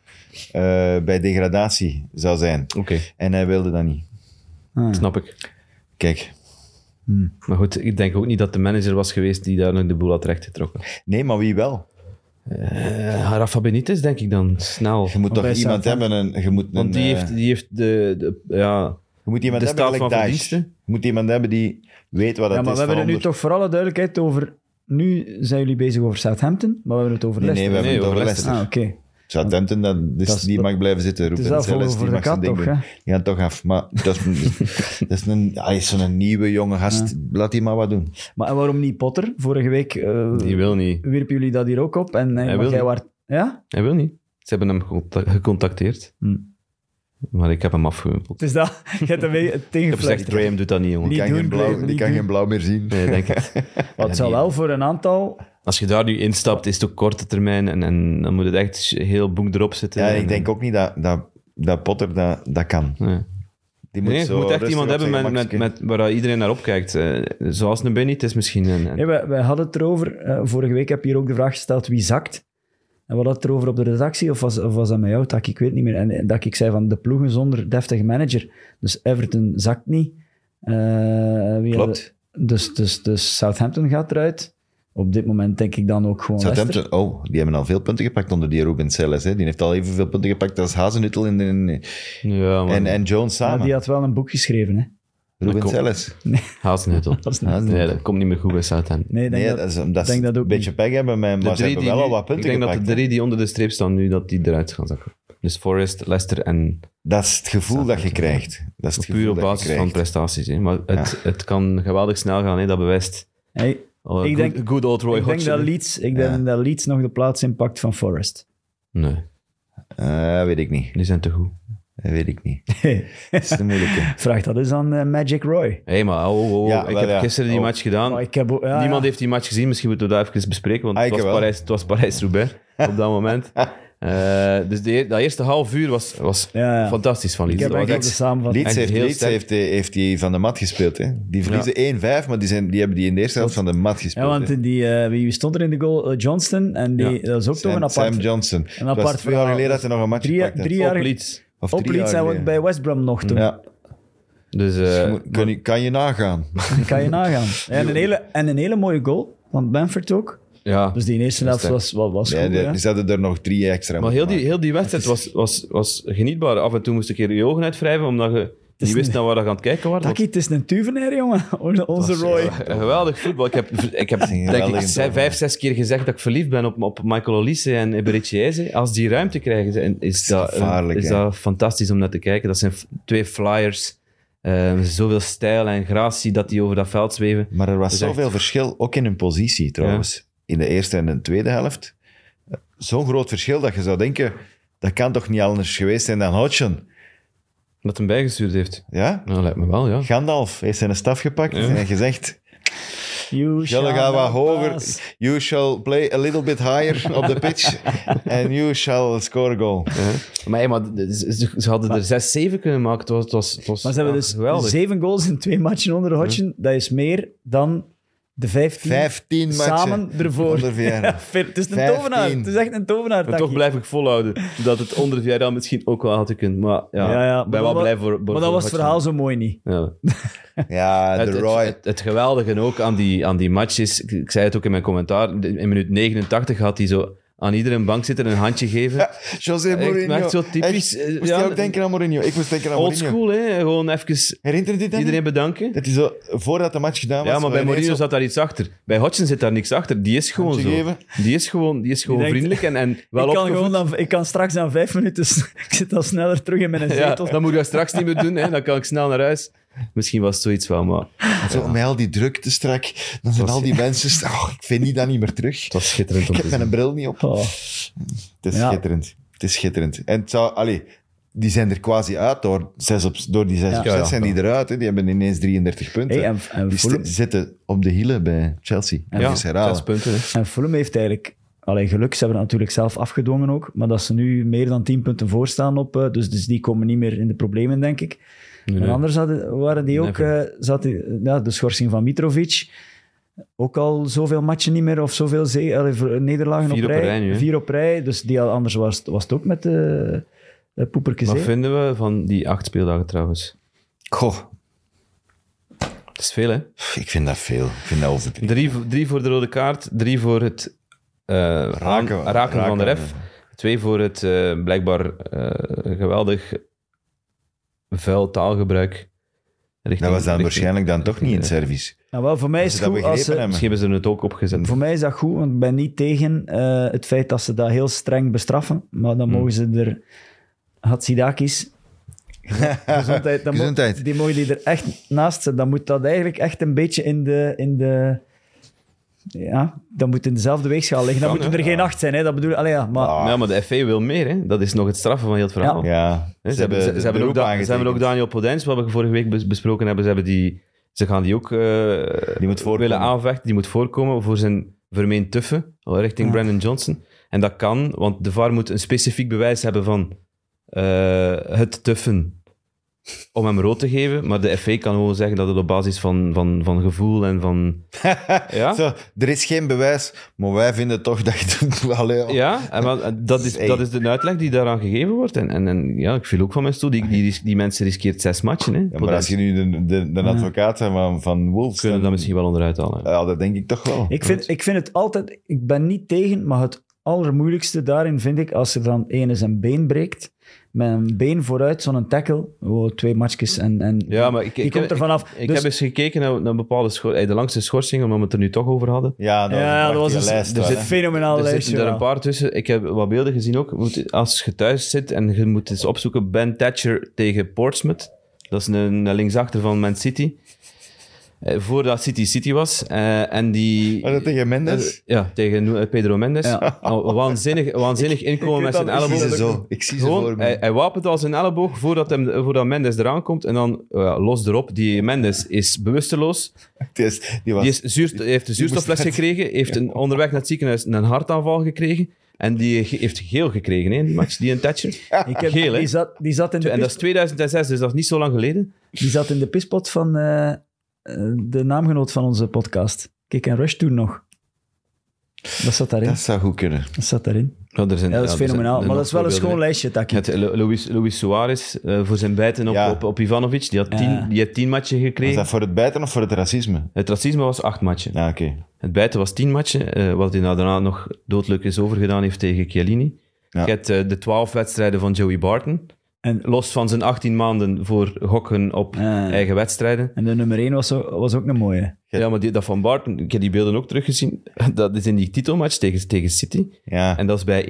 Speaker 2: bij degradatie zou zijn.
Speaker 3: Oké,
Speaker 2: En hij wilde dat niet.
Speaker 4: Ah.
Speaker 3: snap ik.
Speaker 2: Kijk.
Speaker 3: Maar goed, ik denk ook niet dat de manager was geweest die daar nog de boel had rechtgetrokken.
Speaker 2: Nee, maar wie wel?
Speaker 3: Eh Rafa Benitez, denk ik dan. Snel.
Speaker 2: Je moet
Speaker 4: Maar
Speaker 2: toch
Speaker 4: bij
Speaker 2: iemand
Speaker 4: Southampton-
Speaker 2: hebben... Een, je, moet een,
Speaker 3: Want die
Speaker 2: eh,
Speaker 3: heeft, die heeft de, de- ja,
Speaker 2: je moet iemand hebben
Speaker 3: de staat
Speaker 2: gelijk
Speaker 3: van
Speaker 2: Daesh.
Speaker 3: verdiensten.
Speaker 2: Je moet iemand hebben die weet wat dat
Speaker 4: Ja,
Speaker 2: is.
Speaker 4: maar we hebben het nu
Speaker 2: veranderd.
Speaker 4: toch voor alle duidelijkheid over... Nu zijn jullie bezig over Southampton, maar we hebben het over
Speaker 2: Nee, nee,
Speaker 4: Leicester.
Speaker 2: we hebben
Speaker 3: Nee,
Speaker 2: het over
Speaker 3: over
Speaker 2: Leicester.
Speaker 4: Ah, oké.
Speaker 2: Southampton, dat, dus
Speaker 4: Dat is-
Speaker 2: die mag blijven zitten roepen.
Speaker 4: is wel
Speaker 2: Dat wel
Speaker 4: voor-
Speaker 2: eens, die
Speaker 4: voor de
Speaker 2: mag zijn
Speaker 4: kat
Speaker 2: ding
Speaker 4: toch,
Speaker 2: doen.
Speaker 4: hè?
Speaker 2: Ja, toch af. Maar dat is,
Speaker 4: (laughs)
Speaker 2: dat is een, hij is zo'n nieuwe jonge gast. Laat die maar wat doen.
Speaker 4: Maar en waarom niet Potter? Vorige week eh,
Speaker 3: die wil niet.
Speaker 4: wierpen jullie dat hier ook op. En, eh,
Speaker 3: Hij
Speaker 4: maar
Speaker 3: wil
Speaker 4: jij
Speaker 3: niet.
Speaker 4: waart... Ja? (laughs)
Speaker 3: Hij wil niet. Ze hebben hem geconta- gecontacteerd.
Speaker 4: Hm.
Speaker 2: Hmm.
Speaker 3: Maar ik heb hem afgewimpeld.
Speaker 4: Het is dat. Je
Speaker 2: (laughs)
Speaker 4: hebt hem weer
Speaker 3: Ik heb gezegd,
Speaker 4: tegengevlecht.
Speaker 3: Graham doet dat niet, jongen.
Speaker 2: Die
Speaker 4: Niet
Speaker 2: kan,
Speaker 4: doen,
Speaker 2: geen,
Speaker 4: Graham,
Speaker 2: blauw, die
Speaker 4: niet
Speaker 2: kan
Speaker 4: doen.
Speaker 2: geen blauw meer zien.
Speaker 3: Nee,
Speaker 2: (laughs)
Speaker 3: denk ik.
Speaker 4: Maar het zal
Speaker 2: die-
Speaker 4: wel voor een aantal...
Speaker 3: Als je daar nu instapt, is het op korte termijn. En, en dan moet het echt heel boek erop zitten.
Speaker 2: Ja,
Speaker 3: En-
Speaker 2: ik denk ook niet dat, dat, dat Potter dat, dat kan.
Speaker 3: Nee.
Speaker 2: Die
Speaker 3: Nee, je
Speaker 2: zo
Speaker 3: moet echt
Speaker 2: rustig
Speaker 3: iemand
Speaker 2: op
Speaker 3: hebben
Speaker 2: zijn
Speaker 3: met, met,
Speaker 2: gemakske-
Speaker 3: met, waar iedereen naar opkijkt. Eh, zoals een Benny, het is misschien een...
Speaker 4: Nee, wij, wij hadden het erover... eh, vorige week heb je hier ook de vraag gesteld wie zakt. En we hadden het erover op de redactie, of was, of was dat met jou, Tak? Ik weet niet meer. En eh, dat ik zei van de ploegen zonder deftige manager. Dus Everton zakt niet. Eh, wie
Speaker 2: Klopt.
Speaker 4: hadden- Dus, dus, dus Southampton gaat eruit. Op dit moment denk ik dan ook gewoon Leicester.
Speaker 2: Southampton, oh, die hebben al veel punten gepakt onder die Ruben Selles. Hè. Die heeft al evenveel punten gepakt als Hazenuttel en, en,
Speaker 3: ja, maar
Speaker 2: en, en Jones
Speaker 4: Maar
Speaker 2: samen.
Speaker 4: die had wel een boek geschreven, hè?
Speaker 2: Ruben
Speaker 3: Kom.
Speaker 2: Selles.
Speaker 3: Hasenhuttel.
Speaker 2: (laughs) Hasenhuttel.
Speaker 3: Nee, dat komt niet meer goed bij Southampton.
Speaker 4: Nee, ik denk
Speaker 2: Nee,
Speaker 4: dat-
Speaker 2: dat is omdat
Speaker 4: denk
Speaker 2: ze
Speaker 4: dat ook
Speaker 2: een beetje pech hebben, maar
Speaker 3: De
Speaker 2: ze
Speaker 3: drie
Speaker 2: hebben
Speaker 3: die
Speaker 2: wel
Speaker 3: nu-
Speaker 2: al wat
Speaker 3: Ik
Speaker 2: punten
Speaker 3: denk
Speaker 2: gepakt.
Speaker 3: dat de drie die onder de streep staan nu, dat die eruit gaan zakken. Dus Forrest, Leicester en
Speaker 2: Dat is het gevoel dat je krijgt. Dat is het
Speaker 3: puur
Speaker 2: gevoel
Speaker 3: op
Speaker 2: dat je
Speaker 3: basis van
Speaker 2: krijgt.
Speaker 3: prestaties. Hè. Maar het, het kan geweldig snel gaan, hè. dat bewijst.
Speaker 4: Hey,
Speaker 3: Oh,
Speaker 4: Ik
Speaker 3: good,
Speaker 4: denk-
Speaker 3: good old Roy
Speaker 4: ik denk
Speaker 3: Hodgson.
Speaker 4: dat Leeds, ik denk dat Leeds nog de plaats inpakt van Forest. (laughs)
Speaker 3: Nee,
Speaker 2: Eh, weet ik niet.
Speaker 3: die zijn te goed.
Speaker 2: Dat weet ik
Speaker 3: (laughs)
Speaker 2: niet. Dat is de moeilijke.
Speaker 4: Vraag dat eens aan eh, Magic Roy.
Speaker 3: Hé, maar oh, oh, oh.
Speaker 2: Ja,
Speaker 3: ik
Speaker 2: wel,
Speaker 3: heb
Speaker 2: ja.
Speaker 3: gisteren die
Speaker 2: Oh.
Speaker 3: match gedaan.
Speaker 4: Maar ik heb ook- ja,
Speaker 3: Niemand
Speaker 4: ja.
Speaker 3: heeft die match gezien, misschien moeten we dat even bespreken, want
Speaker 2: Ah,
Speaker 3: het
Speaker 2: ik
Speaker 3: was,
Speaker 2: wel.
Speaker 3: Parijs, het
Speaker 2: (laughs)
Speaker 3: was Parijs-Roubaix op dat moment. Eh, dus die, dat eerste half uur was, was
Speaker 4: Ja, ja.
Speaker 3: fantastisch van
Speaker 4: Ik
Speaker 3: Leeds.
Speaker 4: heb
Speaker 3: Dat was
Speaker 4: eigenlijk de
Speaker 3: echt-
Speaker 4: samenvatting.
Speaker 2: Leeds,
Speaker 3: Echt
Speaker 2: heeft,
Speaker 3: heel
Speaker 2: Leeds
Speaker 3: sterk.
Speaker 2: heeft, die- heeft die van de mat gespeeld. Hè. Die verliezen 1-5, maar die, zijn, die hebben die in de eerste helft van de mat gespeeld.
Speaker 4: Ja,
Speaker 2: hè.
Speaker 4: want die, eh, wie stond er in de goal? Eh, Johnston. En die,
Speaker 3: Ja.
Speaker 4: dat is ook
Speaker 2: Sam,
Speaker 4: toch een apart...
Speaker 2: Sam Johnson. Het was
Speaker 4: apart
Speaker 2: twee jaar
Speaker 4: verhaal.
Speaker 2: geleden dat hij nog een match
Speaker 4: Drie-
Speaker 2: gepakt
Speaker 4: drie
Speaker 2: heeft.
Speaker 4: jaar-
Speaker 3: op Leeds.
Speaker 2: Of
Speaker 4: Op
Speaker 2: drie
Speaker 4: Leeds
Speaker 2: jaar
Speaker 4: en ook
Speaker 2: geleden.
Speaker 4: bij West Brom nog toen.
Speaker 2: Ja,
Speaker 3: Dus, eh,
Speaker 2: je moet- kun je- kan je nagaan.
Speaker 4: (laughs) Dat (laughs) kan je
Speaker 2: (laughs)
Speaker 4: nagaan. En een, hele, en een hele mooie goal van Bamford ook.
Speaker 3: ja.
Speaker 4: Dus die eerste helft
Speaker 3: sterk.
Speaker 4: was, was, was
Speaker 2: Ja,
Speaker 4: goed.
Speaker 2: die-
Speaker 4: hè.
Speaker 2: die zetten er nog drie extra
Speaker 3: Maar
Speaker 2: moeten
Speaker 3: heel die,
Speaker 2: maken.
Speaker 3: heel die wedstrijd was, was, was genietbaar. Af en toe moest ik hier je ogen uitwrijven, omdat je niet wist naar waar je aan het kijken was.
Speaker 4: Taki, het is een tuvenair, jongen. (laughs) Onze Roy.
Speaker 3: Geweldig voetbal. Ik heb, ik heb denk ik
Speaker 2: geweldige
Speaker 3: zei,
Speaker 2: doelman.
Speaker 3: vijf, zes keer gezegd dat ik verliefd ben op, op Michael Olise en Ebericiese. Als die ruimte krijgen, en is, dat,
Speaker 2: gevaarlijk,
Speaker 3: is
Speaker 2: hè?
Speaker 3: dat fantastisch om naar te kijken. Dat zijn f- twee flyers. eh, zoveel stijl en gratie dat die over dat veld zweven.
Speaker 2: Maar er was
Speaker 3: Dus echt-
Speaker 2: zoveel verschil, ook in hun positie trouwens. In de eerste en de tweede helft. Zo'n groot verschil dat je zou denken, dat kan toch niet anders geweest zijn dan Hodgson?
Speaker 3: Dat hem bijgestuurd heeft.
Speaker 2: Ja?
Speaker 3: Nou, lijkt me wel, ja.
Speaker 2: Gandalf heeft zijn staf gepakt en gezegd,
Speaker 4: You
Speaker 2: jullie
Speaker 4: shall
Speaker 2: gaan wat
Speaker 4: not
Speaker 2: hoger,
Speaker 4: pass.
Speaker 2: you shall play a little bit higher op de
Speaker 4: (laughs)
Speaker 2: pitch and you shall score a goal.
Speaker 3: Maar, hey, maar ze, ze- ze hadden er zes, zeven kunnen maken. Het was, het was, het was
Speaker 4: Maar ze hebben
Speaker 3: ja,
Speaker 4: dus
Speaker 3: geweldig.
Speaker 4: zeven goals in twee matchen onder Hodgson. Dat is meer dan de vijftien,
Speaker 2: 15 matchen
Speaker 4: samen ervoor. (laughs)
Speaker 2: onder Vieira.
Speaker 4: het is een
Speaker 2: Vijftien.
Speaker 4: tovenaar. Het is echt een tovenaar.
Speaker 3: Maar toch
Speaker 4: Taki.
Speaker 3: blijf ik volhouden dat het onder Villarreal misschien ook wel had gekund. Maar ja,
Speaker 4: Ja, ja, maar
Speaker 3: ben wel
Speaker 4: dat-
Speaker 3: blij voor, voor
Speaker 4: Maar dat
Speaker 3: voor
Speaker 4: was het
Speaker 3: Hudson.
Speaker 4: verhaal zo mooi niet.
Speaker 3: Ja. (laughs)
Speaker 2: Ja, de
Speaker 3: Het, het,
Speaker 2: Roy.
Speaker 3: het- het geweldige ook aan die, aan die match is, ik, ik zei het ook in mijn commentaar, in minuut 89 had hij zo aan iedereen bank zitten en een handje geven.
Speaker 2: José
Speaker 3: Echt,
Speaker 2: Mourinho.
Speaker 3: maar echt zo typisch,
Speaker 2: Echt,
Speaker 3: eh,
Speaker 2: moest
Speaker 3: ja,
Speaker 2: jij ook denken aan Mourinho? Ik moest denken aan
Speaker 3: Old
Speaker 2: Mourinho.
Speaker 3: school, hè? Gewoon even
Speaker 2: Herinner je dit dan?
Speaker 3: iedereen bedanken.
Speaker 2: Dat is zo, voordat de match gedaan was...
Speaker 3: Ja, maar bij
Speaker 2: ineens
Speaker 3: Mourinho
Speaker 2: zo-
Speaker 3: zat daar iets achter. Bij Hodgson zit daar niks achter. Die is gewoon
Speaker 2: Handje
Speaker 3: zo.
Speaker 2: geven.
Speaker 3: Die is gewoon, die is gewoon
Speaker 4: denkt-
Speaker 3: vriendelijk en, en wel
Speaker 4: ik, kan
Speaker 3: opgevoed.
Speaker 4: gewoon aan- ik kan straks aan vijf minuten... (laughs) ik zit al sneller terug in mijn
Speaker 3: (laughs) Ja,
Speaker 4: zetel.
Speaker 3: dat moet je straks niet meer doen, hè. dan kan ik snel naar huis. Misschien was het zoiets wel, maar het
Speaker 2: Zo, Met al die drukte strak, dan zijn
Speaker 3: was-
Speaker 2: al die mensen... st- Oh, ik vind die dan niet meer terug.
Speaker 3: was schitterend om
Speaker 2: Ik
Speaker 3: te
Speaker 2: heb mijn
Speaker 3: zien.
Speaker 2: bril niet op.
Speaker 4: Oh.
Speaker 2: Het is
Speaker 4: Ja.
Speaker 2: schitterend. Het is schitterend. En het zou... Allee, die zijn er quasi uit door, zes op, door die 6 op
Speaker 3: Ja,
Speaker 2: 6
Speaker 3: ja.
Speaker 2: zijn die eruit. Hè. Die hebben ineens 33 punten.
Speaker 4: Hey, en- en
Speaker 2: die
Speaker 4: Fulham-
Speaker 2: st- zitten op de hielen bij Chelsea. Dat
Speaker 3: Ja,
Speaker 2: is herhalen.
Speaker 3: zes punten. Hè.
Speaker 4: En Fulham heeft eigenlijk... Allee, geluk, ze hebben het natuurlijk zelf afgedwongen ook, maar dat ze nu meer dan 10 punten voorstaan op, eh, dus, dus die komen niet meer in de problemen, denk ik. En anders hadden, waren die ook, eh
Speaker 3: Never.
Speaker 4: zat die, ja, de schorsing van Mitrovic, ook al zoveel matchen niet meer, of zoveel ze- allee, ver- nederlagen
Speaker 3: Vier
Speaker 4: op
Speaker 3: op
Speaker 4: rij.
Speaker 3: rij nu, hè?
Speaker 4: vier op rij, dus die, had- anders was, het- was het ook met de uh,
Speaker 3: Wat vinden we van die acht speeldagen trouwens?
Speaker 2: Goh,
Speaker 3: Dat is veel, hè?
Speaker 2: ik vind dat veel. Ik vind dat overdreven.
Speaker 3: Drie, drie voor de rode kaart, drie voor het eh, aan- raken, van de ref, twee voor het eh, blijkbaar eh, geweldig vuil taalgebruik. richting-
Speaker 2: Dat was dan
Speaker 3: richting-
Speaker 2: waarschijnlijk dan toch niet in het
Speaker 3: richting-
Speaker 2: service.
Speaker 4: Nou, wel, voor mij
Speaker 2: Als
Speaker 4: is
Speaker 2: ze
Speaker 4: het
Speaker 2: dat
Speaker 4: goed als
Speaker 2: begrepen
Speaker 4: eh, ze,
Speaker 2: hebben.
Speaker 3: Misschien hebben ze het ook opgezet.
Speaker 4: Voor mij is dat goed, want ik ben niet tegen eh, het feit dat ze dat heel streng bestraffen. Maar
Speaker 3: Hmm.
Speaker 4: dan mogen ze er...
Speaker 3: (laughs)
Speaker 4: Hatsidakis...
Speaker 2: (laughs)
Speaker 4: Gezondheid. Dan mo-
Speaker 2: Gezondheid.
Speaker 4: die mogen die er echt naast zetten. Dan moet dat eigenlijk echt een beetje in de... In de ja, dat moet in dezelfde weegschaal liggen. Dan
Speaker 3: Kan,
Speaker 4: moeten er geen acht zijn, hè. Dat bedoel Allee, ja, maar...
Speaker 2: Ah,
Speaker 3: Ja, maar de FA wil meer, hè? Dat is nog het straffen van heel het verhaal.
Speaker 2: Ja,
Speaker 3: Hè, Ze, hebben, ze,
Speaker 2: de
Speaker 3: ze hebben ook
Speaker 2: beroep
Speaker 3: da- ze hebben ook
Speaker 2: aangetekend.
Speaker 3: Daniel Podens, wat we vorige week bes- besproken hebben, ze, hebben die, ze gaan die ook eh,
Speaker 2: Die moet voorkomen.
Speaker 3: willen aanvechten. Die moet voorkomen voor zijn vermeend tuffen richting
Speaker 4: Ja.
Speaker 3: Brandon Johnson. En dat kan, want de VAR moet een specifiek bewijs hebben van eh, het tuffen om hem rood te geven. Maar de FA kan gewoon zeggen dat het op basis van, van, van gevoel
Speaker 2: (laughs)
Speaker 3: en van... ja?
Speaker 2: Zo, er is geen bewijs, maar wij vinden toch (laughs) dat je het... Allee, oh.
Speaker 3: Ja, en wel, en dat, is,
Speaker 2: Hey.
Speaker 3: dat is de uitleg die daaraan gegeven wordt. En, en, en ja, ik viel ook van mensen toe. Die, die, ris- die mensen riskeert zes matchen. Hè.
Speaker 2: Ja, maar
Speaker 3: Podence.
Speaker 2: als je nu de, de, de advocaat bent van, van Wolves...
Speaker 3: kunnen we
Speaker 2: dan-
Speaker 3: dat misschien wel onderuit halen.
Speaker 2: Ja, dat denk ik toch wel.
Speaker 4: Ik vind, ik vind het altijd... Ik ben niet tegen, maar het allermoeilijkste daarin vind ik als er dan ene zijn been breekt, met een been vooruit, zo'n tackle, wow, twee matchjes en, en
Speaker 3: Ja, maar ik,
Speaker 4: die
Speaker 3: ik,
Speaker 4: komt
Speaker 3: heb-
Speaker 4: er vanaf.
Speaker 3: ik
Speaker 4: Dus-
Speaker 3: heb eens gekeken naar, naar bepaalde schor eh, de langste schorsingen, omdat we het er nu toch over hadden.
Speaker 2: Ja, dat
Speaker 4: Ja, dat
Speaker 3: dus-
Speaker 4: was
Speaker 2: was een prachtige
Speaker 4: een,
Speaker 2: lijst.
Speaker 4: er
Speaker 2: wel,
Speaker 4: zit
Speaker 2: hè.
Speaker 4: fenomenaal
Speaker 3: er
Speaker 4: lijstje.
Speaker 3: zitten er
Speaker 4: wel.
Speaker 3: een paar tussen. Ik heb wat beelden gezien ook. Moet- Als je thuis zit en je moet eens opzoeken, Ben Thatcher tegen Portsmouth. Dat is een, een linksachter van Man City. Eh, voordat City City was. Eh, en die...
Speaker 2: Was dat tegen Mendes?
Speaker 3: Eh, ja, tegen eh, Pedro Mendes.
Speaker 4: Ja.
Speaker 3: Oh, waanzinnig, waanzinnig inkomen met zijn
Speaker 2: (laughs) Ik zie
Speaker 3: elleboog.
Speaker 2: ze zo. Ik zie ze
Speaker 3: Gewoon,
Speaker 2: voor
Speaker 3: hij,
Speaker 2: me.
Speaker 3: hij wapent al zijn elleboog voordat, hem, voordat Mendes eraan komt. En dan eh, los erop. Die Mendes is bewusteloos.
Speaker 2: Die is- die was-
Speaker 3: Die is zuurst- heeft een zuurstoffles
Speaker 2: moest net-
Speaker 3: gekregen.
Speaker 2: (laughs)
Speaker 3: Heeft een, onderweg naar het ziekenhuis een hartaanval gekregen. En die ge- heeft geel gekregen, hè, die match. Die en
Speaker 2: (laughs)
Speaker 3: Thatcher.
Speaker 4: Ik heb,
Speaker 3: Geel, hè?
Speaker 4: die, zat, die, zat in de
Speaker 3: En dat is
Speaker 4: pis,
Speaker 3: 2006, dus dat is niet zo lang geleden.
Speaker 4: die zat in de pispot van eh, eh, de naamgenoot van onze podcast. Kick en Rush toen nog. Dat zat daarin.
Speaker 2: Dat
Speaker 4: Dat,
Speaker 2: zou goed kunnen.
Speaker 4: zat daarin.
Speaker 3: er zijn,
Speaker 4: Ja, dat is
Speaker 3: er zijn
Speaker 4: fenomenaal.
Speaker 3: nog
Speaker 4: Maar dat is wel een
Speaker 3: voorbeelden,
Speaker 4: schoon
Speaker 3: hè.
Speaker 4: lijstje, Taki.
Speaker 3: Het eh, Lu- Luis, Luis Suarez eh, voor zijn bijten op,
Speaker 2: Ja.
Speaker 3: op, op Ivanovic. Die had
Speaker 4: Ja.
Speaker 3: tien, die had tien matchen
Speaker 2: Was
Speaker 3: gekregen.
Speaker 2: dat voor het bijten of voor het racisme?
Speaker 3: Het racisme was acht matchen.
Speaker 2: Ja, oké.
Speaker 3: Het bijten was tien matchen, eh, wat hij nou daarna nog doodleuk is overgedaan heeft tegen Chiellini.
Speaker 2: Ja.
Speaker 3: Je hebt eh, de twaalf wedstrijden van Joey Barton.
Speaker 4: En-
Speaker 3: Los van zijn 18 maanden voor gokken op
Speaker 4: Ja.
Speaker 3: eigen wedstrijden.
Speaker 4: En de nummer 1 was, zo- was ook een mooie.
Speaker 3: Ja, maar die, dat van Barton, ik heb die beelden ook teruggezien. (laughs) Dat is in die titelmatch tegen, tegen City.
Speaker 2: Ja.
Speaker 3: En dat is bij 1-1.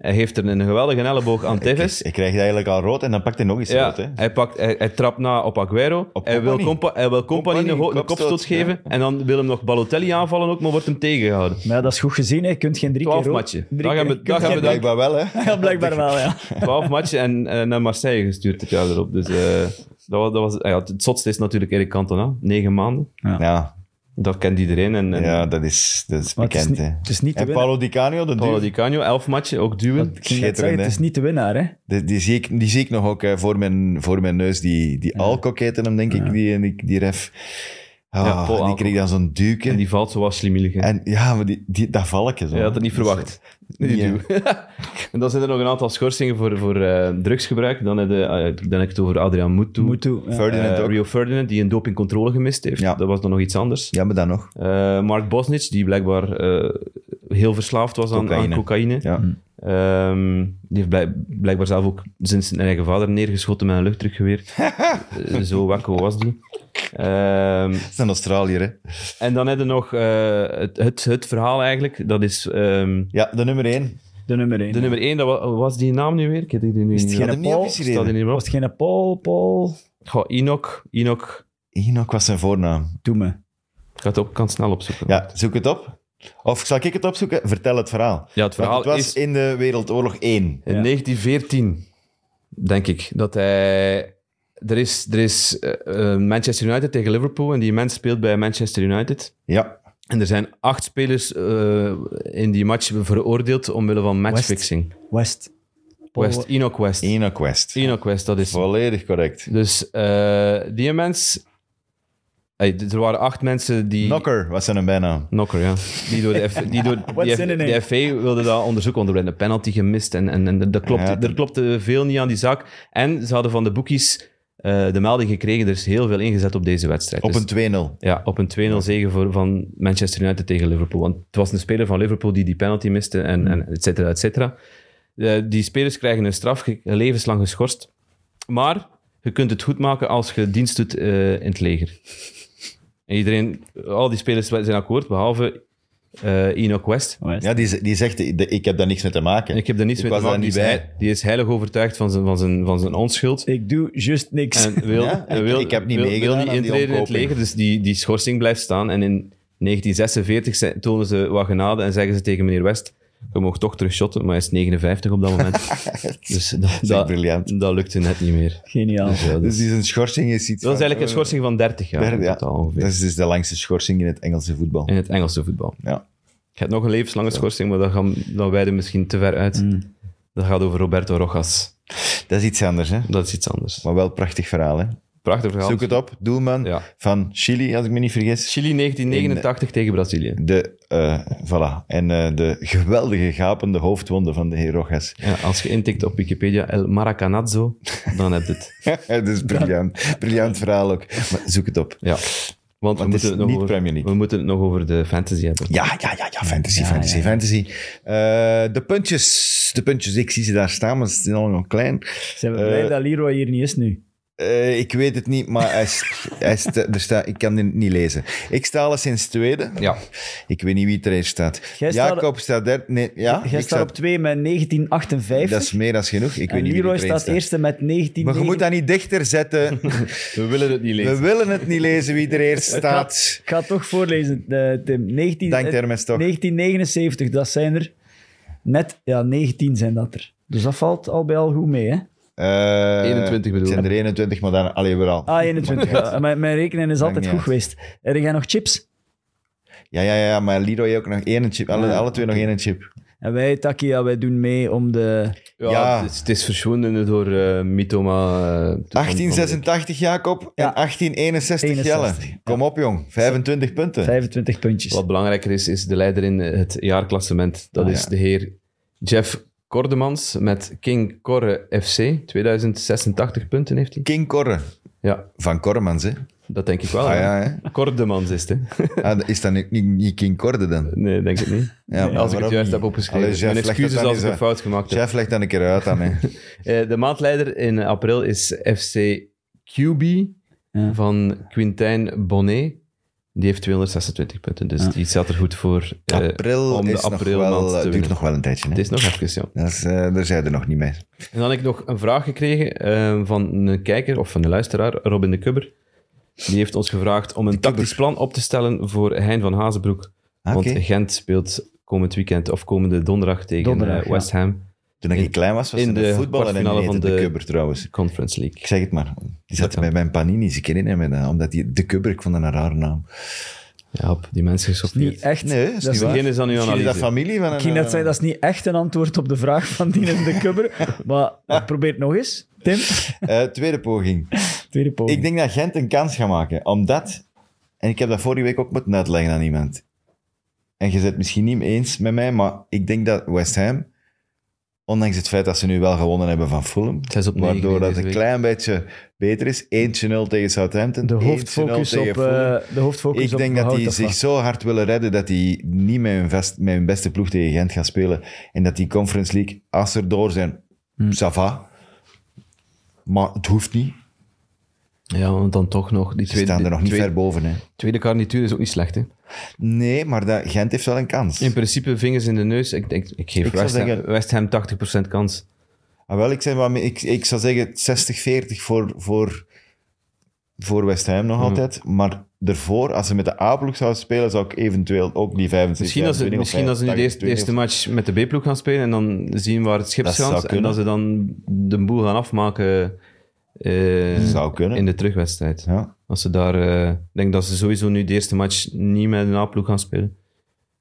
Speaker 3: Hij heeft er een geweldige elleboog aan Tevez.
Speaker 2: Ik krijg eigenlijk al rood en dan pakt hij nog eens
Speaker 3: Ja,
Speaker 2: rood. Hè.
Speaker 3: hij, pakt, hij, hij trapt na op Aguero.
Speaker 2: Op
Speaker 3: hij, wil
Speaker 2: Company.
Speaker 3: compa, hij wil Company,
Speaker 2: Company,
Speaker 3: een, ho- een
Speaker 2: kopstoot,
Speaker 3: kopstoot geven. En dan wil hem nog Balotelli aanvallen ook, maar wordt hem tegengehouden.
Speaker 4: Maar ja, dat is goed gezien, hè. je kunt geen drie
Speaker 3: 12
Speaker 4: keer rood-
Speaker 3: matchen.
Speaker 4: drie
Speaker 3: Daar gaan
Speaker 4: keer-
Speaker 3: we-
Speaker 4: je
Speaker 3: daar
Speaker 4: kunt
Speaker 3: gaan we
Speaker 4: geen-
Speaker 2: Blijkbaar wel,
Speaker 3: (laughs)
Speaker 2: hè?
Speaker 4: (laughs) Ja, blijkbaar wel, ja.
Speaker 3: 12 matchen en eh, naar Marseille gestuurd het jaar erop. Dus eh, dat was, dat was, ah ja, het zotste is natuurlijk Erik Cantona. 9 maanden.
Speaker 2: Ja,
Speaker 3: Dat kent iedereen. En, en
Speaker 2: ja dat is, dat is
Speaker 4: Maar het is
Speaker 2: bekend.
Speaker 4: niet-
Speaker 2: hè.
Speaker 4: het is niet te
Speaker 2: en
Speaker 4: winnen.
Speaker 2: Paolo Di Canio, de
Speaker 3: Paulo
Speaker 2: duur-
Speaker 3: Di Canio, 11 matchen, ook duwen.
Speaker 4: Ik ging net zeggen,
Speaker 2: Schitterend,
Speaker 4: het
Speaker 2: hè.
Speaker 4: is niet de winnaar, hè.
Speaker 2: Die, die, zie ik, die zie ik nog ook hè, voor, mijn, voor mijn neus. Die, die Alcock heette hem, denk ik, die, die, die ref. Ah,
Speaker 3: Ja,
Speaker 2: en
Speaker 3: Paul
Speaker 2: die
Speaker 3: Alcock.
Speaker 2: kreeg dan zo'n duwke.
Speaker 3: En
Speaker 2: En,
Speaker 3: die valt zoals Slimmielig. hè.
Speaker 2: ja, maar die, die, dat valkje zo.
Speaker 3: Je had het niet
Speaker 2: Dat is-
Speaker 3: verwacht. (laughs) Die
Speaker 2: Ja.
Speaker 3: duw. Dus, eh, en dan zijn er nog een aantal schorsingen voor, voor eh, drugsgebruik. Dan heb, je, eh, dan heb ik het over Adrian Mutu.
Speaker 4: Moet toe. ja.
Speaker 2: Ferdinand
Speaker 3: Eh,
Speaker 2: ook.
Speaker 3: Rio Ferdinand, die een dopingcontrole gemist heeft.
Speaker 2: Ja.
Speaker 3: Dat was dan nog iets anders.
Speaker 2: Ja, maar dan nog.
Speaker 3: Eh, Mark Bosnich, die blijkbaar eh, heel verslaafd was aan
Speaker 2: Cocaïne.
Speaker 3: aan cocaïne.
Speaker 2: Ja.
Speaker 4: Mm.
Speaker 3: Ehm, die heeft blijk- blijkbaar zelf ook sinds zijn eigen vader neergeschoten met een
Speaker 4: (laughs)
Speaker 3: luchtdrukgeweer. Eh, Zo wakko was die. Ehm,
Speaker 2: Dat is een Australiër, hè?
Speaker 3: en dan heb je nog eh, het, het, het verhaal eigenlijk. Dat is ehm,
Speaker 2: Ja, de nummer één.
Speaker 4: De nummer 1.
Speaker 3: de nummer één. Dat wa- was die naam nu weer? Ik heb die nu
Speaker 4: Is
Speaker 3: niet-
Speaker 4: het
Speaker 2: Ik
Speaker 4: geen
Speaker 2: had hem niet
Speaker 4: Paul?
Speaker 3: staat die
Speaker 2: officieel.
Speaker 3: niet meer op.
Speaker 4: Was het geen Paul, Paul?
Speaker 3: Goh, Enoch. Enoch.
Speaker 2: Enoch was zijn voornaam.
Speaker 4: Doe me.
Speaker 3: Ik ga het ook, kan het snel opzoeken.
Speaker 2: Ja, zoek het op. Of zal ik het opzoeken? Vertel het verhaal.
Speaker 3: Ja, het verhaal
Speaker 2: Want het was
Speaker 3: is...
Speaker 2: in de Wereldoorlog 1.
Speaker 3: In
Speaker 4: Ja.
Speaker 3: 1914, denk ik, dat hij... Er is, er is eh, eh, Manchester United tegen Liverpool en die mens speelt bij Manchester United.
Speaker 2: Ja,
Speaker 3: En er zijn acht spelers eh, in die match veroordeeld omwille van matchfixing.
Speaker 4: West. Paul-
Speaker 3: West,
Speaker 2: Oh.
Speaker 3: Enoch West.
Speaker 2: Enoch West.
Speaker 3: Enoch West, dat is...
Speaker 2: Volledig correct.
Speaker 3: Dus eh, die mens... Hey, d- er waren acht mensen die...
Speaker 2: Knocker was zijn bijnaam.
Speaker 3: Knocker, ja. Die
Speaker 2: (laughs)
Speaker 3: door de, F, die door
Speaker 4: What's
Speaker 3: die
Speaker 4: in a name?
Speaker 3: de FA wilde daar onderzoek onder. En een penalty gemist. En, en, en dat klopte,
Speaker 2: Ja.
Speaker 3: er klopte veel niet aan die zaak. En ze hadden van de boekies eh, de melding gekregen. Er is heel veel ingezet op deze wedstrijd.
Speaker 2: Op
Speaker 3: Dus-
Speaker 2: een 2-0.
Speaker 3: ja, op een 2-0 zege voor, van Manchester United tegen Liverpool. Want het was een speler van Liverpool die die penalty miste
Speaker 2: Hmm.
Speaker 3: en, en et cetera, et cetera. Eh, die spelers krijgen een straf, ge- levenslang geschorst. Maar je kunt het goed maken als je dienst doet eh, in het leger. En iedereen, al die spelers zijn akkoord, behalve eh Enoch West.
Speaker 4: West.
Speaker 2: Ja, die, z- die zegt, de- ik heb daar niks mee te maken.
Speaker 3: En ik heb er niets
Speaker 2: Ik
Speaker 3: mee te
Speaker 2: was daar
Speaker 3: maken. dus Die,
Speaker 2: niet
Speaker 3: is
Speaker 2: bij.
Speaker 3: he- die is heilig overtuigd van zijn, van zijn, van zijn onschuld.
Speaker 4: Ik doe juist niks.
Speaker 3: En wil,
Speaker 2: (laughs) Ja,
Speaker 3: en
Speaker 2: ik-
Speaker 3: wil,
Speaker 2: ik heb niet
Speaker 3: wil,
Speaker 2: meegedaan
Speaker 3: wil
Speaker 2: aan
Speaker 3: niet
Speaker 2: die
Speaker 3: intreden in het
Speaker 2: omkoping.
Speaker 3: leger, dus die, die schorsing blijft staan. En in 1946 ze- tonen ze wat genade en zeggen ze tegen meneer West, je mag toch terugshotten, maar hij is 59 op dat
Speaker 2: (laughs)
Speaker 3: moment. dus dat,
Speaker 2: is
Speaker 3: dat,
Speaker 2: briljant.
Speaker 3: dat lukte net niet meer.
Speaker 4: Geniaal.
Speaker 3: Ja, dat,
Speaker 2: Dus die zijn schorsing is iets
Speaker 3: dat is
Speaker 2: van-
Speaker 3: eigenlijk een schorsing van 30 jaar in
Speaker 2: Ja,
Speaker 3: totaal ongeveer.
Speaker 2: dat is dus de langste schorsing in het Engelse voetbal.
Speaker 3: In het Engelse voetbal.
Speaker 2: Ja.
Speaker 3: Ik heb nog een levenslange schorsing, maar dat gaan, dan wijden misschien te ver uit.
Speaker 2: Mm.
Speaker 3: Dat gaat over Roberto Rojas.
Speaker 2: Dat is iets anders, hè?
Speaker 3: Dat is iets anders.
Speaker 2: Maar wel een prachtig verhaal, hè?
Speaker 3: Prachtig verhaal.
Speaker 2: Zoek het op, doelman
Speaker 3: Ja.
Speaker 2: van Chili, als ik me niet vergis.
Speaker 3: Chili 1989 tegen Brazilië.
Speaker 2: De, eh, voilà. En eh, de geweldige gapende hoofdwonden van de heer Rojas.
Speaker 3: Ja, als je intikt op Wikipedia El Maracanazo, dan heb je het.
Speaker 2: (laughs) dat is Dus briljant. Briljant verhaal ook. Maar zoek het op.
Speaker 3: Ja. Want, we,
Speaker 2: het is
Speaker 3: moeten het nog
Speaker 2: niet
Speaker 3: over,
Speaker 2: Premier League.
Speaker 3: we moeten het nog over de fantasy hebben.
Speaker 2: Ja, ja, ja, ja, fantasy, fantasy, fantasy. Eh, de puntjes, de puntjes, ik zie ze daar staan, maar ze zijn allemaal klein.
Speaker 4: Zijn we blij
Speaker 2: Eh,
Speaker 4: dat Leroy hier niet is nu?
Speaker 2: Eh, ik weet het niet, maar hij is-
Speaker 4: (laughs)
Speaker 2: hij is te- er staat, ik kan dit niet lezen. Ik sta al sinds tweede.
Speaker 3: Ja.
Speaker 2: Ik weet niet wie er eerst staat.
Speaker 4: Jij staat-
Speaker 2: Jacob staat derde. Nee, ja,
Speaker 4: Jij
Speaker 2: ik
Speaker 4: staat op 2 met 1958.
Speaker 2: Dat is meer dan genoeg. Ik weet
Speaker 4: en
Speaker 2: niet wie er
Speaker 4: Leroy
Speaker 2: eerst
Speaker 4: staat
Speaker 2: staat.
Speaker 4: eerste met 19.
Speaker 2: Maar je moet dat niet dichter
Speaker 4: (laughs)
Speaker 2: zetten.
Speaker 3: We willen het niet
Speaker 2: We
Speaker 3: lezen.
Speaker 2: willen het niet lezen wie er eerst staat.
Speaker 4: Ik ga het toch voorlezen, eh, Tim. 19,
Speaker 2: Dank
Speaker 4: eh,
Speaker 2: Hermes toch.
Speaker 4: 1979, dat zijn er net... Ja, 19 zijn dat er. Dus dat valt al bij al goed mee, hè?
Speaker 2: Eh,
Speaker 3: 21 bedoel
Speaker 2: Het zijn
Speaker 3: ik.
Speaker 2: er 21, maar dan... Allee, weer al.
Speaker 4: Ah,
Speaker 2: (laughs)
Speaker 4: 21. ja. mijn, mijn rekening is altijd
Speaker 2: niet
Speaker 4: goed
Speaker 2: uit.
Speaker 4: geweest. Heb jij nog chips?
Speaker 2: Ja, ja, ja, maar Leroy ook nog één chip. Alle, alle twee nog één chip.
Speaker 4: En wij, Taki, ja, wij doen mee om de...
Speaker 3: Ja,
Speaker 2: Ja.
Speaker 3: Het, is, het is verschwunden door eh Mythoma. eh, van- van-
Speaker 2: 1886 Jacob
Speaker 4: Ja.
Speaker 2: en 1861
Speaker 4: 61,
Speaker 2: Jelle. Kom op, jong. 25 punten.
Speaker 4: 25 puntjes.
Speaker 3: Wat belangrijker is, is de leider in eh, het jaarklassement. Dat
Speaker 2: Ah,
Speaker 3: is
Speaker 2: ja.
Speaker 3: de heer Jeff Kordemans met King Corre FC. 2086 punten heeft hij.
Speaker 2: King Korre.
Speaker 3: Ja,
Speaker 2: Van Kormans, hè?
Speaker 3: dat denk ik wel.
Speaker 2: Ah
Speaker 3: hè.
Speaker 2: ja, hè?
Speaker 3: Kordemans is het, hè?
Speaker 2: Ah, is dat niet, niet, niet King Korre dan?
Speaker 3: Nee, denk ik niet.
Speaker 2: Ja,
Speaker 3: als ik
Speaker 2: waarom
Speaker 3: het juist
Speaker 2: niet?
Speaker 3: heb opgeschreven.
Speaker 2: Allee, Jeff,
Speaker 3: Mijn
Speaker 2: leg dat
Speaker 3: excuses
Speaker 2: dan
Speaker 3: als ik
Speaker 2: eens
Speaker 3: een
Speaker 2: uit.
Speaker 3: fout gemaakt heb.
Speaker 2: Chef, leg dan een keer uit aan mij.
Speaker 3: (laughs) Eh, de maandleider in april is FC QB
Speaker 4: Ja.
Speaker 3: van Quintijn Bonnet. Die heeft 226 punten, dus die staat er goed voor eh,
Speaker 2: April
Speaker 3: om de
Speaker 2: is nog
Speaker 3: aprilmaand
Speaker 2: wel, eh,
Speaker 3: te
Speaker 2: duurt
Speaker 3: winnen.
Speaker 2: nog wel een tijdje. Hè?
Speaker 3: Het is nog even, ja.
Speaker 2: Dat is, eh, daar zijn er nog niet mee.
Speaker 3: En dan heb ik nog een vraag gekregen eh, van een kijker of van een luisteraar, Robin de Kubber. Die heeft ons gevraagd om een tactisch plan op te stellen voor Hein van Hazenbroek.
Speaker 2: Ah, Oké.
Speaker 3: Want Gent speelt komend weekend of komende donderdag tegen
Speaker 4: Donderdag,
Speaker 3: eh, West Ham
Speaker 2: Toen ik
Speaker 3: in-
Speaker 2: klein was, was
Speaker 3: in
Speaker 2: in de
Speaker 3: de
Speaker 2: voetbal en
Speaker 3: kwartfinale
Speaker 2: in van
Speaker 3: van
Speaker 2: de
Speaker 3: de-
Speaker 2: kubber trouwens.
Speaker 3: Conference League.
Speaker 2: Ik zeg het maar. Die zat
Speaker 3: Ja.
Speaker 2: bij mijn panini's. Ik herinner me dat, omdat die de kubber, ik vond dat een rare naam.
Speaker 3: Ja, op die mensen
Speaker 4: niet
Speaker 3: geschopt.
Speaker 4: echt.
Speaker 2: Nee, dat is niet
Speaker 3: het
Speaker 2: waar.
Speaker 3: begin is aan uw
Speaker 2: Misschien is dat
Speaker 3: analyse.
Speaker 2: familie van een... eh,
Speaker 4: Ik ging net zeggen, dat is niet echt een antwoord op de vraag van die in de kubber.
Speaker 2: (laughs)
Speaker 4: maar probeer het nog eens. Tim,
Speaker 2: eh, tweede poging.
Speaker 4: tweede poging.
Speaker 2: Ik denk dat Gent een kans gaat maken. Omdat, en ik heb dat vorige week ook moeten uitleggen aan iemand. En je bent het misschien niet eens met mij, maar ik denk dat West Ham Ondanks het feit dat ze nu wel gewonnen hebben van Fulham.
Speaker 3: Zes op negen
Speaker 2: waardoor dat
Speaker 3: deze
Speaker 2: een
Speaker 3: week.
Speaker 2: klein beetje beter is. 1-0 tegen Southampton.
Speaker 4: De
Speaker 2: 1-0
Speaker 4: hoofdfocus
Speaker 2: tegen
Speaker 4: op,
Speaker 2: Fulham.
Speaker 4: eh, de hoofdfocus
Speaker 2: Ik
Speaker 4: op
Speaker 2: denk dat
Speaker 4: behoud
Speaker 2: die
Speaker 4: of
Speaker 2: zich
Speaker 4: wat?
Speaker 2: zo hard willen redden dat die niet met hun, vest- met hun beste ploeg tegen Gent gaan spelen. En dat die Conference League, als ze er door zijn,
Speaker 3: Hm.
Speaker 2: ça va. Maar het hoeft niet.
Speaker 3: Ja, want dan toch nog. Die
Speaker 2: Ze staan er nog niet
Speaker 3: tweede,
Speaker 2: ver boven. Hè.
Speaker 3: Tweede garnituur is ook niet slecht, hè?
Speaker 2: Nee, maar dat, Gent heeft wel een kans.
Speaker 3: In principe vingers in de neus. Ik, denk, ik geef
Speaker 2: Ik zou
Speaker 3: West,
Speaker 2: zeggen-
Speaker 3: Ham, West Ham 80% kans.
Speaker 2: Ah, wel, ik, zeg wat mee- ik, ik zou zeggen 60-40 voor, voor, voor West Ham nog altijd. Maar daarvoor, als ze met de A-ploeg zouden spelen, zou ik eventueel ook die 25
Speaker 3: Misschien als ze, misschien als ze nu de eerste, de eerste match met de B-ploeg gaan spelen en dan zien waar het schip
Speaker 2: Dat zou
Speaker 3: staat. En
Speaker 2: kunnen.
Speaker 3: dat ze dan de boel gaan afmaken eh,
Speaker 2: Zou kunnen.
Speaker 3: in de terugwedstrijd.
Speaker 2: Ja.
Speaker 3: Als ze daar, eh, ik denk dat ze sowieso nu de eerste match niet met een A-ploeg gaan spelen.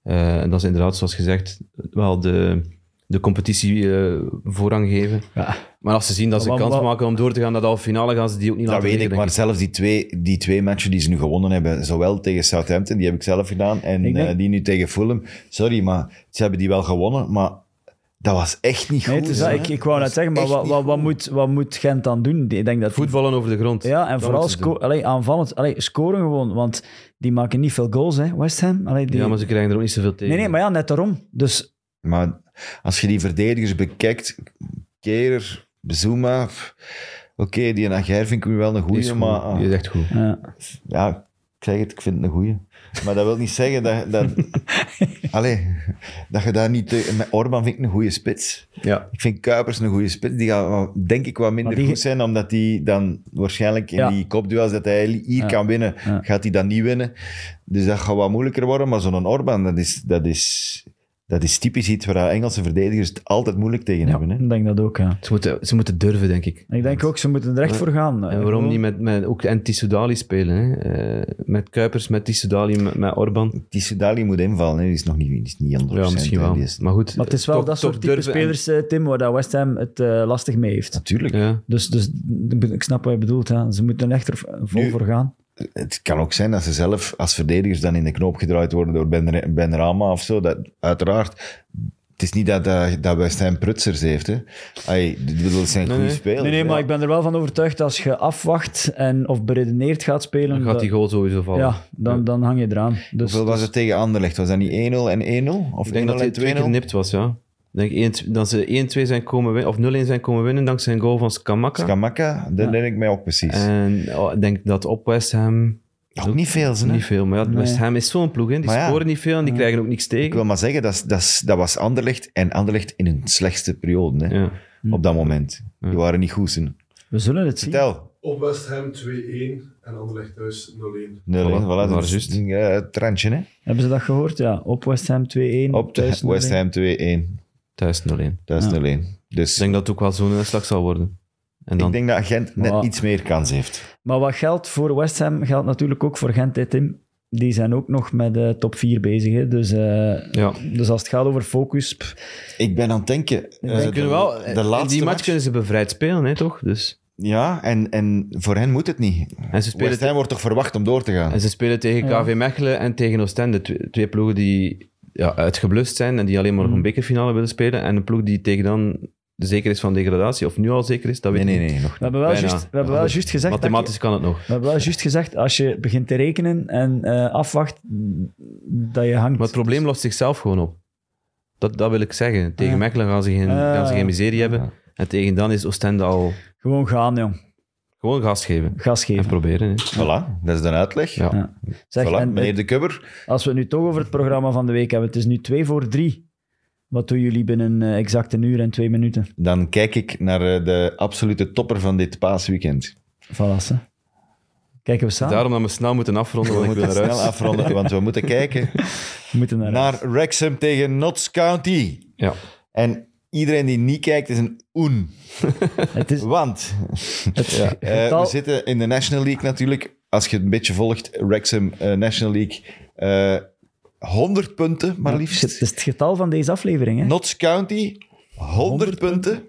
Speaker 3: Eh, en dat ze inderdaad, zoals gezegd, wel de, de competitie eh, voorrang geven.
Speaker 4: Ja.
Speaker 3: Maar als ze zien dat ze
Speaker 4: Maar-
Speaker 3: kans
Speaker 4: maar-
Speaker 3: maken om door te gaan naar de halve finale, gaan ze die ook niet
Speaker 2: Dat
Speaker 3: laten
Speaker 2: weet ik,
Speaker 3: liggen,
Speaker 2: maar
Speaker 3: denk
Speaker 2: zelfs die twee, die twee matchen die ze nu gewonnen hebben, zowel tegen Southampton, die heb ik zelf gedaan, en
Speaker 4: Ik denk-
Speaker 2: eh, die nu tegen Fulham. Sorry, maar ze hebben die wel gewonnen, maar dat was echt niet goed.
Speaker 4: Nee, het is dat.
Speaker 2: hè.
Speaker 4: ik, ik
Speaker 2: Dat
Speaker 4: wou net
Speaker 2: is
Speaker 4: zeggen, maar
Speaker 2: echt
Speaker 4: wat,
Speaker 2: niet
Speaker 4: wat, wat
Speaker 2: goed.
Speaker 4: moet, wat moet Gent dan doen? Ik denk dat die-
Speaker 3: Voetballen over de grond.
Speaker 4: Ja, en
Speaker 3: Dat
Speaker 4: vooral
Speaker 3: moeten ze
Speaker 4: sco
Speaker 3: doen.
Speaker 4: allee, aanvallend. Allee, scoren gewoon, want die maken niet veel goals, hè, West Ham. Allee, die...
Speaker 3: Ja, maar ze krijgen er ook niet zoveel tegen.
Speaker 4: Nee, nee, maar ja, net daarom. Dus
Speaker 2: Maar als je die verdedigers bekijkt, Kerer, Zuma, pff, oké, die en Ager vind ik nu wel een
Speaker 3: Die
Speaker 2: goeie,
Speaker 3: is goed.
Speaker 2: maar ah,
Speaker 3: Die is echt goed.
Speaker 4: ja.
Speaker 2: ja, ik zeg het, ik vind het een goeie. Maar dat wil niet zeggen dat, dat, allee, dat je daar niet... te- Met Orban vind ik een goede spits.
Speaker 3: Ja.
Speaker 2: Ik vind Kuipers een goede spits. Die gaat wel, denk ik wat minder
Speaker 4: Maar die-
Speaker 2: goed zijn, omdat die dan waarschijnlijk in
Speaker 4: Ja.
Speaker 2: die kopduels dat hij hier kan winnen,
Speaker 4: Ja.
Speaker 2: gaat hij dan niet winnen. Dus dat gaat wat moeilijker worden. Maar zo'n Orban, dat is, dat, is, dat is typisch iets waar Engelse verdedigers het altijd moeilijk tegen
Speaker 4: Ja,
Speaker 2: hebben. Hè?
Speaker 4: ik denk dat ook, ja.
Speaker 3: Ze moeten, ze moeten durven, denk ik.
Speaker 4: Ik denk ook, ze moeten er echt voor gaan.
Speaker 3: En waarom niet met, met ook en Tissoudali spelen? Hè? Eh, met Kuipers, met Tissoudali, met, met Orban.
Speaker 2: Die Sudali moet invallen, hè. die is nog niet, die is niet 100%.
Speaker 3: Ja, misschien
Speaker 2: hè.
Speaker 3: wel.
Speaker 2: Die is-
Speaker 3: Maar goed,
Speaker 4: Maar het is wel
Speaker 3: toch-
Speaker 4: dat
Speaker 3: toch
Speaker 4: soort type
Speaker 3: durven en-
Speaker 4: spelers, eh, Tim, waar dat West Ham het eh, lastig mee heeft.
Speaker 2: Natuurlijk.
Speaker 3: Ja.
Speaker 4: Dus, dus ik snap wat je bedoelt. Hè. Ze moeten er echt er vol
Speaker 2: Nu-
Speaker 4: voor gaan.
Speaker 2: Het kan ook zijn dat ze zelf als verdedigers dan in de knoop gedraaid worden door Ben, ben Rama of zo. Dat, uiteraard. Het is niet dat, dat, dat West Ham prutsers heeft. Hè. Ai, ik bedoel, het zijn goede
Speaker 3: nee.
Speaker 2: spelers.
Speaker 4: Nee, nee, maar
Speaker 2: ja.
Speaker 4: ik ben er wel van overtuigd, als je afwacht en of beredeneerd gaat spelen,
Speaker 3: Dan gaat
Speaker 4: dat-
Speaker 3: die goal sowieso vallen.
Speaker 4: ja, dan, dan hang je eraan. Dus,
Speaker 2: Hoeveel was het tegen Anderlecht? Was dat niet 1-0 en 1-0? Of
Speaker 3: Ik denk dat hij
Speaker 2: 1-0
Speaker 3: twee
Speaker 2: en
Speaker 3: keer
Speaker 2: 2-0?
Speaker 3: nipt was, ja. Ik denk één- dat ze 1-2 zijn komen winnen, of 0-1 zijn komen winnen dankzij een goal van Skamaka.
Speaker 2: Skamaka, dat denk ik mij ook precies.
Speaker 3: En oh, ik denk dat op West Ham
Speaker 2: ook niet veel, ze, hè?
Speaker 3: niet veel. Maar ja, West Ham is zo'n ploeg, hè. die
Speaker 2: Maar ja.
Speaker 3: scoren niet veel en die krijgen ook niks
Speaker 2: Ik
Speaker 3: tegen.
Speaker 2: wil maar zeggen, dat, is- dat, is- dat was Anderlecht en Anderlecht in hun slechtste periode hè,
Speaker 3: Ja.
Speaker 2: op dat moment. Die waren niet goed. Zijn.
Speaker 4: we zullen het zien.
Speaker 2: Vertel.
Speaker 5: Op West Ham 2-1 en Anderlecht thuis 0-1.
Speaker 2: 0
Speaker 3: Voilà,
Speaker 2: voilà, dat
Speaker 3: dat was
Speaker 2: is
Speaker 3: juist.
Speaker 2: een eh, trendje. Hè?
Speaker 4: Hebben ze dat gehoord? Ja, op West Ham 2-1.
Speaker 2: Op de
Speaker 4: thuis
Speaker 2: West
Speaker 4: 0-1.
Speaker 2: Ham 2-1.
Speaker 3: Thuis 0-1.
Speaker 2: Dat is
Speaker 4: Ja.
Speaker 2: 0-1. Dus
Speaker 3: Ik denk dat het ook wel zo'n uitslag zal worden. En dan,
Speaker 2: ik denk dat Gent net
Speaker 4: Voilà.
Speaker 2: iets meer kans heeft.
Speaker 4: Maar wat geldt voor West Ham, geldt natuurlijk ook voor Gent en Tim. Die zijn ook nog met de top 4 bezig. Hè. Dus, eh,
Speaker 3: ja.
Speaker 4: dus als het gaat over focus... pff,
Speaker 2: Ik ben aan het denken. eh,
Speaker 3: Ze kunnen wel,
Speaker 2: de,
Speaker 3: eh,
Speaker 2: de laatste
Speaker 3: die match,
Speaker 2: match.
Speaker 3: kunnen ze bevrijd spelen, hè, toch? Dus,
Speaker 2: Ja, en, en voor hen moet het niet.
Speaker 3: en, ze spelen
Speaker 2: West Ham wordt toch verwacht om door te gaan?
Speaker 3: en ze spelen tegen
Speaker 4: Ja.
Speaker 3: KV Mechelen en tegen Oostende. Twee, twee ploegen die ja, uitgeblust zijn en die alleen maar nog een
Speaker 2: Hmm.
Speaker 3: bekerfinale willen spelen. En een ploeg die tegen dan zeker is van degradatie, of nu al zeker is, dat weet
Speaker 2: Nee,
Speaker 3: ik
Speaker 2: nee,
Speaker 3: niet.
Speaker 2: nee, nog
Speaker 4: we hebben wel
Speaker 3: Bijna.
Speaker 4: juist- we hebben wel juist gezegd... dat je-
Speaker 3: Mathematisch kan het nog.
Speaker 4: We hebben wel juist gezegd, als je begint te rekenen en eh, afwacht, dat je hangt.
Speaker 3: Maar het probleem lost zichzelf gewoon op. Dat, dat wil ik zeggen. Tegen Mechelen gaan ze geen,
Speaker 2: Eh,
Speaker 4: Ah.
Speaker 3: gaan ze geen miserie hebben. En tegen dan is Oostende al
Speaker 4: Gewoon gaan, jong.
Speaker 3: gewoon gas geven. Dus
Speaker 4: Gas
Speaker 3: En
Speaker 4: geven.
Speaker 3: proberen. hè.
Speaker 2: Voilà, dat is de uitleg.
Speaker 3: Ja.
Speaker 4: Ja. Zeg,
Speaker 2: Voilà,
Speaker 4: en, eh,
Speaker 2: meneer De Kubber.
Speaker 4: als we het nu toch over het programma van de week hebben, het is nu twee voor drie. Wat doen jullie binnen eh, exact een uur en twee minuten?
Speaker 2: Dan kijk ik naar eh, de absolute topper van dit paasweekend.
Speaker 4: Valassen. Kijken we samen?
Speaker 3: Daarom dat we snel moeten afronden,
Speaker 2: We
Speaker 3: want ik wil
Speaker 2: moeten snel
Speaker 3: eruit.
Speaker 2: afronden, want we moeten
Speaker 3: (laughs)
Speaker 2: kijken
Speaker 4: We moeten naar,
Speaker 2: naar Wrexham tegen Notts County.
Speaker 3: Ja.
Speaker 2: En iedereen die niet kijkt is een oen. (laughs)
Speaker 4: Het is
Speaker 2: Want
Speaker 4: het
Speaker 2: eh,
Speaker 4: getal...
Speaker 2: we zitten in de National League natuurlijk. Als je het een beetje volgt, Wrexham eh, National League. eh 100 punten, maar liefst.
Speaker 4: Het is het getal van deze aflevering, hè?
Speaker 2: Notts County, 100 punten.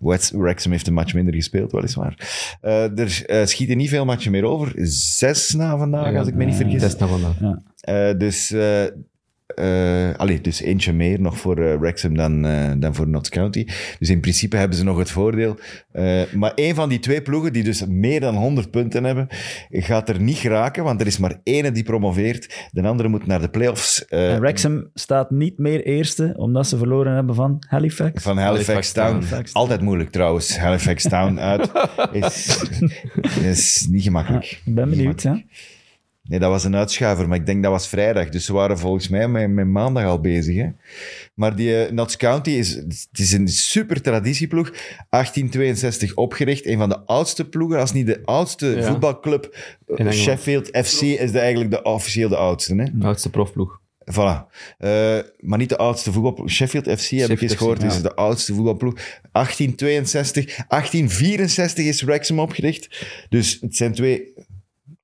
Speaker 2: West Wrexham heeft een match minder gespeeld, weliswaar. Eh, er eh, schieten niet veel matchen meer over. Zes na vandaag, als ik me niet vergis.
Speaker 3: Test naar vandaag.
Speaker 2: Eh, dus eh, eh allee, dus eentje meer nog voor eh, Wrexham dan, eh, dan voor Notts County. Dus in principe hebben ze nog het voordeel. Eh, maar één van die twee ploegen, die dus meer dan 100 punten hebben, gaat er niet geraken, want er is maar ene die promoveert. De andere moet naar de playoffs. eh,
Speaker 4: En Wrexham staat niet meer eerste, omdat ze verloren hebben van Halifax.
Speaker 2: van Halifax,
Speaker 3: Halifax
Speaker 2: Town.
Speaker 4: Town.
Speaker 2: Altijd moeilijk trouwens. Halifax Town
Speaker 4: (laughs)
Speaker 2: uit. Is, is niet gemakkelijk.
Speaker 4: Ik ben
Speaker 2: Niet
Speaker 4: benieuwd, ja.
Speaker 2: Nee, dat was een uitschuiver, maar ik denk dat was vrijdag. Dus ze waren volgens mij met, met maandag al bezig. Hè? Maar die eh, Notts County is, het is een super traditieploeg. 1862 opgericht, een van de oudste ploegen, als niet de oudste
Speaker 3: Ja.
Speaker 2: voetbalclub.
Speaker 3: Engeland.
Speaker 2: Sheffield FC is de, eigenlijk de officieel de oudste. Hè?
Speaker 3: Mm. Oudste profploeg.
Speaker 2: Voilà. Eh, maar niet de oudste voetbalploeg. Sheffield FC, heb ik
Speaker 3: Sheffield
Speaker 2: eens gehoord,
Speaker 3: FC,
Speaker 2: is
Speaker 3: ja.
Speaker 2: de oudste voetbalploeg. 1862, 1864 is Wrexham opgericht. Dus het zijn twee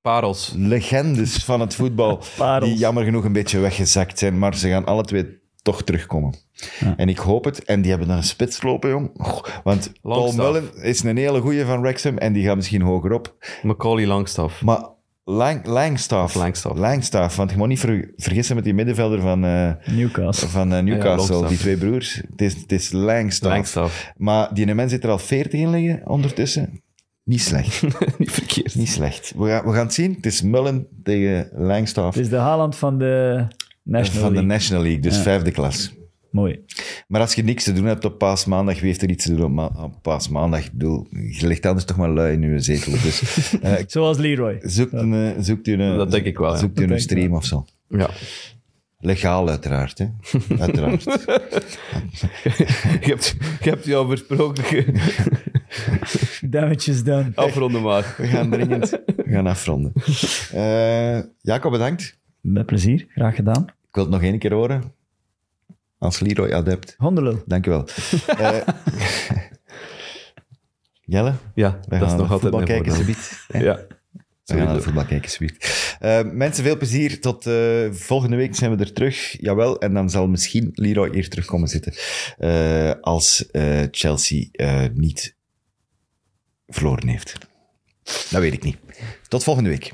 Speaker 3: Parels.
Speaker 2: legendes van het voetbal
Speaker 4: (laughs) Parels.
Speaker 2: die jammer genoeg een beetje weggezakt zijn, maar ze gaan alle twee toch terugkomen.
Speaker 4: Ja.
Speaker 2: En ik hoop het. En die hebben dan een spits lopen, jong. Och, want Paul
Speaker 3: Langstaaf.
Speaker 2: Mullen is een hele goeie van Wrexham en die gaat misschien hoger op.
Speaker 3: Macaulay Langstaff.
Speaker 2: Maar Lang, Langstaaf,
Speaker 3: Of Langstaaf.
Speaker 2: Langstaaf, want je moet niet ver- vergissen met die middenvelder van, eh,
Speaker 4: Newcastle.
Speaker 2: van eh, Newcastle,
Speaker 3: Longstaff.
Speaker 2: die twee broers. Het is, het is Langstaaf.
Speaker 3: Langstaff.
Speaker 2: Maar die mens zit er al 40 in liggen ondertussen. Niet slecht,
Speaker 3: Niet verkeerd.
Speaker 2: niet slecht. We gaan, we gaan het zien. Het is Mullen tegen Langstaaf.
Speaker 4: Het is de Haaland van de National
Speaker 2: van de
Speaker 4: League.
Speaker 2: National League, dus
Speaker 4: Ja.
Speaker 2: vijfde klas.
Speaker 4: Mooi.
Speaker 2: Maar als je niks te doen hebt op paasmaandag, wie heeft er iets te doen op, ma- op paasmaandag? Ik bedoel, je ligt anders toch maar lui in je zetel.
Speaker 3: (laughs)
Speaker 2: Dus eh,
Speaker 4: Zoals (laughs) Leroy.
Speaker 2: zoekt, een, eh, zoekt u een...
Speaker 3: Dat denk ik wel, ja.
Speaker 2: Zoekt u
Speaker 4: Dat
Speaker 2: een
Speaker 4: denk ik
Speaker 2: stream of zo.
Speaker 3: Ja.
Speaker 2: Legaal uiteraard,
Speaker 3: (laughs)
Speaker 2: hè. Uiteraard.
Speaker 3: Je hebt, je hebt jouw besproken
Speaker 2: (laughs)
Speaker 4: Damage is done.
Speaker 3: afronden maar.
Speaker 2: We gaan dringend we gaan afronden. Eh, Jacob, bedankt.
Speaker 4: Met plezier. Graag gedaan.
Speaker 2: Ik wil het nog één keer horen. Als Leroy adept.
Speaker 4: Hondelul.
Speaker 2: Dank
Speaker 3: (laughs)
Speaker 2: u wel. Eh, (laughs) Jelle,
Speaker 3: Ja,
Speaker 2: we
Speaker 3: dat is
Speaker 2: gaan
Speaker 3: nog altijd
Speaker 2: voetbal
Speaker 3: mijn
Speaker 2: kijken,
Speaker 3: voordeel.
Speaker 2: subiet. hè?
Speaker 3: Ja.
Speaker 2: We gaan naar de
Speaker 3: Sowieso.
Speaker 2: voetbal kijken, sweet. Eh, mensen, veel plezier. Tot eh, volgende week zijn we er terug. Jawel, en dan zal misschien Leroy hier terugkomen zitten. eh, als eh, Chelsea eh, niet verloren heeft. Dat weet ik niet. Tot volgende week.